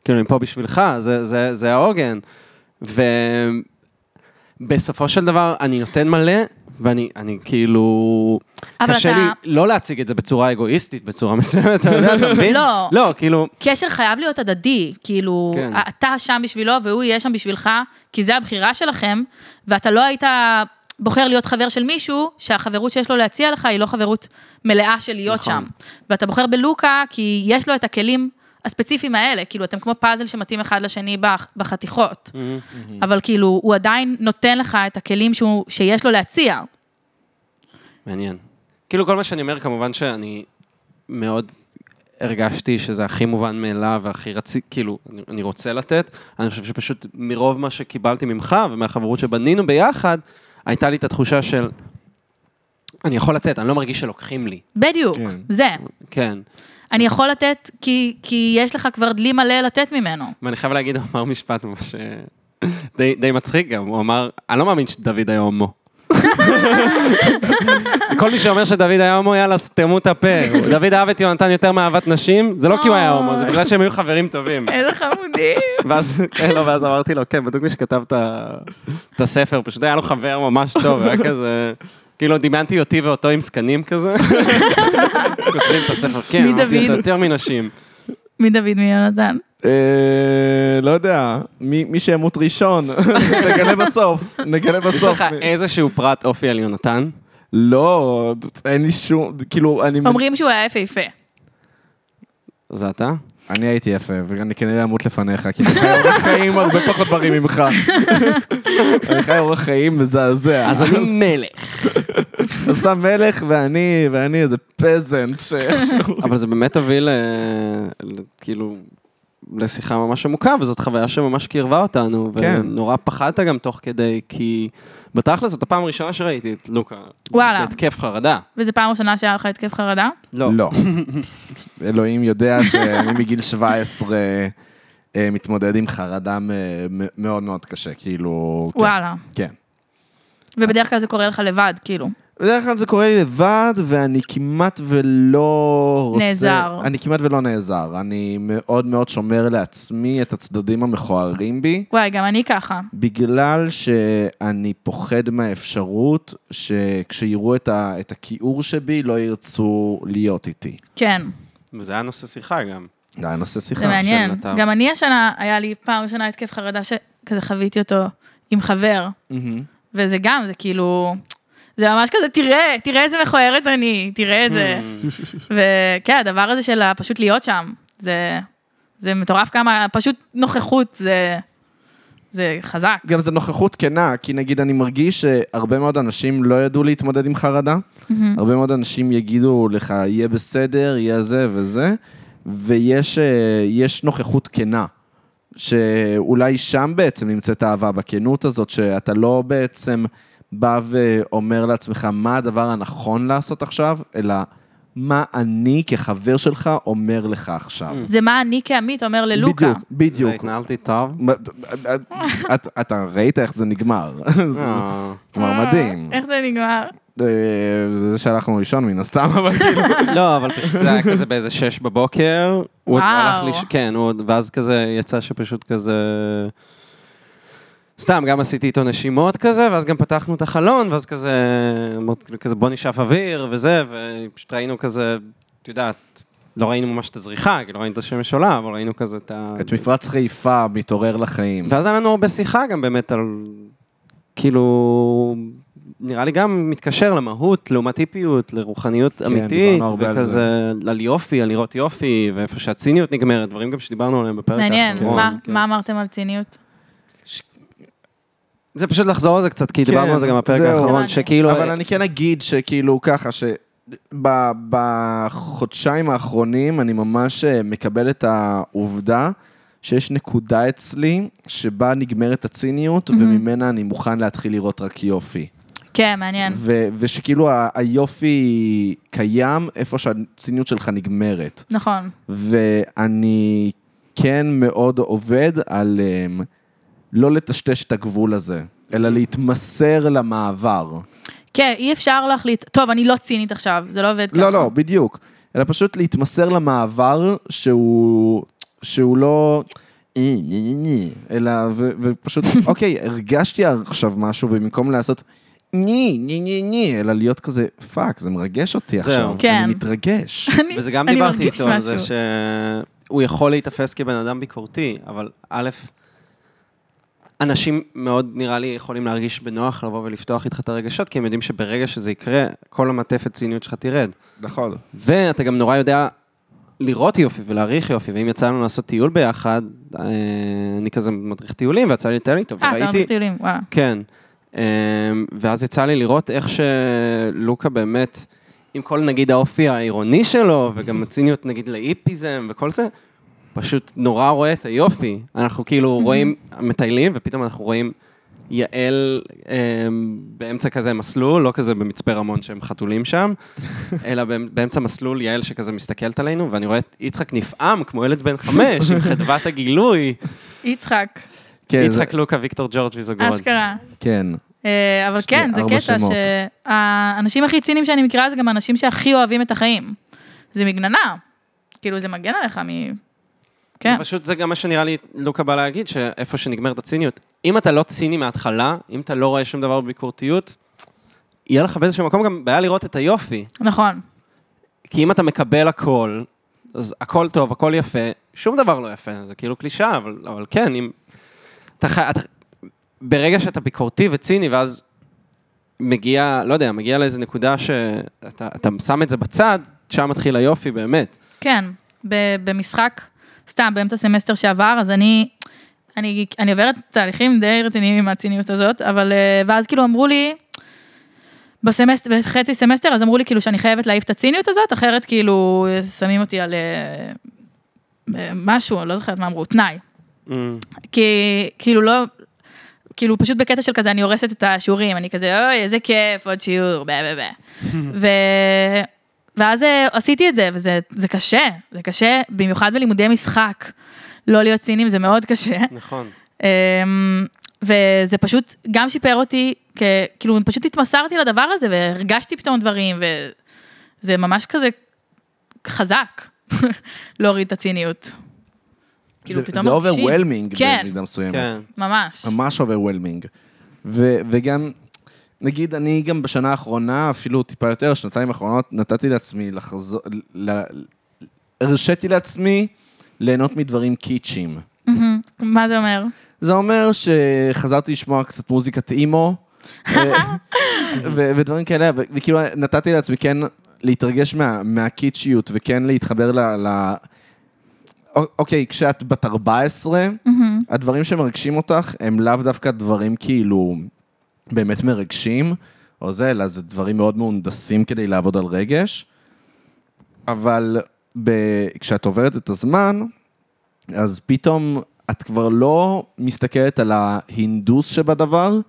Speaker 3: כאילו, אני פה בשבילך, זה, זה, זה העוגן. ובסופו של דבר, אני נותן מלא, ואני אני כאילו...
Speaker 2: אבל
Speaker 3: קשה
Speaker 2: אתה-
Speaker 3: לי לא להציג את זה בצורה אגואיסטית, בצורה מסוימת, אתה יודע, אתה מבין?
Speaker 2: לא.
Speaker 3: לא, כאילו...
Speaker 2: קשר חייב להיות הדדי, כאילו,
Speaker 3: כן.
Speaker 2: כן. אתה שם בשבילו והוא יהיה שם בשבילך, כי זה הבחירה שלכם, ואתה לא היית בוחר להיות חבר של מישהו, שהחברות שיש לו להציע לך היא לא חברות מלאה של להיות
Speaker 3: נכון.
Speaker 2: נכון. שם. ואתה בוחר בלוקה, כי יש לו את הכלים הספציפיים האלה, כאילו, אתם כמו פאזל שמתאים אחד לשני בח- בחתיכות, אבל כאילו, הוא עדיין נותן לך את הכלים שהוא, שיש לו להציע.
Speaker 3: מעניין. כאילו כל מה שאני אומר, כמובן שאני מאוד הרגשתי שזה הכי מובן מאליו והכי רצי, כאילו, אני, אני רוצה לתת. אני חושב שפשוט מרוב מה שקיבלתי ממך ומהחברות שבנינו ביחד, הייתה לי את התחושה של, אני יכול לתת, אני לא מרגיש שלוקחים לי.
Speaker 2: בדיוק,
Speaker 1: כן.
Speaker 2: כן. זה.
Speaker 3: כן.
Speaker 2: אני יכול לתת, כי, כי יש לך כבר דלי מלא לתת ממנו.
Speaker 3: ואני חייב להגיד, הוא אמר משפט ממש אה, די, די מצחיק גם, הוא אמר, אני לא מאמין שדוד היה הומו. כל מי שאומר שדוד היה הומו, יאללה, סתמו את הפה. דוד אהב את יונתן יותר מאהבת נשים, זה לא כי הוא היה הומו, זה בגלל שהם היו חברים טובים.
Speaker 2: איזה חמודים.
Speaker 3: ואז, כן, לא, ואז אמרתי לו, כן, בדיוק מי שכתב את ה- את הספר, פשוט היה לו חבר ממש טוב, היה כזה... כאילו, דימנתי אותי ואותו עם זקנים כזה. כותבים את הספר, כן,
Speaker 2: מי
Speaker 3: אמרתי אותו
Speaker 2: דוד?
Speaker 3: יותר מנשים.
Speaker 2: מי דוד מי יונתן?
Speaker 1: אה, לא יודע, מי מי שימות ראשון, נגלה בסוף, נגלה
Speaker 3: יש
Speaker 1: בסוף.
Speaker 3: לך אה, איזשהו פרט אופי על יונתן?
Speaker 1: לא, אין לי שום, כאילו, אני...
Speaker 2: אומרים שהוא היה יפהפה.
Speaker 3: זה אתה?
Speaker 1: אני הייתי יפה, ואני כנראה אמות לפניך, כי אני חי אורח חיים הרבה פחות בריא ממך. אני חי אורח חיים מזעזע.
Speaker 3: אז אני מלך.
Speaker 1: אז אתה מלך ואני, ואני איזה פזנט שאיכשהו...
Speaker 3: אבל זה באמת הוביל, אה, ל- כאילו, לשיחה ממש עמוקה, וזאת חוויה שממש קירבה אותנו.
Speaker 1: כן.
Speaker 3: ונורא פחדת גם תוך כדי, כי בתכל'ס זאת הפעם הראשונה שראיתי את לוקה.
Speaker 2: וואלה.
Speaker 3: בהתקף חרדה.
Speaker 2: וזו פעם ראשונה שהיה לך התקף חרדה?
Speaker 1: לא. אלוהים יודע שאני מגיל 17 אה, מתמודד עם חרדה מ- מ- מאוד מאוד קשה, כאילו... כן,
Speaker 2: וואלה.
Speaker 1: כן.
Speaker 2: ובדרך כלל זה קורה לך לבד, כאילו.
Speaker 1: בדרך כלל זה קורה לי לבד, ואני כמעט ולא רוצה...
Speaker 2: נעזר.
Speaker 1: אני כמעט ולא נעזר. אני מאוד מאוד שומר לעצמי את הצדדים המכוערים בי,
Speaker 2: וואי, גם אני ככה.
Speaker 1: בגלל שאני פוחד מהאפשרות שכשיראו את, ה... את הכיעור שבי, לא ירצו להיות איתי.
Speaker 2: כן.
Speaker 3: וזה היה נושא שיחה גם.
Speaker 1: זה היה נושא שיחה.
Speaker 2: זה מעניין.
Speaker 3: נטף.
Speaker 2: גם אני השנה, היה לי פעם ראשונה התקף חרדה שכזה חוויתי אותו עם חבר,
Speaker 1: מהמם.
Speaker 2: וזה גם, זה כאילו... זה ממש כזה, תראה, תראה איזה מכוערת אני, תראה את זה. וכן, הדבר הזה של פשוט להיות שם, זה, זה מטורף כמה, פשוט נוכחות, זה, זה חזק.
Speaker 1: גם זה נוכחות כנה, כי נגיד אני מרגיש שהרבה מאוד אנשים לא ידעו להתמודד עם חרדה. הרבה מאוד אנשים יגידו לך, יהיה בסדר, יהיה זה וזה, ויש אה, יש נוכחות כנה, שאולי שם בעצם נמצאת האהבה, בכנות הזאת, שאתה לא בעצם בא ואומר לעצמך מה הדבר הנכון לעשות עכשיו, אלא מה אני כחבר שלך אומר לך עכשיו.
Speaker 2: זה מה אני כעמית אומר ללוקה.
Speaker 1: בדיוק, בדיוק.
Speaker 3: התנהלתי טוב.
Speaker 1: מה- את- אתה ראית איך זה נגמר, זה
Speaker 3: אה.
Speaker 1: כלומר מדהים.
Speaker 2: איך זה נגמר?
Speaker 1: אה, זה שהלכנו לישון מן הסתם, אבל כאילו,
Speaker 3: לא, אבל פשוט זה היה כזה באיזה שש בבוקר. הוא עוד
Speaker 2: וואו.
Speaker 3: הלך ליש... כן, הוא עוד... ואז כזה יצא שפשוט כזה... סתם, גם עשיתי איתו נשימות כזה, ואז גם פתחנו את החלון, ואז כזה, אמרתי כאילו כזה בוא נשאף אוויר וזה, ופשוט ראינו כזה, את יודעת, לא ראינו ממש את הזריחה, כאילו ראינו את השמש עולה, אבל ראינו כזה את ה...
Speaker 1: את מפרץ חיפה מתעורר לחיים.
Speaker 3: ואז היה לנו הרבה שיחה גם באמת על, כאילו, נראה לי גם מתקשר למהות, לעומת היפיות, לרוחניות אמיתית,
Speaker 1: כן, דיברנו הרבה על
Speaker 3: וכזה, על יופי, על לראות יופי, ואיפה שהציניות נגמרת, דברים גם שדיברנו עליהם בפרק
Speaker 2: מעניין,
Speaker 3: האחרון.
Speaker 2: מה-
Speaker 3: כן.
Speaker 2: מה אמרתם על ציניות?
Speaker 3: זה פשוט לחזור על זה קצת, כי
Speaker 1: כן,
Speaker 3: דיברנו על זה גם בפרק
Speaker 1: זהו.
Speaker 3: האחרון,
Speaker 2: הבנתי.
Speaker 3: שכאילו... אה,
Speaker 1: אבל אני כן אגיד שכאילו ככה, שבחודשיים האחרונים אני ממש אה, מקבל את העובדה שיש נקודה אצלי שבה נגמרת הציניות, וממנה אני מוכן להתחיל לראות רק יופי.
Speaker 2: כן, מעניין.
Speaker 1: ו- ושכאילו ה- היופי קיים איפה שהציניות שלך נגמרת.
Speaker 2: נכון.
Speaker 1: ואני כן מאוד עובד על אמ, לא לטשטש את הגבול הזה, אלא להתמסר למעבר.
Speaker 2: כן, אי אפשר להחליט, טוב, אני לא צינית עכשיו, זה לא עובד ככה.
Speaker 1: לא, לא, בדיוק. אלא פשוט להתמסר למעבר שהוא, שהוא לא... "אה, נה, נה, נה", אלא, ו, ופשוט, אוקיי, הרגשתי עכשיו משהו, ובמקום לעשות ני, ני, ני, ני, אלא להיות כזה, פאק, זה מרגש אותי עכשיו.
Speaker 2: כן.
Speaker 1: אני מתרגש.
Speaker 2: אני-
Speaker 3: וזה גם
Speaker 2: אני
Speaker 3: דיברתי
Speaker 2: מרגיש
Speaker 3: איתו על זה
Speaker 2: משהו.
Speaker 3: שהוא יכול להיתפס כבן אדם ביקורתי, אבל א', אנשים מאוד, נראה לי, יכולים להרגיש בנוח לבוא ולפתוח איתך את הרגשות, כי הם יודעים שברגע שזה יקרה, כל המעטפת ציניות שלך תרד.
Speaker 1: נכון.
Speaker 3: ואתה גם נורא יודע לראות יופי ולהעריך יופי, ואם יצא לנו לעשות טיול ביחד, אה, אני כזה מדריך טיולים, ויצא לי לטייל איתו,
Speaker 2: אה, אתה
Speaker 3: וראיתי...
Speaker 2: ממש טיולים, וואלה.
Speaker 3: כן. אמ, ואז יצא לי לראות איך שלוקה באמת, עם כל נגיד האופי העירוני שלו, וגם הציניות נגיד לאיפיזם וכל זה, פשוט נורא רואה את היופי. אנחנו כאילו רואים, מטיילים, ופתאום אנחנו רואים יעל אמ, באמצע כזה מסלול, לא כזה במצפה רמון שהם חתולים שם, אלא באמ- באמצע מסלול יעל שכזה מסתכלת עלינו, ואני רואה את יצחק נפעם כמו ילד בן חמש, עם חדוות הגילוי.
Speaker 2: יצחק,
Speaker 1: כן, זה-
Speaker 3: יצחק לוקה, ויקטור ג'ורג' ויזוגרוד.
Speaker 2: אשכרה.
Speaker 1: כן.
Speaker 2: אה, אבל
Speaker 1: יש לי
Speaker 2: כן, זה
Speaker 1: ארבע
Speaker 2: קטע
Speaker 1: שמות.
Speaker 2: שהאנשים הכי ציניים שאני מכירה זה גם האנשים שהכי אוהבים את החיים. זה מגננה. כאילו, זה מגן עליך מ... כן.
Speaker 3: כן. פשוט זה גם מה שנראה לי לוקה בא להגיד, שאיפה שנגמרת הציניות. אם אתה לא ציני מההתחלה, אם אתה לא רואה שום דבר בביקורתיות, יהיה לך באיזשהו מקום גם בעיה לראות את היופי.
Speaker 2: נכון.
Speaker 3: כי אם אתה מקבל הכל, אז הכל טוב, הכל יפה, שום דבר לא יפה, זה כאילו קלישאה, אבל, אבל כן, אם... אתה, חי- אתה, ברגע שאתה ביקורתי וציני, ואז מגיע, לא יודע, מגיע לאיזו נקודה שאתה אתה שם את זה בצד, שם מתחיל היופי באמת.
Speaker 2: כן, ב- במשחק, סתם, באמצע סמסטר שעבר, אז אני, אני, אני עוברת תהליכים די רציניים עם הציניות הזאת, אבל, אה, ואז כאילו אמרו לי, בסמסטר, בחצי סמסטר, אז אמרו לי כאילו שאני חייבת להעיף את הציניות הזאת, אחרת כאילו שמים אותי על אה, אה, משהו, אני לא זוכרת מה אמרו, תנאי.
Speaker 3: Mm,
Speaker 2: כי כאילו לא, כאילו פשוט בקטע של כזה, אני הורסת את השיעורים, אני כזה, אוי, איזה כיף, עוד שיעור, בה בה בה. ו... ואז אה, עשיתי את זה, וזה זה קשה, זה קשה, במיוחד בלימודי משחק. לא להיות ציניים זה מאוד קשה.
Speaker 3: נכון.
Speaker 2: אמ, וזה פשוט גם שיפר אותי, כ... כאילו פשוט התמסרתי לדבר הזה, והרגשתי פתאום דברים, וזה ממש כזה חזק, להוריד את הציניות. כאילו,
Speaker 1: זה-
Speaker 2: פתאום
Speaker 1: זה
Speaker 2: מרגישים.
Speaker 1: overwhelming
Speaker 2: כן.
Speaker 1: במידה מסוימת.
Speaker 3: כן.
Speaker 2: ממש.
Speaker 1: ממש overwhelming. ו- וגם, נגיד, אני גם בשנה האחרונה, אפילו טיפה יותר, שנתיים האחרונות, נתתי לעצמי לחזור, ל- ל- הרשיתי לעצמי ליהנות מדברים קיצ'ים.
Speaker 2: מה זה אומר?
Speaker 1: זה אומר שחזרתי לשמוע קצת מוזיקת אימו, אה, ו- ודברים כאלה, ו- וכאילו נתתי לעצמי כן להתרגש מה- מהקיצ'יות, וכן להתחבר ל... ל- א- אוקיי, כשאת בת 14, הדברים שמרגשים אותך הם לאו דווקא דברים כאילו באמת מרגשים, או זה, אלא זה דברים מאוד מהונדסים כדי לעבוד על רגש, אבל ב... כשאת עוברת את הזמן, אז פתאום את כבר לא מסתכלת על ההינדוס שבדבר,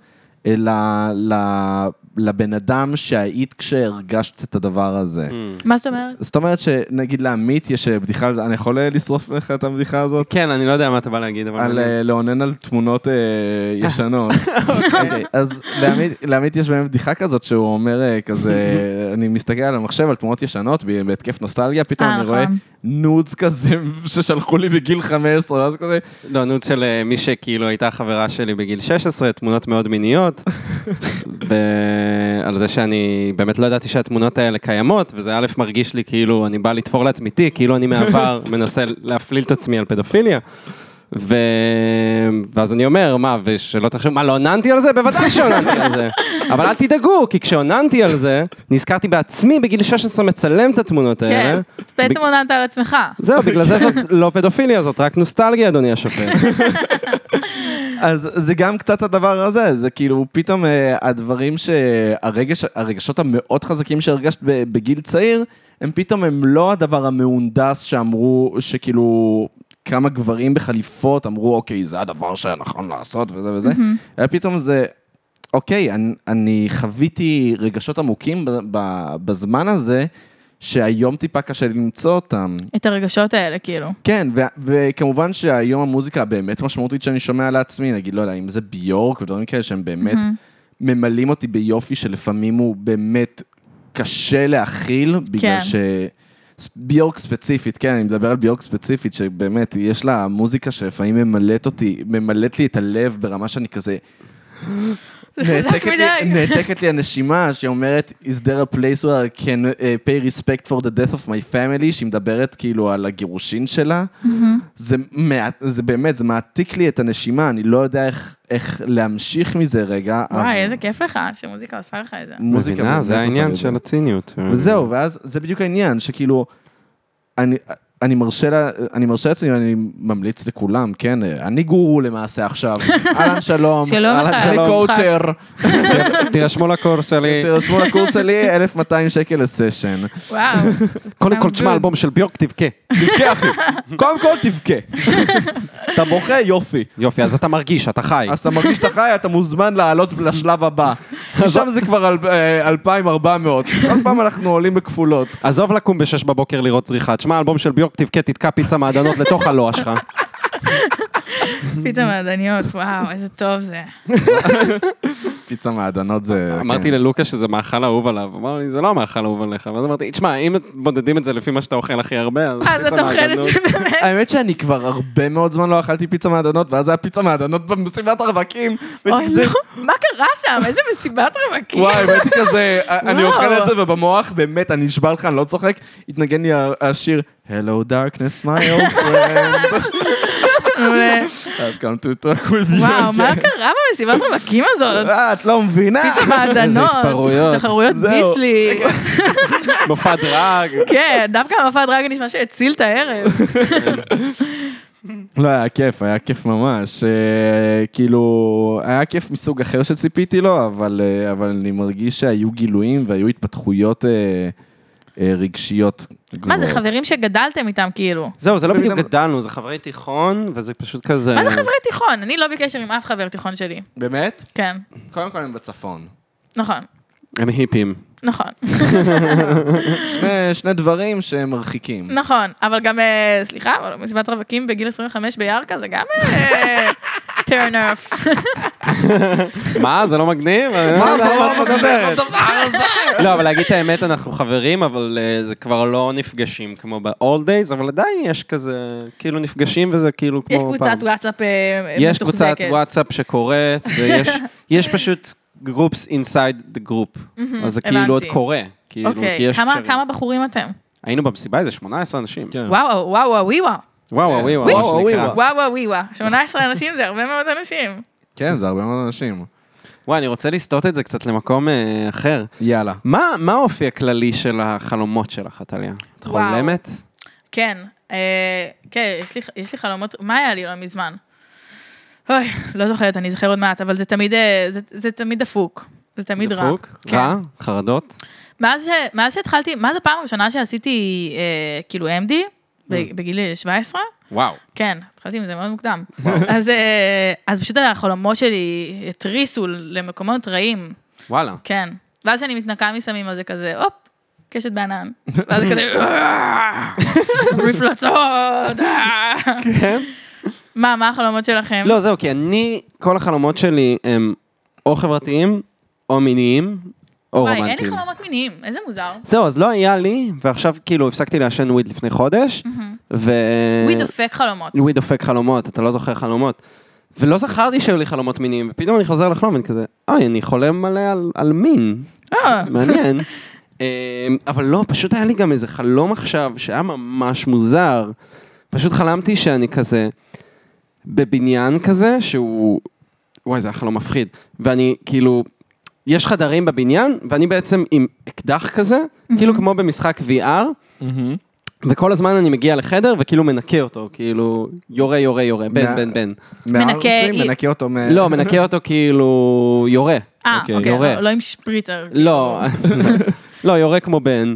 Speaker 1: אלא ל... לבן אדם שהיית כשהרגשת את הדבר הזה.
Speaker 2: מה זאת אומרת?
Speaker 1: זאת אומרת שנגיד לעמית יש אה, בדיחה על זה, אני יכול אה, לשרוף לך את הבדיחה הזאת?
Speaker 3: כן, אני לא יודע מה אתה בא להגיד, אבל...
Speaker 1: על
Speaker 3: אני-
Speaker 1: אה, לאונן על תמונות אה, ישנות. אוקיי, אז לעמית- לעמית יש באמת בדיחה כזאת שהוא אומר אה, כזה, אני מסתכל על המחשב, על תמונות ישנות, ב- בהתקף נוסטלגיה, פתאום
Speaker 2: אה,
Speaker 1: אני רואה
Speaker 2: נכון.
Speaker 1: נודס כזה ששלחו לי בגיל 15, ואז כזה,
Speaker 3: לא, נו, של אה, מי שכאילו הייתה חברה שלי בגיל 16, תמונות מאוד מיניות, ועל זה שאני באמת לא ידעתי שהתמונות האלה קיימות, וזה א' מרגיש לי כאילו אני בא לתפור לעצמי תיק, כאילו אני מהעבר מנסה להפליל את עצמי על פדופיליה. ו... ואז אני אומר, מה, ושלא תחשוב, מה, לא עוננתי על זה? בוודאי שעוננתי על זה. אבל אל תדאגו, כי כשעוננתי על זה, נזכרתי בעצמי בגיל 16 מצלם את התמונות האלה.
Speaker 2: כן. אז בעצם עוננת על עצמך.
Speaker 3: זהו, בגלל זה זאת לא פדופיליה, זאת רק נוסטלגיה, אדוני השופט.
Speaker 1: אז זה גם קצת הדבר הזה, זה כאילו פתאום אה, הדברים שהרגש, הרגשות המאוד חזקים שהרגשת ב- בגיל צעיר, הם פתאום הם לא הדבר המהונדס שאמרו, שכאילו כמה גברים בחליפות אמרו, אוקיי, זה הדבר שהיה נכון לעשות וזה וזה, אלא פתאום זה, אוקיי, אני, אני חוויתי רגשות עמוקים ב, ב, בזמן הזה, שהיום טיפה קשה לי למצוא אותם.
Speaker 2: את הרגשות האלה, כאילו.
Speaker 1: כן, ו- וכמובן שהיום המוזיקה הבאמת משמעותית שאני שומע לעצמי, נגיד, לא יודע, אם זה ביורק ודברים כאלה שהם באמת ממלאים אותי ביופי שלפעמים הוא באמת קשה להכיל, בגלל
Speaker 2: כן.
Speaker 1: ש... ס- ביורק ספציפית, כן, אני מדבר על ביורק ספציפית, שבאמת, יש לה מוזיקה שלפעמים ממלאת אותי, ממלאת לי את הלב ברמה שאני כזה...
Speaker 2: זה חזק
Speaker 1: נעתקת לי-
Speaker 2: מדי.
Speaker 1: נעתקת לי הנשימה שאומרת, is there a place where I can uh, pay respect for the death of my family, שהיא מדברת כאילו על הגירושין שלה.
Speaker 2: Mm-hmm.
Speaker 1: זה, מה- זה באמת, זה מעתיק לי את הנשימה, אני לא יודע איך, איך להמשיך מזה רגע. אבל
Speaker 2: וואי, איזה כיף לך שמוזיקה עושה לך את זה.
Speaker 1: מוזיקה
Speaker 3: מבינה,
Speaker 1: באמת
Speaker 3: זה
Speaker 1: עושה לי
Speaker 3: העניין
Speaker 1: את זה.
Speaker 3: של הציניות.
Speaker 1: וזהו, ואז זה בדיוק העניין, שכאילו, אני, אני מרשה לה- אני מרשה לעצמי, אני ממליץ לכולם, כן, אני גורו למעשה עכשיו, אהלן שלום,
Speaker 2: שלום
Speaker 1: אהלן
Speaker 2: לך,
Speaker 1: אני
Speaker 2: שלום,
Speaker 1: קואוצ'ר,
Speaker 3: תירשמו לקורס שלי.
Speaker 1: תרשמו לקורס שלי, 1200 שקל לסשן.
Speaker 2: וואו.
Speaker 3: קודם כל,
Speaker 2: sounds
Speaker 3: תשמע
Speaker 2: good.
Speaker 3: אלבום של ביורק, תבכה.
Speaker 1: תבכה אחי, קודם כל תבכה. אתה בוכה, יופי.
Speaker 3: יופי, אז אתה מרגיש, אתה חי.
Speaker 1: אז אתה מרגיש שאתה חי, אתה מוזמן לעלות לשלב הבא. שם זה כבר אל- אה, 2,400. כל פעם אנחנו עולים בכפולות.
Speaker 3: עזוב לקום בשש בבוקר לראות צריכה. תשמע אלבום של ביורק, תבכה, תתקע פיצה מעדנות לתוך הלוע שלך.
Speaker 1: אוקיי.
Speaker 2: פיצה מעדניות, וואו, איזה טוב זה.
Speaker 1: פיצה מעדנות זה...
Speaker 3: אמרתי
Speaker 1: כן.
Speaker 3: ללוקה שזה מאכל אהוב עליו. אמר לי, זה לא המאכל האהוב עליך. ואז אמרתי, תשמע, אם בודדים את זה לפי מה שאתה אוכל הכי הרבה, אז
Speaker 2: אז
Speaker 3: פיצה
Speaker 2: אתה אוכל אה, את
Speaker 3: מעדנות.
Speaker 2: זה באמת.
Speaker 1: האמת שאני כבר הרבה מאוד זמן לא אכלתי פיצה מעדנות, ואז היה פיצה מעדנות במסיבת הרווקים.
Speaker 2: אוי,
Speaker 1: והייתי כזה,
Speaker 2: נו, מה קרה שם? איזה מסיבת רווקים.
Speaker 1: וואי, והייתי כזה, אה, אני
Speaker 2: וואו.
Speaker 1: אוכל את זה, ובמוח, באמת, אני נשבע לך, אני לא צוחק, התנגן לי השיר, Hello darkness, my old friend,
Speaker 2: מעולה.
Speaker 1: I've come to talk with you.
Speaker 2: וואו, מה
Speaker 1: again."
Speaker 2: קרה במסיבת רווקים הזאת?
Speaker 1: אה, את לא מבינה?
Speaker 2: מעדנות,
Speaker 3: התפרעויות.
Speaker 2: תחרויות
Speaker 1: זהו.
Speaker 2: ביסלי.
Speaker 3: מופע דרג.
Speaker 2: כן, דווקא המופע דרג נשמע שהציל את הערב.
Speaker 1: לא, היה כיף, היה כיף ממש. אה, כאילו, היה כיף מסוג אחר שציפיתי לו, אבל אה, אבל אני מרגיש שהיו גילויים והיו התפתחויות אה, אה, רגשיות.
Speaker 2: מה זה,
Speaker 1: גבוהות.
Speaker 2: חברים שגדלתם איתם כאילו?
Speaker 3: זהו, זה לא בדיוק
Speaker 1: בדיוק
Speaker 3: גדלנו, זה חברי תיכון, וזה פשוט כזה...
Speaker 2: מה זה חברי תיכון? אני לא בקשר עם אף חבר תיכון שלי.
Speaker 1: באמת?
Speaker 2: כן,
Speaker 1: קודם כל הם בצפון.
Speaker 2: נכון,
Speaker 3: הם היפים.
Speaker 2: נכון,
Speaker 1: שני- שני דברים שהם מרחיקים.
Speaker 2: נכון. אבל גם, אה, סליחה, אבל מסיבת רווקים בגיל 25 בירכא זה גם אה, טרן אוף.
Speaker 3: מה, זה לא מגניב?
Speaker 1: מה זה,
Speaker 3: על
Speaker 1: מה את מדברת?
Speaker 3: לא, אבל להגיד את האמת, אנחנו חברים, אבל אה, זה כבר לא נפגשים כמו ב-all days, אבל עדיין יש כזה, כאילו נפגשים וזה כאילו כמו
Speaker 2: יש
Speaker 3: פעם.
Speaker 2: קבוצת וואטסאפ אה, מתוחזקת.
Speaker 3: יש קבוצת וואטסאפ שקורית, ויש יש פשוט groups inside the group. אז זה כאילו עוד
Speaker 2: הבנתי.
Speaker 3: קורה. כאילו, כי
Speaker 2: אוקיי,
Speaker 3: יש
Speaker 2: כמה-
Speaker 3: קשרים.
Speaker 2: כמה בחורים אתם?
Speaker 3: היינו במסיבה איזה 18 אנשים.
Speaker 1: כן.
Speaker 2: וואו, וואו, וואו, וואו.
Speaker 3: וואו, וואו, וואו,
Speaker 1: וואו,
Speaker 3: מה שנקרא.
Speaker 1: וואו.
Speaker 2: וואו וואו וואו, 18 אנשים זה הרבה מאוד אנשים.
Speaker 1: כן, זה הרבה מאוד אנשים.
Speaker 3: וואי, אני רוצה לסטות את זה קצת למקום אה, אחר.
Speaker 1: יאללה.
Speaker 3: מה מה האופי הכללי של החלומות שלך, עטליה? את
Speaker 2: וואו.
Speaker 3: חולמת?
Speaker 2: כן, אה, כן, יש לי, יש לי חלומות, מה היה לי לא מזמן? אוי, לא זוכרת, אני אזכר עוד מעט, אבל זה תמיד, אה, זה, זה תמיד דפוק. זה תמיד רע.
Speaker 3: דפוק?
Speaker 2: כן.
Speaker 3: רע? חרדות?
Speaker 2: מאז, ש, מאז שהתחלתי, מאז הפעם הראשונה שעשיתי אה, כאילו MD, ב- בגיל 17,
Speaker 3: וואו.
Speaker 2: כן, התחלתי עם זה מאוד מוקדם. אז, אה, אז פשוט החלומות שלי התריסו למקומות רעים,
Speaker 3: וואלה.
Speaker 2: כן. ואז כשאני מתנקה מסמים, אז זה כזה, הופ, קשת בענן. ואז זה כזה, "אה, מפלצות. אה.
Speaker 3: כן?
Speaker 2: מה, מה החלומות שלכם?
Speaker 3: לא, זהו, כי אני, כל החלומות שלי הם או חברתיים, או מיניים, או
Speaker 2: וואי, אין לי
Speaker 3: לא רומנטיים.
Speaker 2: חלומות מיניים, איזה מוזר.
Speaker 3: זהו, אז לא היה לי, ועכשיו כאילו הפסקתי לעשן וויד לפני חודש, ו... אה,
Speaker 2: ווי דופק חלומות.
Speaker 3: וויד דופק חלומות, אתה לא זוכר חלומות. ולא זכרתי שהיו לי חלומות מיניים, ופתאום אני חוזר לחלום ואני כזה, אוי, אני חולם מלא על, על מין,
Speaker 2: אה,
Speaker 3: מעניין. אמ, אבל לא, פשוט היה לי גם איזה חלום עכשיו שהיה ממש מוזר. פשוט חלמתי שאני כזה בבניין כזה, שהוא... וואי, זה היה חלום מפחיד. ואני כאילו, יש חדרים בבניין, ואני בעצם עם אקדח כזה, כאילו כמו במשחק VR, וכל הזמן אני מגיע לחדר וכאילו מנקה אותו, כאילו יורה, יורה, יורה, בן,
Speaker 1: מה- אה.
Speaker 3: בן, בן.
Speaker 2: מנקה-
Speaker 1: מהארסים, מנקה אותו מ...
Speaker 3: לא, מנקה אותו כאילו יורה.
Speaker 2: אה,
Speaker 1: אוקיי,
Speaker 2: אוקיי,
Speaker 3: יורה.
Speaker 2: לא- לא עם שפריצר.
Speaker 3: לא, לא, יורה כמו בן.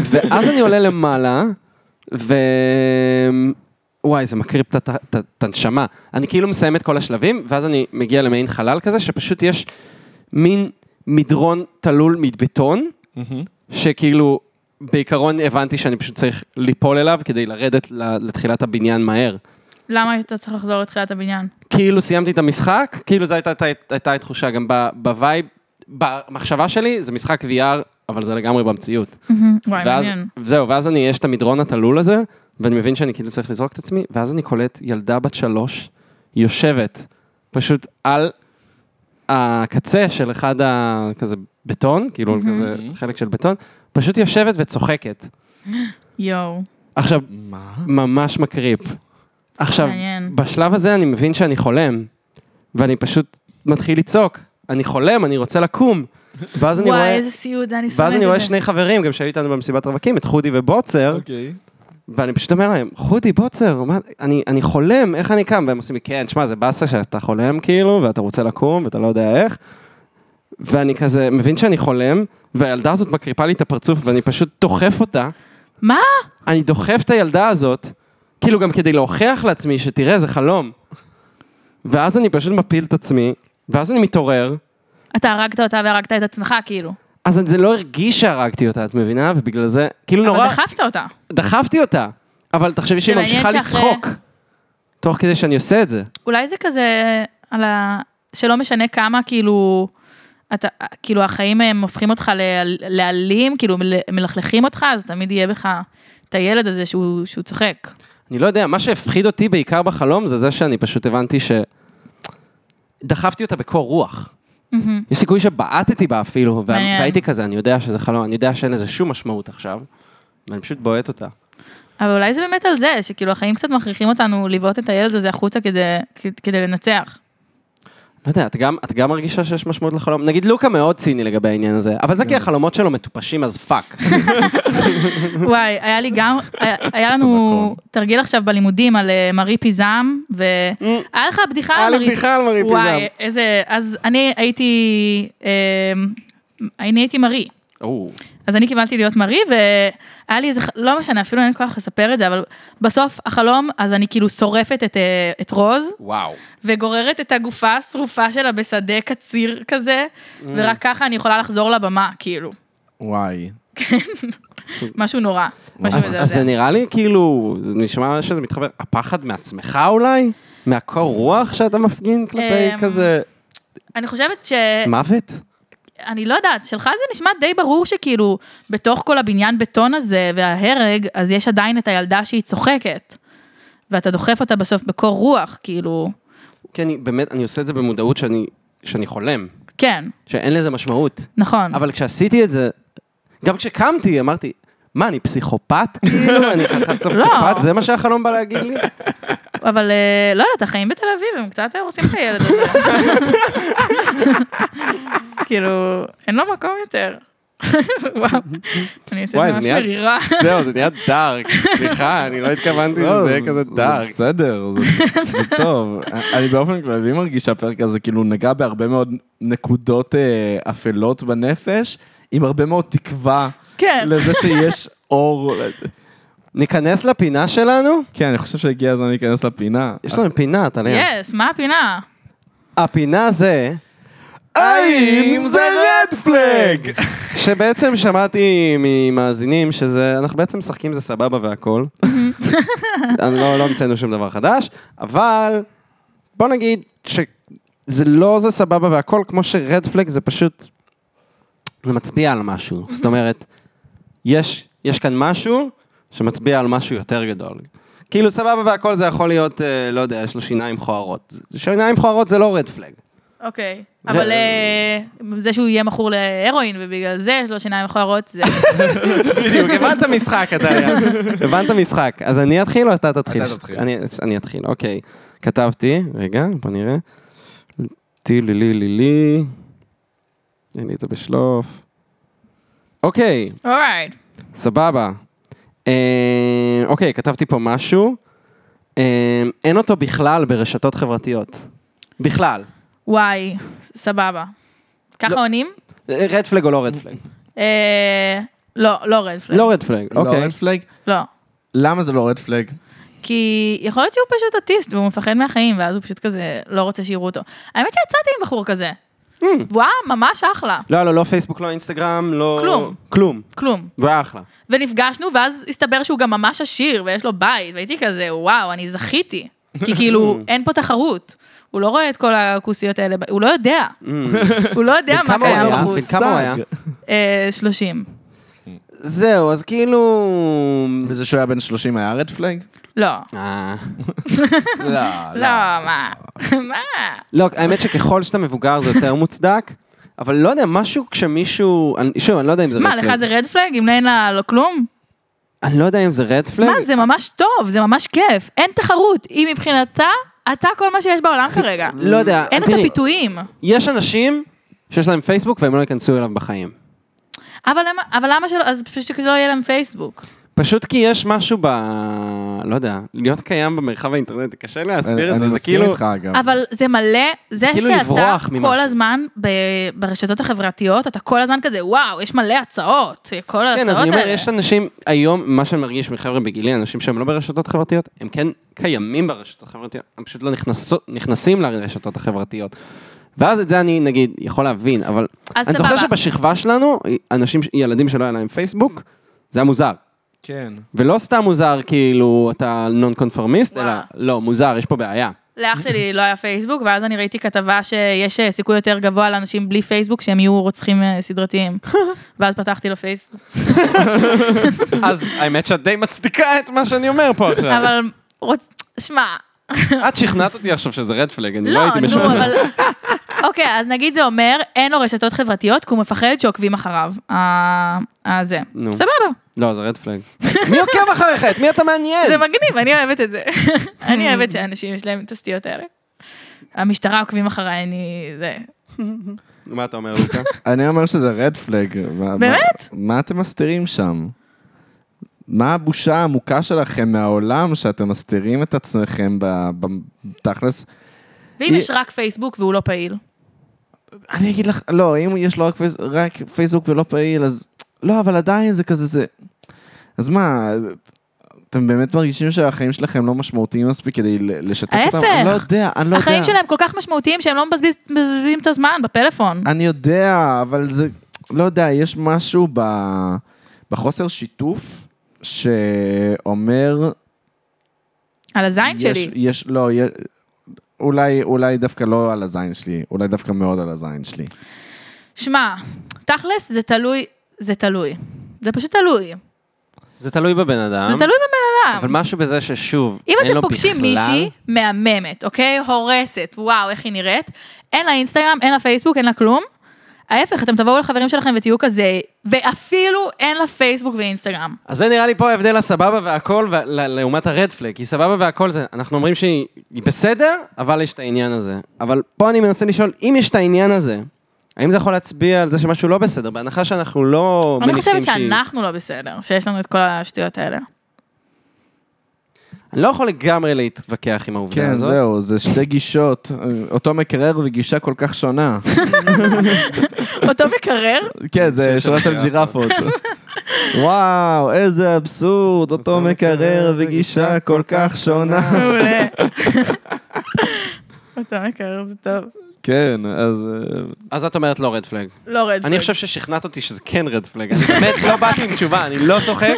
Speaker 3: ואז אני עולה למעלה, ו... וואי, זה מקריב את ה- את ה- את הנשמה. אני כאילו מסיים את כל השלבים, ואז אני מגיע למעין חלל כזה, שפשוט יש מין מדרון תלול מבטון, שכאילו, בעיקרון הבנתי שאני פשוט צריך ליפול אליו כדי לרדת ל- לתחילת הבניין מהר.
Speaker 2: למה היית צריך לחזור לתחילת הבניין?
Speaker 3: כאילו סיימתי את המשחק, כאילו זו הייתה, הייתה, הייתה התחושה, גם ב- בווייב, במחשבה שלי, זה משחק VR, אבל זה לגמרי במציאות.
Speaker 2: וואי,
Speaker 3: ואז,
Speaker 2: מעניין.
Speaker 3: זהו, ואז אני, יש את המדרון התלול הזה, ואני מבין שאני כאילו צריך לזרוק את עצמי, ואז אני קולט ילדה בת שלוש, יושבת, פשוט על הקצה של אחד ה... כזה בטון, כאילו על כזה חלק של בטון, פשוט יושבת וצוחקת.
Speaker 2: יואו.
Speaker 3: עכשיו,
Speaker 1: מה?
Speaker 3: ממש מקריפ. עכשיו,
Speaker 2: מעניין.
Speaker 3: בשלב הזה אני מבין שאני חולם, ואני פשוט מתחיל לצעוק. אני חולם, אני רוצה לקום. ואז אני
Speaker 2: וואי,
Speaker 3: רואה,
Speaker 2: איזה סיוט, אני שונאת את זה.
Speaker 3: ואז אני רואה שני חברים, גם שהיו איתנו במסיבת רווקים, את חודי ובוצר,
Speaker 1: אוקיי.
Speaker 3: ואני פשוט אומר להם, חודי, בוצר, מה- אני אני חולם, איך אני קם? והם עושים לי, כן, שמע, זה באסה שאתה חולם כאילו, ואתה רוצה לקום, ואתה לא יודע איך. ואני כזה מבין שאני חולם, והילדה הזאת מקריפה לי את הפרצוף, ואני פשוט דוחף אותה.
Speaker 2: מה?
Speaker 3: אני דוחף את הילדה הזאת, כאילו גם כדי להוכיח לעצמי שתראה, זה חלום. ואז אני פשוט מפיל את עצמי, ואז אני מתעורר,
Speaker 2: אתה הרגת אותה והרגת את עצמך, כאילו.
Speaker 3: אז זה לא הרגיש שהרגתי אותה, את מבינה? ובגלל זה, כאילו נורא,
Speaker 2: אבל דחפת אותה.
Speaker 3: דחפתי אותה, אבל תחשבי שהיא
Speaker 2: מעניין
Speaker 3: ממשיכה
Speaker 2: שאחרי-
Speaker 3: לצחוק, תוך כדי שאני עושה את זה.
Speaker 2: אולי זה כזה, על ה... שלא משנה כמה, כאילו, אתה, כאילו החיים הם הופכים אותך ל- לאלים, כאילו מל- מלכלכים אותך, אז תמיד יהיה בך את הילד הזה שהוא, שהוא צוחק.
Speaker 3: אני לא יודע, מה שהפחיד אותי בעיקר בחלום זה זה שאני פשוט הבנתי ש... דחפתי אותה בקור רוח. יש סיכוי שבעטתי בה אפילו, וה-
Speaker 2: מעניין.
Speaker 3: והייתי כזה, אני יודע שזה חלום, אני יודע שאין לזה שום משמעות עכשיו, ואני פשוט בועט אותה.
Speaker 2: אבל אולי זה באמת על זה, שכאילו החיים קצת מכריחים אותנו לבעוט את הילד הזה החוצה כדי, כ- כדי לנצח.
Speaker 3: לא יודע, את גם, את גם מרגישה שיש משמעות לחלום? נגיד לוקה מאוד ציני לגבי העניין הזה, אבל
Speaker 2: לא.
Speaker 3: זה כי החלומות שלו מטופשים אז פאק.
Speaker 2: וואי, היה לי גם, היה- היה
Speaker 3: נכון.
Speaker 2: לנו
Speaker 1: סבתכון.
Speaker 2: תרגיל עכשיו בלימודים על אה, מארי פיזם,
Speaker 3: Mm.
Speaker 2: והיה לך בדיחה על מארי
Speaker 3: על מרי
Speaker 2: וואי, איזה, אז אני הייתי, אמ, אני הייתי מרי. אז אני קיבלתי להיות מרי, והיה לי איזה, ח- לא משנה, אפילו אין לי כוח לספר את זה, אבל בסוף החלום, אז אני כאילו שורפת את, אה, את רוז,
Speaker 3: וואו.
Speaker 2: וגוררת את הגופה השרופה שלה בשדה קציר כזה,
Speaker 3: Mm.
Speaker 2: ורק ככה אני יכולה לחזור לבמה, כאילו.
Speaker 1: וואי.
Speaker 2: משהו נורא, משהו
Speaker 3: אז, אז
Speaker 2: מזעזע.
Speaker 3: זה נראה לי כאילו, זה נשמע שזה מתחבר, הפחד מעצמך אולי? מהקור רוח שאתה מפגין כלפי
Speaker 2: אמ, אה,
Speaker 3: כזה
Speaker 2: אני חושבת ש...
Speaker 3: מוות?
Speaker 2: אני לא יודעת, שלך זה נשמע די ברור שכאילו, בתוך כל הבניין בטון הזה וההרג, אז יש עדיין את הילדה שהיא צוחקת. ואתה דוחף אותה בסוף בקור רוח, כאילו,
Speaker 3: כי אני באמת, אני עושה את זה במודעות שאני, שאני חולם,
Speaker 2: כן,
Speaker 3: שאין לזה משמעות.
Speaker 2: נכון.
Speaker 3: אבל כשעשיתי את זה, גם כשקמתי אמרתי, מה, אני פסיכופת? כאילו, אני חתיכת צפצפת? זה מה שהחלום בא להגיד לי?
Speaker 2: אבל אה, לא יודעת, החיים בתל אביב, הם קצת אה, הורסים את הילד הזה. כאילו, אין לו מקום יותר. וואו, אני יוצאת
Speaker 3: וואי, זה
Speaker 2: ממש
Speaker 3: נהיה-
Speaker 2: מרירה.
Speaker 3: זהו, זה נהיה דארק. סליחה, אני לא התכוונתי שזה יהיה כזה דארק.
Speaker 1: זה בסדר, זה זה טוב. אני באופן כללי מרגיש שהפרק הזה כאילו נגע בהרבה מאוד נקודות אה, אפלות בנפש, עם הרבה מאוד תקווה
Speaker 2: כן.
Speaker 1: לזה שיש אור.
Speaker 3: ניכנס לפינה שלנו?
Speaker 1: כן, אני חושב שהגיע הזמן להיכנס לפינה.
Speaker 3: יש לנו פינה, אתה יודע.
Speaker 2: יס, מה הפינה?
Speaker 3: הפינה זה...
Speaker 1: האם זה רד פלג?
Speaker 3: שבעצם שמעתי ממאזינים שזה, אנחנו בעצם משחקים זה סבבה והכל. אני לא, לא המצאנו שום דבר חדש, אבל בוא נגיד שזה לא זה סבבה והכל, כמו שרד פלג זה פשוט, זה מצביע על משהו. זאת אומרת, יש, יש כאן משהו שמצביע על משהו יותר גדול. כאילו סבבה והכל זה יכול להיות, אה, לא יודע, יש לו שיניים מכוערות. שיניים מכוערות זה לא רד פלג.
Speaker 2: אוקיי.
Speaker 3: זה-
Speaker 2: אבל אה, זה שהוא יהיה מכור להרואין ובגלל זה יש לו שיניים מכוערות, זה...
Speaker 3: בדיוק, הבנת משחק אתה היה. הבנת משחק. אז אני אתחיל או אתה תתחיל?
Speaker 1: אתה תתחיל.
Speaker 3: אני- אני אתחיל, אוקיי. כתבתי, רגע, בוא נראה. טי לי לי לי לי. אין לי את זה בשלוף. אוקיי,
Speaker 2: אורייט.
Speaker 3: סבבה. אה, אוקיי, כתבתי פה משהו. אה, אין אותו בכלל ברשתות חברתיות. בכלל.
Speaker 2: וואי, סבבה. ככה
Speaker 3: לא.
Speaker 2: עונים?
Speaker 3: רד פלג או לא רד פלג?
Speaker 2: אה, לא, לא רד פלאג.
Speaker 3: לא רד פלג,
Speaker 1: לא
Speaker 3: אוקיי.
Speaker 1: רד פלג?
Speaker 2: לא.
Speaker 1: למה זה לא רד פלג?
Speaker 2: כי יכול להיות שהוא פשוט אוטיסט והוא מפחד מהחיים, ואז הוא פשוט כזה לא רוצה שיראו אותו. האמת שיצאתי עם בחור כזה.
Speaker 3: Hmm.
Speaker 2: והוא היה ממש אחלה,
Speaker 3: לא, לא, לא פייסבוק, לא אינסטגרם, לא...
Speaker 2: כלום.
Speaker 3: כלום.
Speaker 2: כלום.
Speaker 3: והיה אחלה.
Speaker 2: ונפגשנו, ואז הסתבר שהוא גם ממש עשיר, ויש לו בית, והייתי כזה, וואו, אני זכיתי. כי כאילו, אין פה תחרות. הוא לא רואה את כל הכוסיות האלה, ב- הוא לא יודע. הוא לא יודע מה
Speaker 3: כמה Hmm. הוא
Speaker 2: קיים
Speaker 3: היה?
Speaker 2: בחוץ.
Speaker 3: בן כמה הוא היה?
Speaker 1: סאג.
Speaker 2: אה, 30.
Speaker 3: זהו, אז כאילו...
Speaker 1: וזה שהוא היה בן 30 היה רד פלג?
Speaker 2: לא.
Speaker 3: אה.
Speaker 1: לא,
Speaker 2: לא, מה? מה?
Speaker 3: לא, האמת שככל שאתה מבוגר זה יותר מוצדק, אבל לא יודע, משהו כשמישהו... אני- שוב, אני לא יודע אם זה רד
Speaker 2: מה,
Speaker 3: פלג.
Speaker 2: לך זה רד פלאג? אם אין לה לא כלום?
Speaker 3: אני לא יודע אם זה רד פלג.
Speaker 2: מה, זה ממש טוב, זה ממש כיף. אין תחרות. היא מבחינתה, אתה כל מה שיש בעולם כרגע.
Speaker 3: לא יודע,
Speaker 2: אין את
Speaker 3: תראי,
Speaker 2: הפיתויים.
Speaker 3: יש אנשים שיש להם פייסבוק והם לא ייכנסו אליו בחיים.
Speaker 2: אבל למה- אבל למה שלא, אז פשוט שזה לא יהיה להם פייסבוק.
Speaker 3: פשוט כי יש משהו ב... לא יודע, להיות קיים במרחב האינטרנטי, קשה להסביר את זה,
Speaker 1: אני
Speaker 3: זה
Speaker 1: מסכים
Speaker 3: כאילו...
Speaker 1: איתך אגב.
Speaker 2: אבל זה מלא, זה
Speaker 3: כאילו
Speaker 2: שאתה
Speaker 3: לברוח ממשהו.
Speaker 2: כל הזמן ב- ברשתות החברתיות, אתה כל הזמן כזה, וואו, יש מלא הצעות, כל
Speaker 3: כן, אז
Speaker 2: ההצעות
Speaker 3: אני אומר,
Speaker 2: האלה.
Speaker 3: יש אנשים, היום, מה שאני מרגיש מחבר'ה בגילי, אנשים שהם לא ברשתות חברתיות, הם כן קיימים ברשתות החברתיות, הם פשוט לא נכנסו, נכנסים לרשתות החברתיות. ואז את זה אני, נגיד, יכול להבין, אבל...
Speaker 2: אז
Speaker 3: אני זוכר
Speaker 2: סבבה.
Speaker 3: שבשכבה שלנו, אנשים, ילדים שלא היה להם פייסבוק, זה היה מוזר.
Speaker 1: כן.
Speaker 3: ולא סתם מוזר, כאילו, אתה נון קונפורמיסט,
Speaker 2: וואו.
Speaker 3: אלא, לא, מוזר, יש פה בעיה.
Speaker 2: לאח שלי לא היה פייסבוק, ואז אני ראיתי כתבה שיש אה, סיכוי יותר גבוה לאנשים בלי פייסבוק שהם יהיו רוצחים אה, סדרתיים. ואז פתחתי לו פייסבוק.
Speaker 3: אז האמת שאת די מצדיקה את מה שאני אומר פה עכשיו.
Speaker 2: אבל, רוצ- שמע,
Speaker 3: את שכנעת אותי עכשיו שזה רד פלג, אני
Speaker 2: לא, נו, אבל... אוקיי, אז נגיד זה אומר, אין לו רשתות חברתיות, כי הוא מפחד שעוקבים אחריו. אה, אה, זה.
Speaker 3: נו.
Speaker 2: סבבה,
Speaker 3: לא, זה רד פלג. מי עוקב אחריך? את מי אתה מעניין?
Speaker 2: זה מגניב, אני אוהבת את זה. אני אוהבת שאנשים יש להם את הסטיות האלה. המשטרה עוקבים אחריי, אני... זה...
Speaker 3: מה אתה אומר, לוקה?
Speaker 1: אני אומר שזה רד פלג. מה-
Speaker 2: באמת?
Speaker 1: מה מה אתם מסתירים שם? מה הבושה העמוקה שלכם מהעולם שאתם מסתירים את עצמכם ב- ב- בתכלס?
Speaker 2: ואם יש רק פייסבוק והוא לא פעיל?
Speaker 1: אני אגיד לך, לא, אם יש לו רק פייס- רק פייסבוק ולא פעיל, אז... לא, אבל עדיין זה כזה, זה... אז מה, אתם באמת מרגישים שהחיים שלכם לא משמעותיים מספיק כדי ל- לשתף אותם? אני לא
Speaker 2: ההפך.
Speaker 1: יודע, אני לא יודע.
Speaker 2: החיים שלהם כל כך משמעותיים שהם לא מבזבז- מבזבזים את הזמן בפלאפון.
Speaker 1: אני יודע, אבל זה, לא יודע, יש משהו ב, בחוסר שיתוף שאומר...
Speaker 2: על הזין
Speaker 1: יש,
Speaker 2: שלי.
Speaker 1: יש, לא, יש, אולי, אולי דווקא לא על הזין שלי, אולי דווקא מאוד על הזין שלי.
Speaker 2: שמע, תכלס, זה תלוי, זה תלוי. זה פשוט תלוי.
Speaker 3: זה תלוי בבן אדם.
Speaker 1: אה?
Speaker 2: זה תלוי בבן אדם.
Speaker 3: אבל משהו בזה ששוב,
Speaker 2: אם
Speaker 3: אין
Speaker 2: אתם
Speaker 3: לו
Speaker 2: פוגשים
Speaker 3: בכלל-
Speaker 2: מישהי מהממת, אוקיי? הורסת, וואו, איך היא נראית. אין לה אינסטגרם, אין לה פייסבוק, אין לה כלום. ההפך, אתם תבואו לחברים שלכם ותהיו כזה, ואפילו אין לה פייסבוק ואינסטגרם.
Speaker 3: אז זה נראה לי פה ההבדל הסבבה והכל, ו- ל- לעומת הרד פלג, כי סבבה והכל זה, אנחנו אומרים שהיא היא בסדר, אבל יש את העניין הזה. אבל פה אני מנסה לשאול, אם יש את העניין הזה, האם זה יכול להצביע על זה שמשהו לא בסדר, בהנחה שאנחנו לא
Speaker 2: אני
Speaker 3: מניחים
Speaker 2: חושבת
Speaker 3: שהיא-
Speaker 2: שאנחנו לא בסדר, שיש לנו את כל השטויות האלה.
Speaker 3: אני לא יכול לגמרי להתווכח עם העובדה
Speaker 1: כן,
Speaker 3: הזאת.
Speaker 1: זהו, זה שתי גישות. אותו מקרר וגישה כל כך שונה.
Speaker 2: אותו מקרר,
Speaker 1: כן, זה
Speaker 3: שיש
Speaker 1: שורה של
Speaker 3: ג'ירפות.
Speaker 1: ג'ירפות. וואו, איזה אבסורד, אותו מקרר וגישה כל כך שונה.
Speaker 2: מעולה. אותו מקרר זה טוב.
Speaker 1: כן, אז... אה,
Speaker 3: אז את אומרת לא רד פלג.
Speaker 2: לא רד פלג.
Speaker 3: אני חושב ששכנעת אותי שזה כן רד פלג, אני באמת לא באתי עם תשובה, אני לא צוחק.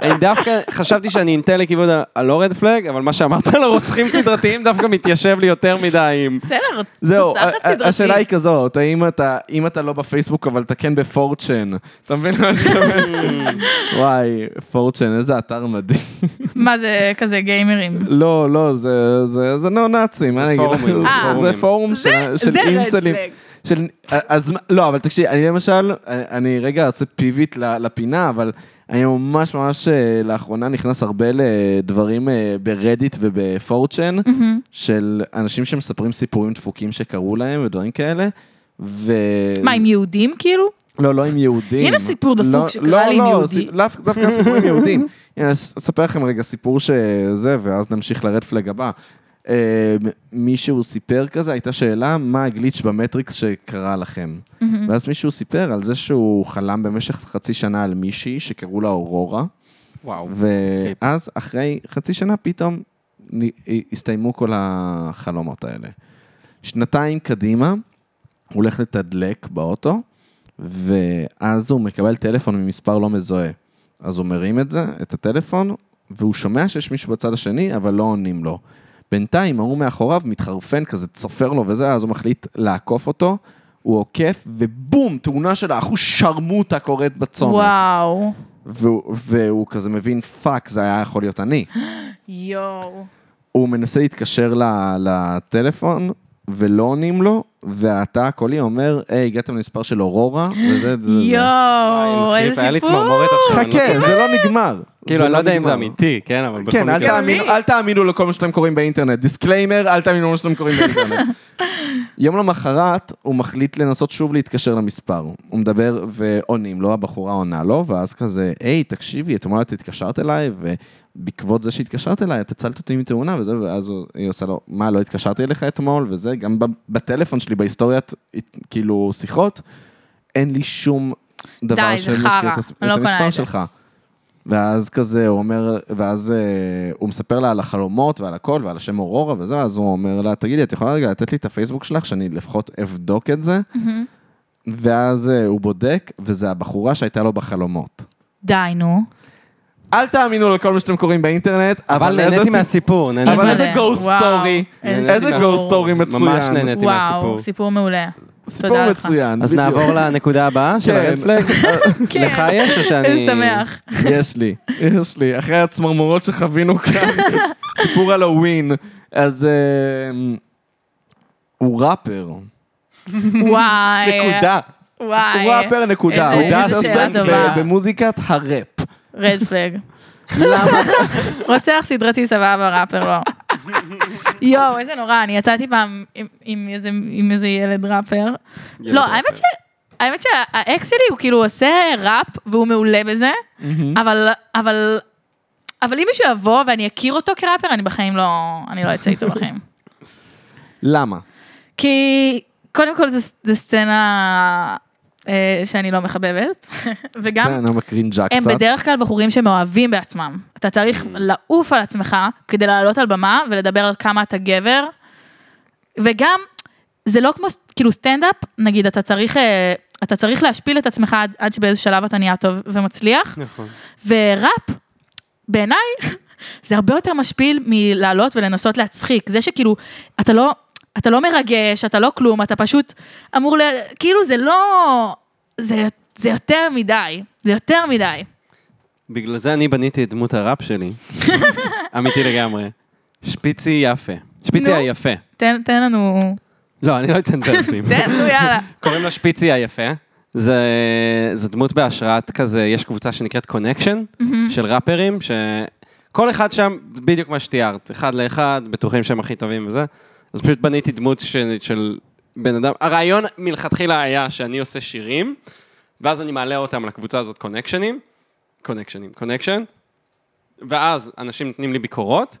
Speaker 3: אני דווקא חשבתי שאני אנטה לכיוון ה- הלא רד פלג, אבל מה שאמרת על הרוצחים סדרתיים דווקא מתיישב לי יותר מדי עם...
Speaker 2: בסדר,
Speaker 1: זהו,
Speaker 2: תוצאה
Speaker 1: ה- ה-
Speaker 2: סדרתית.
Speaker 1: השאלה היא כזאת, האם אתה, אם אתה לא בפייסבוק, אבל אתה כן בפורצ'ן, אתה מבין מה אני אומר? וואי, פורצ'ן, איזה אתר מדהים.
Speaker 2: מה זה כזה גיימרים?
Speaker 1: לא, לא, זה- זה זה ניאו-נאצים, מה
Speaker 3: זה
Speaker 1: אני אגיד לך?
Speaker 3: פורומים,
Speaker 2: אה.
Speaker 1: זה
Speaker 3: פורומים.
Speaker 1: פורום של של
Speaker 2: זה רד
Speaker 1: אינסלים.
Speaker 2: פלג.
Speaker 1: של... אז מה- לא, אבל תקשיב, אני למשל, אני- אני רגע אעשה פיבית ל- לפינה, אבל אני ממש ממש אה, לאחרונה נכנס הרבה לדברים אה, ברדיט ובפורצ'ן,
Speaker 2: Mm-hmm.
Speaker 1: של אנשים שמספרים סיפורים דפוקים שקרו להם ודברים כאלה. ו...
Speaker 2: מה, עם יהודים כאילו?
Speaker 1: לא, לא עם יהודים.
Speaker 2: הנה סיפור דפוק
Speaker 1: לא-
Speaker 2: שקרה לי עם
Speaker 1: לא, לא,
Speaker 2: יהודי.
Speaker 1: סי- לאו- דווקא סיפור עם יהודים. הנה, אס- אספר לכם רגע סיפור שזה, ואז נמשיך לרד פלג הבא. אה, מישהו סיפר כזה, הייתה שאלה, מה הגליץ' במטריקס שקרה לכם? ואז מישהו סיפר על זה שהוא חלם במשך חצי שנה על מישהי שקראו לה אורורה,
Speaker 3: וואו.
Speaker 1: ואז אחרי חצי שנה פתאום נ- הסתיימו כל החלומות האלה. שנתיים קדימה, הוא הולך לתדלק באוטו, ואז הוא מקבל טלפון ממספר לא מזוהה. אז הוא מרים את זה, את הטלפון, והוא שומע שיש מישהו בצד השני, אבל לא עונים לו. בינתיים ההוא מאחוריו מתחרפן כזה, צופר לו וזה, אז הוא מחליט לעקוף אותו, הוא עוקף, ובום, תאונה של האחוז שרמוטה קורית בצומת.
Speaker 2: וואו.
Speaker 1: והוא, והוא כזה מבין, פאק, זה היה יכול להיות אני.
Speaker 2: יואו.
Speaker 1: הוא מנסה להתקשר ל- לטלפון, ולא עונים לו, והתא הקולי אומר, היי, הגעתם למספר של אורורה, וזה... זה- זה."
Speaker 2: יואו,
Speaker 3: וואי,
Speaker 2: איזה
Speaker 3: כאילו, היה לי
Speaker 2: סיפור.
Speaker 3: צמרמורת עכשיו.
Speaker 1: חכה, זה לא נגמר.
Speaker 3: כאילו, אני לא יודע אם זה
Speaker 1: נגמר.
Speaker 3: אמיתי, כן, אבל בכל
Speaker 1: כן, אל
Speaker 3: מקרה.
Speaker 1: תאמינו, אל תאמינו לכל מה שאתם קוראים באינטרנט. דיסקליימר, אל תאמינו למה שאתם קוראים באינטרנט. יום למחרת, הוא מחליט לנסות שוב להתקשר למספר. הוא מדבר ועונים לו, הבחורה עונה לו, ואז כזה, היי, תקשיבי, אתמול את התקשרת אליי, ובעקבות זה שהתקשרת אליי, את הצלת אותי מתאונה, וזה, ואז הוא- היא עושה לו, מה, לא התקשרתי אליך אתמול, וזה, גם ב- בטלפון שלי, בהיסטוריית, כאילו, שיחות, אין לי שום דבר
Speaker 2: די, זה חרא.
Speaker 1: שמזכיר את הס-
Speaker 2: אני לא
Speaker 1: את
Speaker 2: קונה
Speaker 1: המספר
Speaker 2: את זה.
Speaker 1: שלך. ואז כזה, הוא אומר, ואז אה, הוא מספר לה על החלומות ועל הכל ועל השם אורורה וזה, אז הוא אומר לה, תגידי, את יכולה רגע לתת לי את הפייסבוק שלך, שאני לפחות אבדוק את זה?
Speaker 2: Mm-hmm.
Speaker 1: ואז אה, הוא בודק, וזה הבחורה שהייתה לו בחלומות.
Speaker 2: די, נו.
Speaker 1: אל תאמינו לכל מה שאתם קוראים באינטרנט,
Speaker 3: אבל
Speaker 1: איזה
Speaker 3: נהניתי
Speaker 1: סיפ-
Speaker 3: מהסיפור, נהניתי.
Speaker 1: אבל
Speaker 2: אבל-
Speaker 1: איזה גו
Speaker 2: וואו,
Speaker 1: סטורי,
Speaker 2: איזה
Speaker 1: איזה
Speaker 2: סיפור.
Speaker 1: גו סטורי מצוין.
Speaker 3: ממש נהניתי מהסיפור.
Speaker 2: וואו, סיפור מעולה.
Speaker 1: סיפור
Speaker 2: לך.
Speaker 1: מצוין.
Speaker 3: אז
Speaker 1: בדיוק.
Speaker 3: נעבור לנקודה הבאה של
Speaker 1: כן.
Speaker 3: הרד פלג.
Speaker 2: כן.
Speaker 3: לך יש או שאני...
Speaker 2: שמח.
Speaker 1: יש לי, יש לי. אחרי הצמרמורות שחווינו כאן, סיפור על הווין. אז אה, הוא ראפר.
Speaker 2: וואי.
Speaker 3: נקודה.
Speaker 2: וואי.
Speaker 1: הוא ראפר נקודה.
Speaker 2: איזה-
Speaker 1: הוא
Speaker 3: איזה שאלה
Speaker 1: מתעסק
Speaker 2: טובה.
Speaker 1: ב- במוזיקת הראפ.
Speaker 2: רד פלג.
Speaker 1: למה?
Speaker 2: רוצח סדרתי סבבה, ראפר לא. יואו, איזה נורא, אני יצאתי פעם עם- עם איזה- עם איזה ילד ראפר. לא,
Speaker 3: ראפר.
Speaker 2: האמת ש... האמת שהאקס שלי הוא כאילו עושה ראפ והוא מעולה בזה, אבל, אבל, אבל אם מישהו יבוא ואני אכיר אותו כראפר, אני בחיים לא, אני לא אצא איתו בחיים.
Speaker 1: למה?
Speaker 2: כי קודם כל זו- זו סצנה אה, שאני לא מחבבת, וגם
Speaker 1: סצנה מקרינג'ה
Speaker 2: הם
Speaker 1: קצת. Mm.
Speaker 2: בדרך כלל בחורים שמאוהבים בעצמם. אתה צריך לעוף על עצמך כדי לעלות על במה ולדבר על כמה אתה גבר. וגם, זה לא כמו, כאילו סטנדאפ, נגיד, אתה צריך, אה, אתה צריך להשפיל את עצמך עד, עד שבאיזשהו שלב אתה נהיה טוב ומצליח.
Speaker 3: נכון.
Speaker 2: וראפ, בעיניי, זה הרבה יותר משפיל מלעלות ולנסות להצחיק. זה שכאילו, אתה לא, אתה לא מרגש, אתה לא כלום, אתה פשוט אמור ל... כאילו, זה לא... זה, זה יותר מדי. זה יותר מדי.
Speaker 3: בגלל זה אני בניתי את דמות הראפ שלי. אמיתי לגמרי. שפיצי יפה. שפיצי
Speaker 2: נו.
Speaker 3: היפה.
Speaker 2: תן, תן לנו...
Speaker 3: לא, אני לא אתן דרסים.
Speaker 2: תן, נו, יאללה.
Speaker 3: קוראים לו שפיצי היפה. זה, זה דמות בהשראת כזה, יש קבוצה שנקראת קונקשן, של ראפרים, שכל אחד שם, בדיוק מה שתיארת, אחד לאחד, בטוחים שהם הכי טובים וזה. אז פשוט בניתי דמות של, של בן אדם, הרעיון מלכתחילה היה שאני עושה שירים, ואז אני מעלה אותם לקבוצה הזאת קונקשנים, קונקשנים, קונקשן, ואז אנשים נותנים לי ביקורות,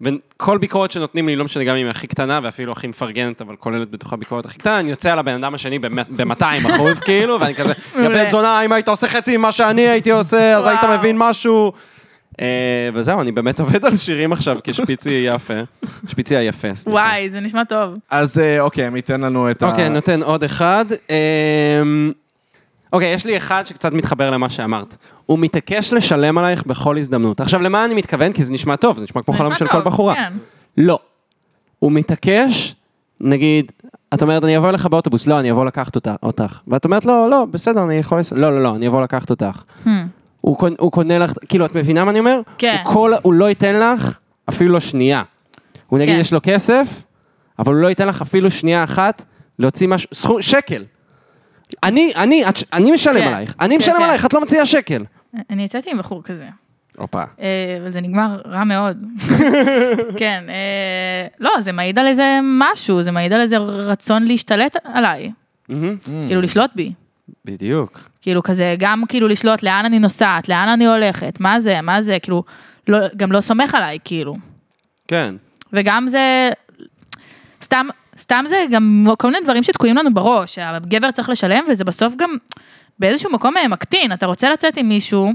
Speaker 3: וכל ביקורת שנותנים לי, לא משנה גם אם היא הכי קטנה ואפילו הכי מפרגנת, אבל כוללת בתוכה ביקורת הכי קטנה, אני יוצא על הבן אדם השני ב-200 אחוז, כאילו, ואני כזה, יא
Speaker 2: מעולה.
Speaker 3: בן זונה, אם היית עושה חצי ממה שאני הייתי עושה, אז היית
Speaker 2: וואו.
Speaker 3: מבין משהו. אה, וזהו, אני באמת עובד על שירים עכשיו כשפיצי יפה, שפיצי היפה, סליחה.
Speaker 2: וואי, זה נשמע טוב.
Speaker 1: אז אה, אוקיי, הם ייתן לנו את ה...
Speaker 3: אוקיי, אני נותן עוד אחד. אמ, אוקיי, יש לי אחד שקצת מתחבר למה שאמרת. הוא מתעקש לשלם עלייך בכל הזדמנות. עכשיו, למה אני מתכוון? כי זה נשמע טוב, זה נשמע כמו
Speaker 2: זה
Speaker 3: חלום
Speaker 2: נשמע
Speaker 3: של כל
Speaker 2: טוב,
Speaker 3: בחורה.
Speaker 2: כן.
Speaker 3: לא. הוא מתעקש, נגיד, את אומרת, אני אבוא אליך באוטובוס, לא, אני אבוא לקחת אותה- אותך. ואת אומרת, לא, לא, בסדר, אני יכול... לס- לא, לא, לא, אני אבוא לקחת אותך.
Speaker 2: Hmm.
Speaker 3: הוא קונ- הוא קונה לך, כאילו, את מבינה מה אני אומר?
Speaker 2: כן.
Speaker 3: הוא כל- הוא לא ייתן לך אפילו שנייה. הוא נגיד,
Speaker 2: כן.
Speaker 3: יש לו כסף, אבל הוא לא ייתן לך אפילו שנייה אחת להוציא משהו, סכום, שקל. אני, אני, את ש- אני משלם
Speaker 2: כן.
Speaker 3: עלייך, אני
Speaker 2: כן,
Speaker 3: משלם
Speaker 2: כן.
Speaker 3: עלייך, את לא מציעה שקל.
Speaker 2: אני יצאתי עם בחור כזה.
Speaker 3: הופה.
Speaker 2: אה, אבל זה נגמר רע מאוד. כן, אה, לא, זה מעיד על איזה משהו, זה מעיד על איזה רצון להשתלט עליי, כאילו לשלוט בי.
Speaker 3: בדיוק.
Speaker 2: כאילו כזה, גם כאילו לשלוט לאן אני נוסעת, לאן אני הולכת, מה זה, מה זה, כאילו, לא, גם לא סומך עליי, כאילו.
Speaker 3: כן.
Speaker 2: וגם זה, סתם, סתם זה גם כל מיני דברים שתקועים לנו בראש, שהגבר צריך לשלם, וזה בסוף גם באיזשהו מקום אה, מקטין, אתה רוצה לצאת עם מישהו,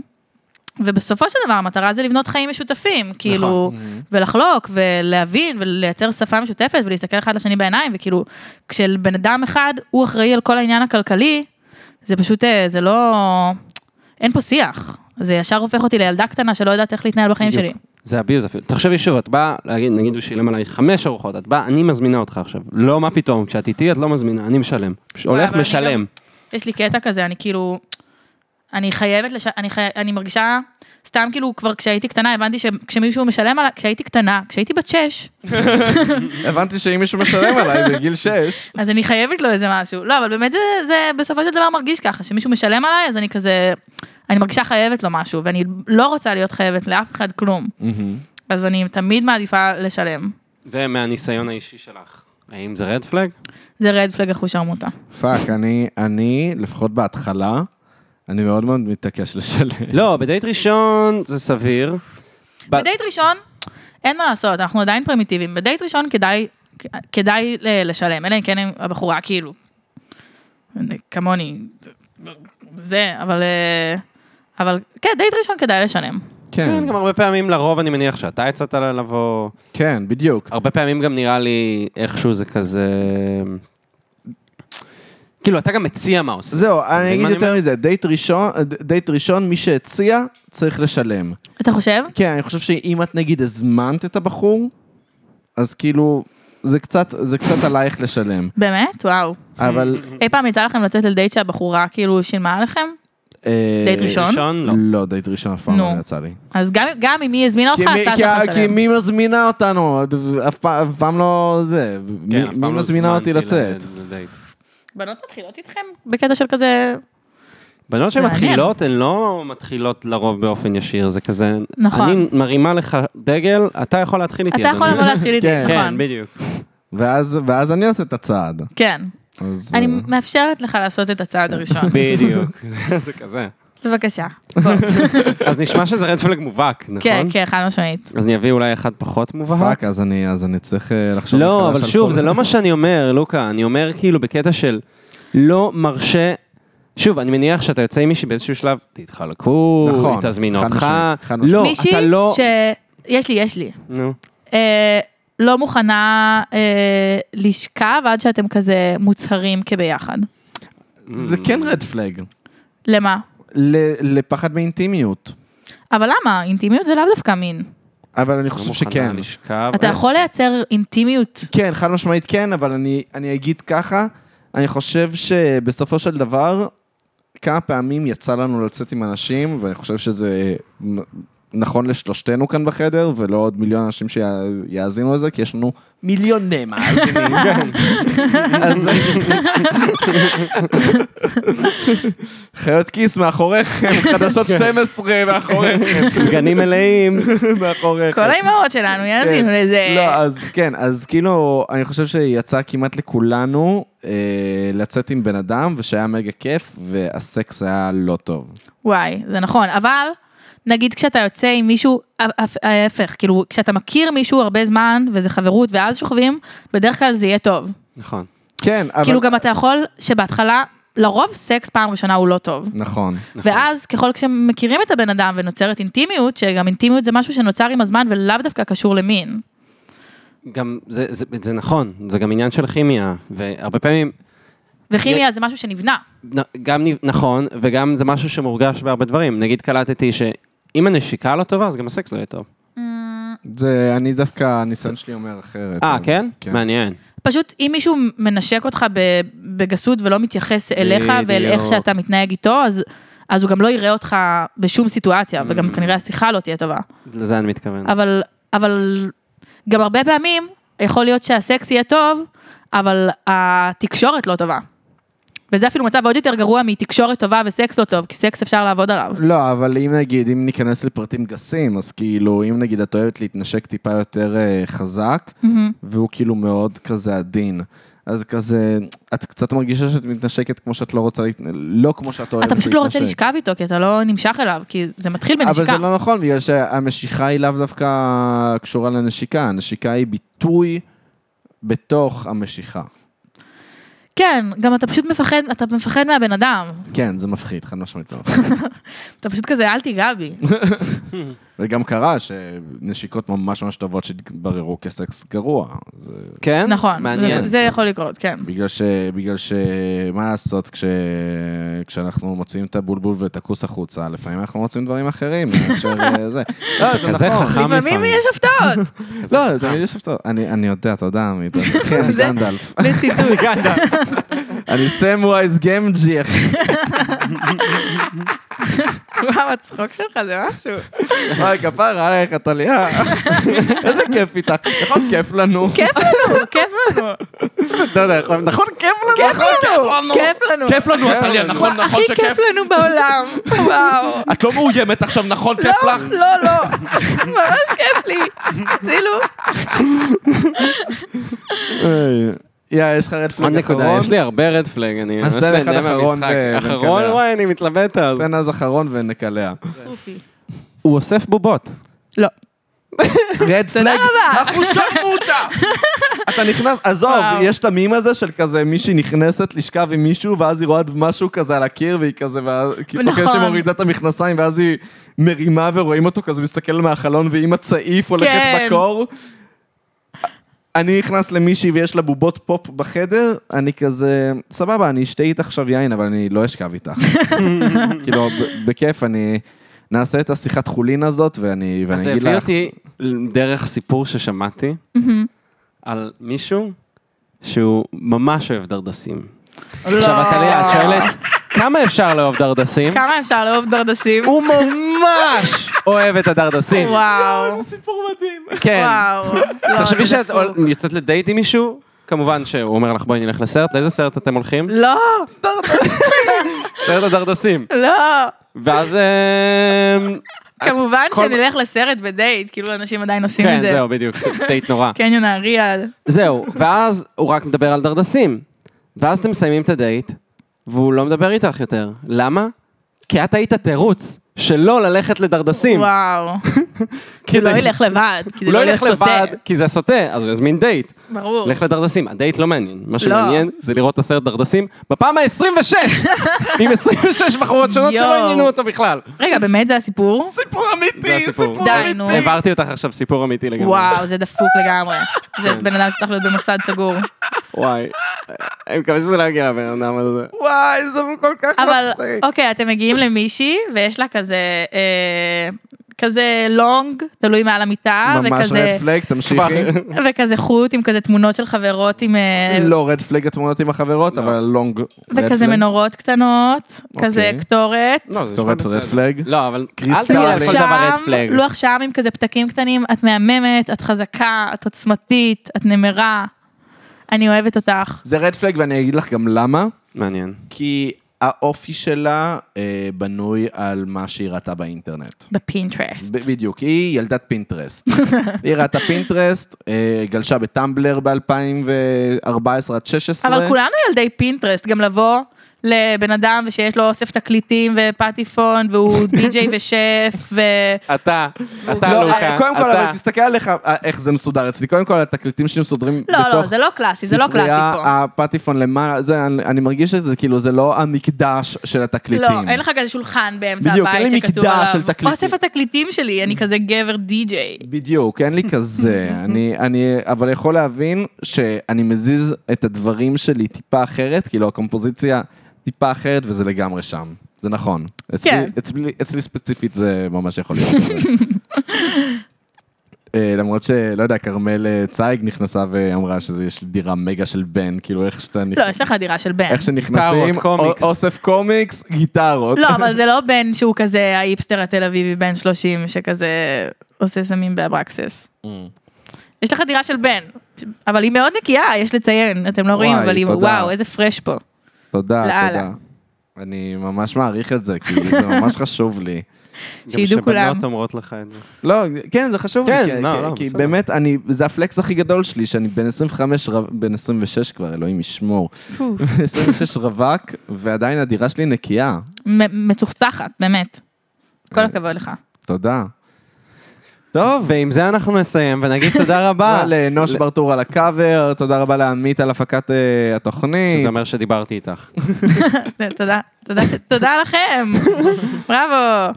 Speaker 2: ובסופו של דבר המטרה זה לבנות חיים משותפים, כאילו, ולחלוק, ולהבין, ולייצר שפה משותפת, ולהסתכל אחד לשני בעיניים, וכאילו, כשבן אדם אחד, הוא אחראי על כל העניין הכלכלי, זה פשוט, אה, זה לא... אין פה שיח. זה ישר הופך אותי לילדה קטנה שלא יודעת איך להתנהל בחיים שלי.
Speaker 3: בדיוק. זה abuse אפילו. תחשבי שוב, את באה להגיד, נגיד הוא שילם עליי חמש ארוחות, את באה, אני מזמינה אותך עכשיו. לא, מה פתאום, כשאת איתי את לא מזמינה, אני משלם. פשוט הולך,
Speaker 2: אבל אני
Speaker 3: משלם.
Speaker 2: יש לי קטע כזה, אני כאילו, אני חייבת, לש... אני, חי... אני מרגישה, סתם כאילו כבר כשהייתי קטנה, הבנתי שכשמישהו משלם עליי, כשהייתי קטנה, כשהייתי בת שש,
Speaker 1: הבנתי שאם מישהו משלם עליי בגיל 6,
Speaker 2: אז אני חייבת לו איזה משהו. לא, אבל באמת זה, זה בסופו של דבר מרגיש ככה, שמישהו משלם עליי, אז אני כזה, אני מרגישה חייבת לו משהו, ואני לא רוצה להיות חייבת לאף אחד כלום. אז אני תמיד מעדיפה לשלם.
Speaker 3: ומהניסיון האישי שלך, האם זה רד פלג?
Speaker 2: זה רד פלג אחוש עמותה.
Speaker 1: פאק, אני, אני, לפחות בהתחלה, אני מאוד מאוד מתעקש לשלם.
Speaker 3: לא, בדייט ראשון זה סביר. ב-
Speaker 2: בדייט ראשון, אין מה לעשות, אנחנו עדיין פרימיטיביים. בדייט ראשון כדאי, כדאי ל- לשלם, אלא אם כן הבחורה כאילו, כמוני, זה, אבל, אה, אבל כן, דייט ראשון כדאי לשלם.
Speaker 3: כן, גם הרבה פעמים לרוב אני מניח שאתה יצאת לה לבוא.
Speaker 1: כן, בדיוק.
Speaker 3: הרבה פעמים גם נראה לי איכשהו זה כזה... כאילו, אתה גם מציע מה עושה.
Speaker 1: זהו,
Speaker 3: מבין
Speaker 1: אני
Speaker 3: מה
Speaker 1: אגיד
Speaker 3: אני
Speaker 1: יותר
Speaker 3: אומר?
Speaker 1: מזה, דייט ראשון, דייט ראשון, מי שהציע, צריך לשלם.
Speaker 2: אתה חושב?
Speaker 1: כן, אני חושב שאם את נגיד הזמנת את הבחור, אז כאילו, זה קצת, זה קצת עלייך לשלם.
Speaker 2: באמת? וואו.
Speaker 1: אבל...
Speaker 2: אי פעם יצא לכם לצאת לדייט שהבחורה כאילו שילמה עליכם?
Speaker 1: אה,
Speaker 2: דייט ראשון?
Speaker 3: ראשון? לא.
Speaker 1: לא, דייט ראשון אף פעם
Speaker 2: נו.
Speaker 1: לא יצא לי.
Speaker 2: אז גם, גם אם היא הזמינה אותך,
Speaker 1: כי מי-
Speaker 2: אתה
Speaker 1: כי ה-
Speaker 2: צריך
Speaker 1: כי
Speaker 2: לשלם.
Speaker 1: מי מזמינה אותנו? את- אף פעם- אף פעם לא זה.
Speaker 3: כן,
Speaker 1: מי-
Speaker 3: אף פעם
Speaker 1: מי
Speaker 3: לא
Speaker 1: מזמינה אותי
Speaker 3: הוזמנתי
Speaker 1: לצאת?
Speaker 3: ל- לדייט.
Speaker 2: בנות מתחילות איתכם בקטע של כזה...
Speaker 3: בנות
Speaker 2: מעניין.
Speaker 3: שמתחילות, הן לא מתחילות לרוב באופן ישיר, זה כזה...
Speaker 2: נכון.
Speaker 3: אני מרימה לך דגל, אתה יכול להתחיל איתי.
Speaker 2: אתה יכול
Speaker 3: אדוני.
Speaker 2: לבוא להתחיל איתי,
Speaker 1: כן.
Speaker 2: נכון.
Speaker 3: כן, בדיוק.
Speaker 1: ואז ואז אני עושה את הצעד.
Speaker 2: כן.
Speaker 1: אז...
Speaker 2: אני
Speaker 1: אה,
Speaker 2: מאפשרת לך לעשות את הצעד הראשון.
Speaker 3: בדיוק. זה כזה.
Speaker 2: בבקשה. בוא.
Speaker 3: אז נשמע שזה רד פלג מובהק, נכון?
Speaker 2: כן, כן, חד משמעית.
Speaker 3: אז אני אביא אולי אחד פחות מובהק.
Speaker 1: פאק, אז אני אז אני צריך אה, לחשוב
Speaker 3: לא,
Speaker 1: מחדש
Speaker 3: אבל
Speaker 1: על
Speaker 3: שוב,
Speaker 1: כל-
Speaker 3: זה לא מה שאני אומר, לוקה. אני אומר כאילו בקטע של לא מרשה... שוב, אני מניח שאתה יוצא עם מישהי באיזשהו שלב, תתחלקו,
Speaker 1: נכון,
Speaker 3: היא תזמין
Speaker 1: חד
Speaker 3: אותך.
Speaker 1: משמעית, חד משמעית.
Speaker 3: לא,
Speaker 2: מישהי
Speaker 3: אתה לא...
Speaker 2: ש... יש לי, יש לי.
Speaker 3: נו.
Speaker 2: אה, לא מוכנה אה, לשכב עד שאתם כזה מוצהרים כביחד.
Speaker 1: זה כן רד פלג.
Speaker 2: למה?
Speaker 1: ל- לפחד מאינטימיות.
Speaker 2: אבל למה? אינטימיות זה לאו דווקא מין.
Speaker 1: אבל אני
Speaker 3: לא
Speaker 1: חושב
Speaker 3: מוכנה
Speaker 1: שכן.
Speaker 3: לשכב.
Speaker 2: אתה
Speaker 3: אה,
Speaker 2: יכול לייצר אינטימיות.
Speaker 1: כן, חד משמעית כן, אבל אני, אני אגיד ככה, אני חושב שבסופו של דבר, כמה פעמים יצא לנו לצאת עם אנשים, ואני חושב שזה מ- נכון לשלושתנו כאן בחדר, ולא עוד מיליון אנשים שיאזינו לזה, כי יש לנו מיליוני מאזינים. אז... חיות כיס מאחוריכם, חדשות
Speaker 3: כן.
Speaker 1: 12 מאחוריכם,
Speaker 3: גנים מלאים.
Speaker 1: מאחוריכם.
Speaker 3: אה,
Speaker 2: כל האימהות שלנו יאזינו
Speaker 1: כן.
Speaker 2: לזה.
Speaker 1: לא, אז כן, אז כאילו, אני חושב שיצא כמעט לכולנו אה, לצאת עם בן אדם, ושהיה מגה כיף, והסקס היה לא טוב.
Speaker 2: וואי, זה נכון, אבל נגיד כשאתה יוצא עם מישהו, ההפ- ההפך, כאילו כשאתה מכיר מישהו הרבה זמן וזה חברות ואז שוכבים, בדרך כלל זה יהיה טוב.
Speaker 3: נכון.
Speaker 1: כן, אבל...
Speaker 2: כאילו גם אתה יכול שבהתחלה, לרוב סקס פעם ראשונה הוא לא טוב.
Speaker 1: נכון.
Speaker 2: ואז ככל שמכירים את הבן אדם ונוצרת אינטימיות, שגם אינטימיות זה משהו שנוצר עם הזמן ולאו דווקא קשור למין.
Speaker 3: גם זה, זה, זה נכון, זה גם עניין של כימיה, והרבה פעמים,
Speaker 2: וכימיה זה משהו שנבנה.
Speaker 3: נ- גם נ- נכון, וגם זה משהו שמורגש בהרבה דברים. נגיד קלטתי שאם הנשיקה לא טובה, אז גם הסקס לא יהיה טוב.
Speaker 1: זה, אני דווקא, הניסיון שלי אומר אחרת.
Speaker 3: אה,
Speaker 1: אבל-
Speaker 3: כן? מעניין.
Speaker 2: פשוט אם מישהו מנשק אותך ב- בגסות ולא מתייחס אליך ואל איך
Speaker 1: בדיוק.
Speaker 2: שאתה מתנהג איתו, אז, אז הוא גם לא יראה אותך בשום סיטואציה, וגם
Speaker 1: Mm.
Speaker 2: כנראה השיחה לא תהיה טובה.
Speaker 3: לזה אני מתכוון.
Speaker 2: אבל, אבל גם הרבה פעמים יכול להיות שהסקס יהיה טוב, אבל התקשורת לא טובה. וזה אפילו מצב עוד יותר גרוע מתקשורת טובה וסקס לא טוב, כי סקס אפשר לעבוד עליו.
Speaker 1: לא, אבל אם נגיד, אם ניכנס לפרטים גסים, אז כאילו, אם נגיד את אוהבת להתנשק טיפה יותר אה, חזק, והוא כאילו מאוד כזה עדין. אז כזה, את קצת מרגישה שאת מתנשקת כמו שאת לא רוצה, להת- לא כמו שאת אוהבת
Speaker 2: אתה
Speaker 1: להתנשק.
Speaker 2: פשוט לא רוצה לשכב איתו, כי אתה לא נמשך אליו, כי זה מתחיל בנשיקה.
Speaker 1: אבל זה לא נכון, בגלל שהמשיכה היא לאו דווקא קשורה לנשיקה, הנשיקה היא ביטוי בתוך המשיכה.
Speaker 2: כן, גם אתה פשוט מפחד, אתה מפחד מהבן אדם.
Speaker 1: כן, זה מפחיד, חד משמעית לא.
Speaker 2: אתה פשוט כזה, אל תיגע בי.
Speaker 1: וגם קרה שנשיקות ממש ממש טובות שהתבררו כסקס גרוע. זה
Speaker 3: כן?
Speaker 2: נכון,
Speaker 3: מעניין.
Speaker 2: זה- זה יכול לקרות, כן.
Speaker 1: בגלל ש... בגלל ש... מה לעשות, כש... כשאנחנו מוצאים את הבולבול ואת הכוס החוצה, לפעמים אנחנו מוצאים דברים אחרים מאשר אה, זה. לא, זה
Speaker 3: כזה
Speaker 1: נכון.
Speaker 3: חכם. גם
Speaker 2: לפעמים
Speaker 3: לפעמים.
Speaker 2: יש הפתעות,
Speaker 1: לא, תמיד יש הפתעות. אני אני יודע, תודה, עמית. כן, אני גנדלף.
Speaker 2: בציטוט.
Speaker 1: אני סמווייז גמג'י, אחי.
Speaker 2: וואו, הצחוק שלך זה משהו.
Speaker 1: וואי, כפרה עלייך, טליה. איזה כיף איתך. נכון, כיף לנו.
Speaker 2: כיף לנו, כיף לנו.
Speaker 1: אתה יודע, יכול- נכון, כיף לנו. נכון,
Speaker 2: כיף לנו.
Speaker 1: כיף לנו, עטליה, נכון,
Speaker 2: וואו, הכי כיף לנו בעולם, וואו.
Speaker 1: את לא מאוימת עכשיו, נכון, כיף
Speaker 2: לא, לא, לא. ממש כיף לי. הצילו.
Speaker 1: יא, יש לך רדפלג
Speaker 3: עוד נקודה,
Speaker 1: אחרון?
Speaker 3: יש לי הרבה רד פלג, אני
Speaker 1: אז
Speaker 3: ממש
Speaker 1: תן אחד
Speaker 3: נהנה
Speaker 1: אחרון נכון,
Speaker 3: מהמשחק.
Speaker 1: ו-
Speaker 3: אחרון,
Speaker 1: ונקלע.
Speaker 3: וואי, אני מתלבט אז.
Speaker 1: תן אז אחרון ונקלע. אוקיי.
Speaker 3: הוא אוסף בובות.
Speaker 2: לא.
Speaker 1: רד פלג,
Speaker 2: רבה.
Speaker 1: אנחנו שמעו אותה! אתה נכנס, עזוב,
Speaker 2: וואו.
Speaker 1: יש את המים הזה של כזה מישהי נכנסת לשכב עם מישהו, ואז היא רואה משהו כזה על הקיר, והיא כזה, ואז- כאילו,
Speaker 2: נכון.
Speaker 1: כזה שמורידה את המכנסיים, ואז היא מרימה ורואים אותו כזה מסתכל מהחלון, והיא עם הצעיף הולכת
Speaker 2: כן.
Speaker 1: בקור. אני נכנס למישהי ויש לה בובות פופ בחדר, אני כזה, סבבה, אני אשתה איתך עכשיו יין, אבל אני לא אשכב איתך. כאילו, ב- בכיף, אני... נעשה את השיחת חולין הזאת, ואני ואני
Speaker 3: זה
Speaker 1: אגיד לך...
Speaker 3: הביא אותי דרך סיפור ששמעתי על מישהו שהוא ממש אוהב דרדסים. לא. עכשיו, עתליה, את שואלת, כמה אפשר לאהוב דרדסים?
Speaker 2: כמה אפשר לאהוב דרדסים?
Speaker 3: הוא ממש אוהב את הדרדסים.
Speaker 2: וואו.
Speaker 1: איזה סיפור מדהים.
Speaker 3: כן.
Speaker 2: וואו. לא,
Speaker 3: תחשבי
Speaker 2: זה
Speaker 3: שאת
Speaker 2: דפוק.
Speaker 3: יוצאת לדייט עם מישהו, כמובן שהוא אומר לך בואי נלך לסרט, לאיזה סרט אתם הולכים?
Speaker 2: לא,
Speaker 3: סרט הדרדסים.
Speaker 2: לא.
Speaker 3: ואז... אמ,
Speaker 2: כמובן
Speaker 3: כל-
Speaker 2: שנלך לסרט בדייט, כאילו אנשים עדיין עושים
Speaker 3: כן,
Speaker 2: את זה. כן.
Speaker 3: זהו, בדיוק, דייט נורא.
Speaker 2: קניון האריאל.
Speaker 3: זהו, ואז הוא רק מדבר על דרדסים. ואז אתם מסיימים את הדייט, והוא לא מדבר איתך יותר. למה? כי את היית תירוץ שלא ללכת לדרדסים.
Speaker 2: וואו.
Speaker 3: כי
Speaker 2: הוא לא
Speaker 3: די-
Speaker 2: ילך לבד, כי זה
Speaker 3: הוא
Speaker 2: לא
Speaker 3: לא
Speaker 2: להיות
Speaker 3: ילך לבד,
Speaker 2: סוטה.
Speaker 3: כי זה סוטה, אז הוא יזמין דייט.
Speaker 2: ברור.
Speaker 3: לך לדרדסים, הדייט לא מעניין. מה שמעניין
Speaker 2: שמעניין
Speaker 3: זה לראות את הסרט דרדסים בפעם ה-26, עם 26 בחורות שונות
Speaker 2: יואו. שלא
Speaker 3: שלא עניינו
Speaker 2: עניינו
Speaker 3: אותו בכלל.
Speaker 2: רגע, באמת זה הסיפור?
Speaker 1: סיפור
Speaker 3: זה
Speaker 1: אמיתי,
Speaker 3: הסיפור.
Speaker 1: סיפור
Speaker 2: די,
Speaker 1: אמיתי.
Speaker 2: נו.
Speaker 3: העברתי אותך עכשיו סיפור אמיתי לגמרי.
Speaker 2: וואו, זה דפוק לגמרי. זה
Speaker 3: כן.
Speaker 2: בן אדם שצריך להיות במוסד סגור.
Speaker 3: וואי. אני מקווה שזה לא יגיע לבן אדם הזה.
Speaker 1: וואי, זה כל כך
Speaker 2: אבל,
Speaker 1: מצחיק.
Speaker 2: אוקיי, אתם מגיעים למישהי, ויש לה כזה אה, כזה לונג, תלוי מעל המיטה,
Speaker 1: ממש
Speaker 2: אה, וכזה,
Speaker 1: רד פלג, תמשיכי.
Speaker 3: כבר.
Speaker 2: וכזה חוט עם כזה תמונות של חברות עם... אה,
Speaker 1: לא רד פלג התמונות עם החברות,
Speaker 3: לא.
Speaker 1: אבל לונג רד פלג.
Speaker 2: וכזה מנורות קטנות,
Speaker 1: אוקיי.
Speaker 2: כזה קטורת.
Speaker 3: לא, זה נשמע
Speaker 1: כתובת
Speaker 3: בסדר.
Speaker 1: red flag.
Speaker 3: לא, אבל
Speaker 1: קריס
Speaker 3: אל תגיד
Speaker 1: דארלינג.
Speaker 3: על
Speaker 2: לוח
Speaker 3: כל דבר רד
Speaker 2: שם,
Speaker 3: פלג.
Speaker 1: לא-
Speaker 2: לוח שם עם כזה פתקים קטנים, את מהממת, את חזקה, את עוצמתית, את נמרה, אני אוהבת אותך.
Speaker 1: זה רד פלג ואני אגיד לך גם למה.
Speaker 3: מעניין.
Speaker 1: כי האופי שלה אה, בנוי על מה שהיא ראתה באינטרנט.
Speaker 2: בפינטרסט.
Speaker 1: ב- בדיוק, היא ילדת פינטרסט. היא ראתה פינטרסט, אה, גלשה בטמבלר ב-2014 עד 16.
Speaker 2: אבל כולנו ילדי פינטרסט, גם לבוא לבן אדם ושיש לו אוסף תקליטים ופטיפון והוא די-ג'יי ושף ו...
Speaker 3: אתה, אתה
Speaker 1: לא,
Speaker 3: לוקה,
Speaker 1: קודם כל, אבל
Speaker 3: אתה.
Speaker 1: תסתכל עליך אה, איך זה מסודר אצלי. קודם כל, התקליטים שלי מסודרים
Speaker 2: לא,
Speaker 1: בתוך...
Speaker 2: לא, זה לא קלאסי, זה לא קלאסי פה.
Speaker 1: הפטיפון למעלה, זה, אני, אני מרגיש שזה כאילו, זה לא המקדש של התקליטים.
Speaker 2: לא, אין לך כזה שולחן באמצע
Speaker 1: בדיוק,
Speaker 2: הבית
Speaker 1: אין לי
Speaker 2: שכתוב
Speaker 1: מקדש
Speaker 2: עליו.
Speaker 1: של תקליטים.
Speaker 2: אוסף התקליטים שלי, אני כזה גבר די-ג'יי.
Speaker 1: בדיוק, אין לי כזה. אני, אני אבל יכול להבין שאני מזיז את הדברים שלי טיפה אחרת, כאילו הקומפוזיציה טיפה אחרת, וזה לגמרי שם. זה נכון. אצלי,
Speaker 2: כן.
Speaker 1: אצלי, אצלי ספציפית זה ממש יכול להיות. כזה. אה, למרות שלא יודע, כרמל אה, צייג נכנסה ואמרה שזה יש לי דירה מגה של בן, כאילו איך שאתה נכנס...
Speaker 2: לא, יש לך דירה של בן.
Speaker 1: איך שנכנסים,
Speaker 3: גיטרות, קומיקס.
Speaker 1: א- אוסף קומיקס, גיטרות.
Speaker 2: לא, אבל זה לא בן שהוא כזה האיפסטר התל אביבי בן 30, שכזה עושה סמים באברקסס.
Speaker 1: Mm.
Speaker 2: יש לך דירה של בן, אבל היא מאוד נקייה, יש לציין, אתם לא רואים,
Speaker 1: וואי,
Speaker 2: אבל היא,
Speaker 1: תודה.
Speaker 2: וואו, איזה פרש פה.
Speaker 1: תודה,
Speaker 2: לאללה.
Speaker 1: תודה. אני ממש מעריך את זה, כי זה ממש חשוב לי.
Speaker 2: שידעו
Speaker 3: גם
Speaker 2: כולם.
Speaker 3: שבנות אומרות לך את זה.
Speaker 1: לא, כן, זה חשוב
Speaker 3: כן,
Speaker 1: לי, כי,
Speaker 3: לא,
Speaker 1: כי,
Speaker 3: לא,
Speaker 1: כי
Speaker 3: בסדר.
Speaker 1: באמת, אני, זה הפלקס הכי גדול שלי, שאני בן 25, רב, בן 26 כבר, אלוהים ישמור.
Speaker 2: פו,
Speaker 1: 26 רווק, ועדיין הדירה שלי נקייה.
Speaker 2: מ- מצוחצחת, באמת. כל הכבוד לך.
Speaker 1: תודה. טוב.
Speaker 3: ועם זה אנחנו נסיים ונגיד תודה רבה.
Speaker 1: תודה לאנוש ברטור על הקאבר, תודה רבה לעמית על הפקת אה, התוכנית.
Speaker 3: שזה אומר שדיברתי איתך.
Speaker 2: תודה, תודה, ש- תודה לכם. בראבו.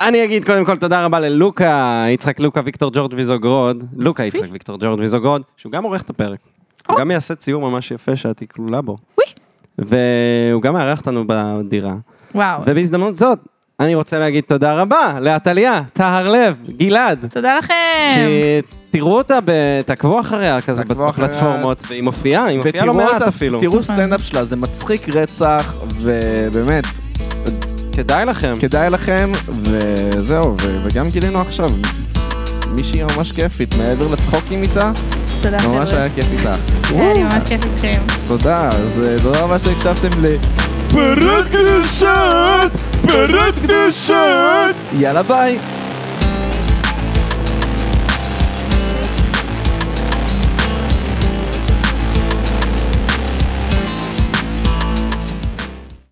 Speaker 3: אני אגיד קודם כל תודה רבה ללוקה, יצחק לוקה ויקטור ג'ורג' ויזוגרוד, לוקה יצחק ויקטור ג'ורג' ויזוגרוד, שהוא גם עורך את הפרק. הוא
Speaker 1: אוקיי.
Speaker 2: או.
Speaker 3: גם יעשה ציור ממש יפה שאת תהיי כלולה בו.
Speaker 2: וואי.
Speaker 3: והוא גם מארח אותנו בדירה.
Speaker 2: וואו.
Speaker 3: ובהזדמנות זאת, אני רוצה להגיד תודה רבה לעתליה, טהר לב, גלעד.
Speaker 2: תודה לכם.
Speaker 3: שתראו אותה, ב- תעקבו אחריה כזה
Speaker 1: תעקבו אחריה.
Speaker 3: בפלטפורמות, והיא מופיעה, היא מופיעה לא
Speaker 1: ותראו
Speaker 3: מעט
Speaker 1: את ה-
Speaker 3: אפילו.
Speaker 1: תראו סטנדאפ שלה, זה מצחיק רצח, ובאמת,
Speaker 3: כדאי לכם.
Speaker 1: כדאי לכם, וזהו, ו- וגם גילינו עכשיו מישהי ממש כיפית, מעבר לצחוקים איתה,
Speaker 2: תודה
Speaker 3: כן,
Speaker 1: ממש
Speaker 2: חבר'ה.
Speaker 1: היה כיף איתך.
Speaker 2: היה לי ממש כיף איתכם.
Speaker 1: תודה, אז אה, תודה רבה שהקשבתם ל... פרות קדושות! פרות קדושות! יאללה ביי!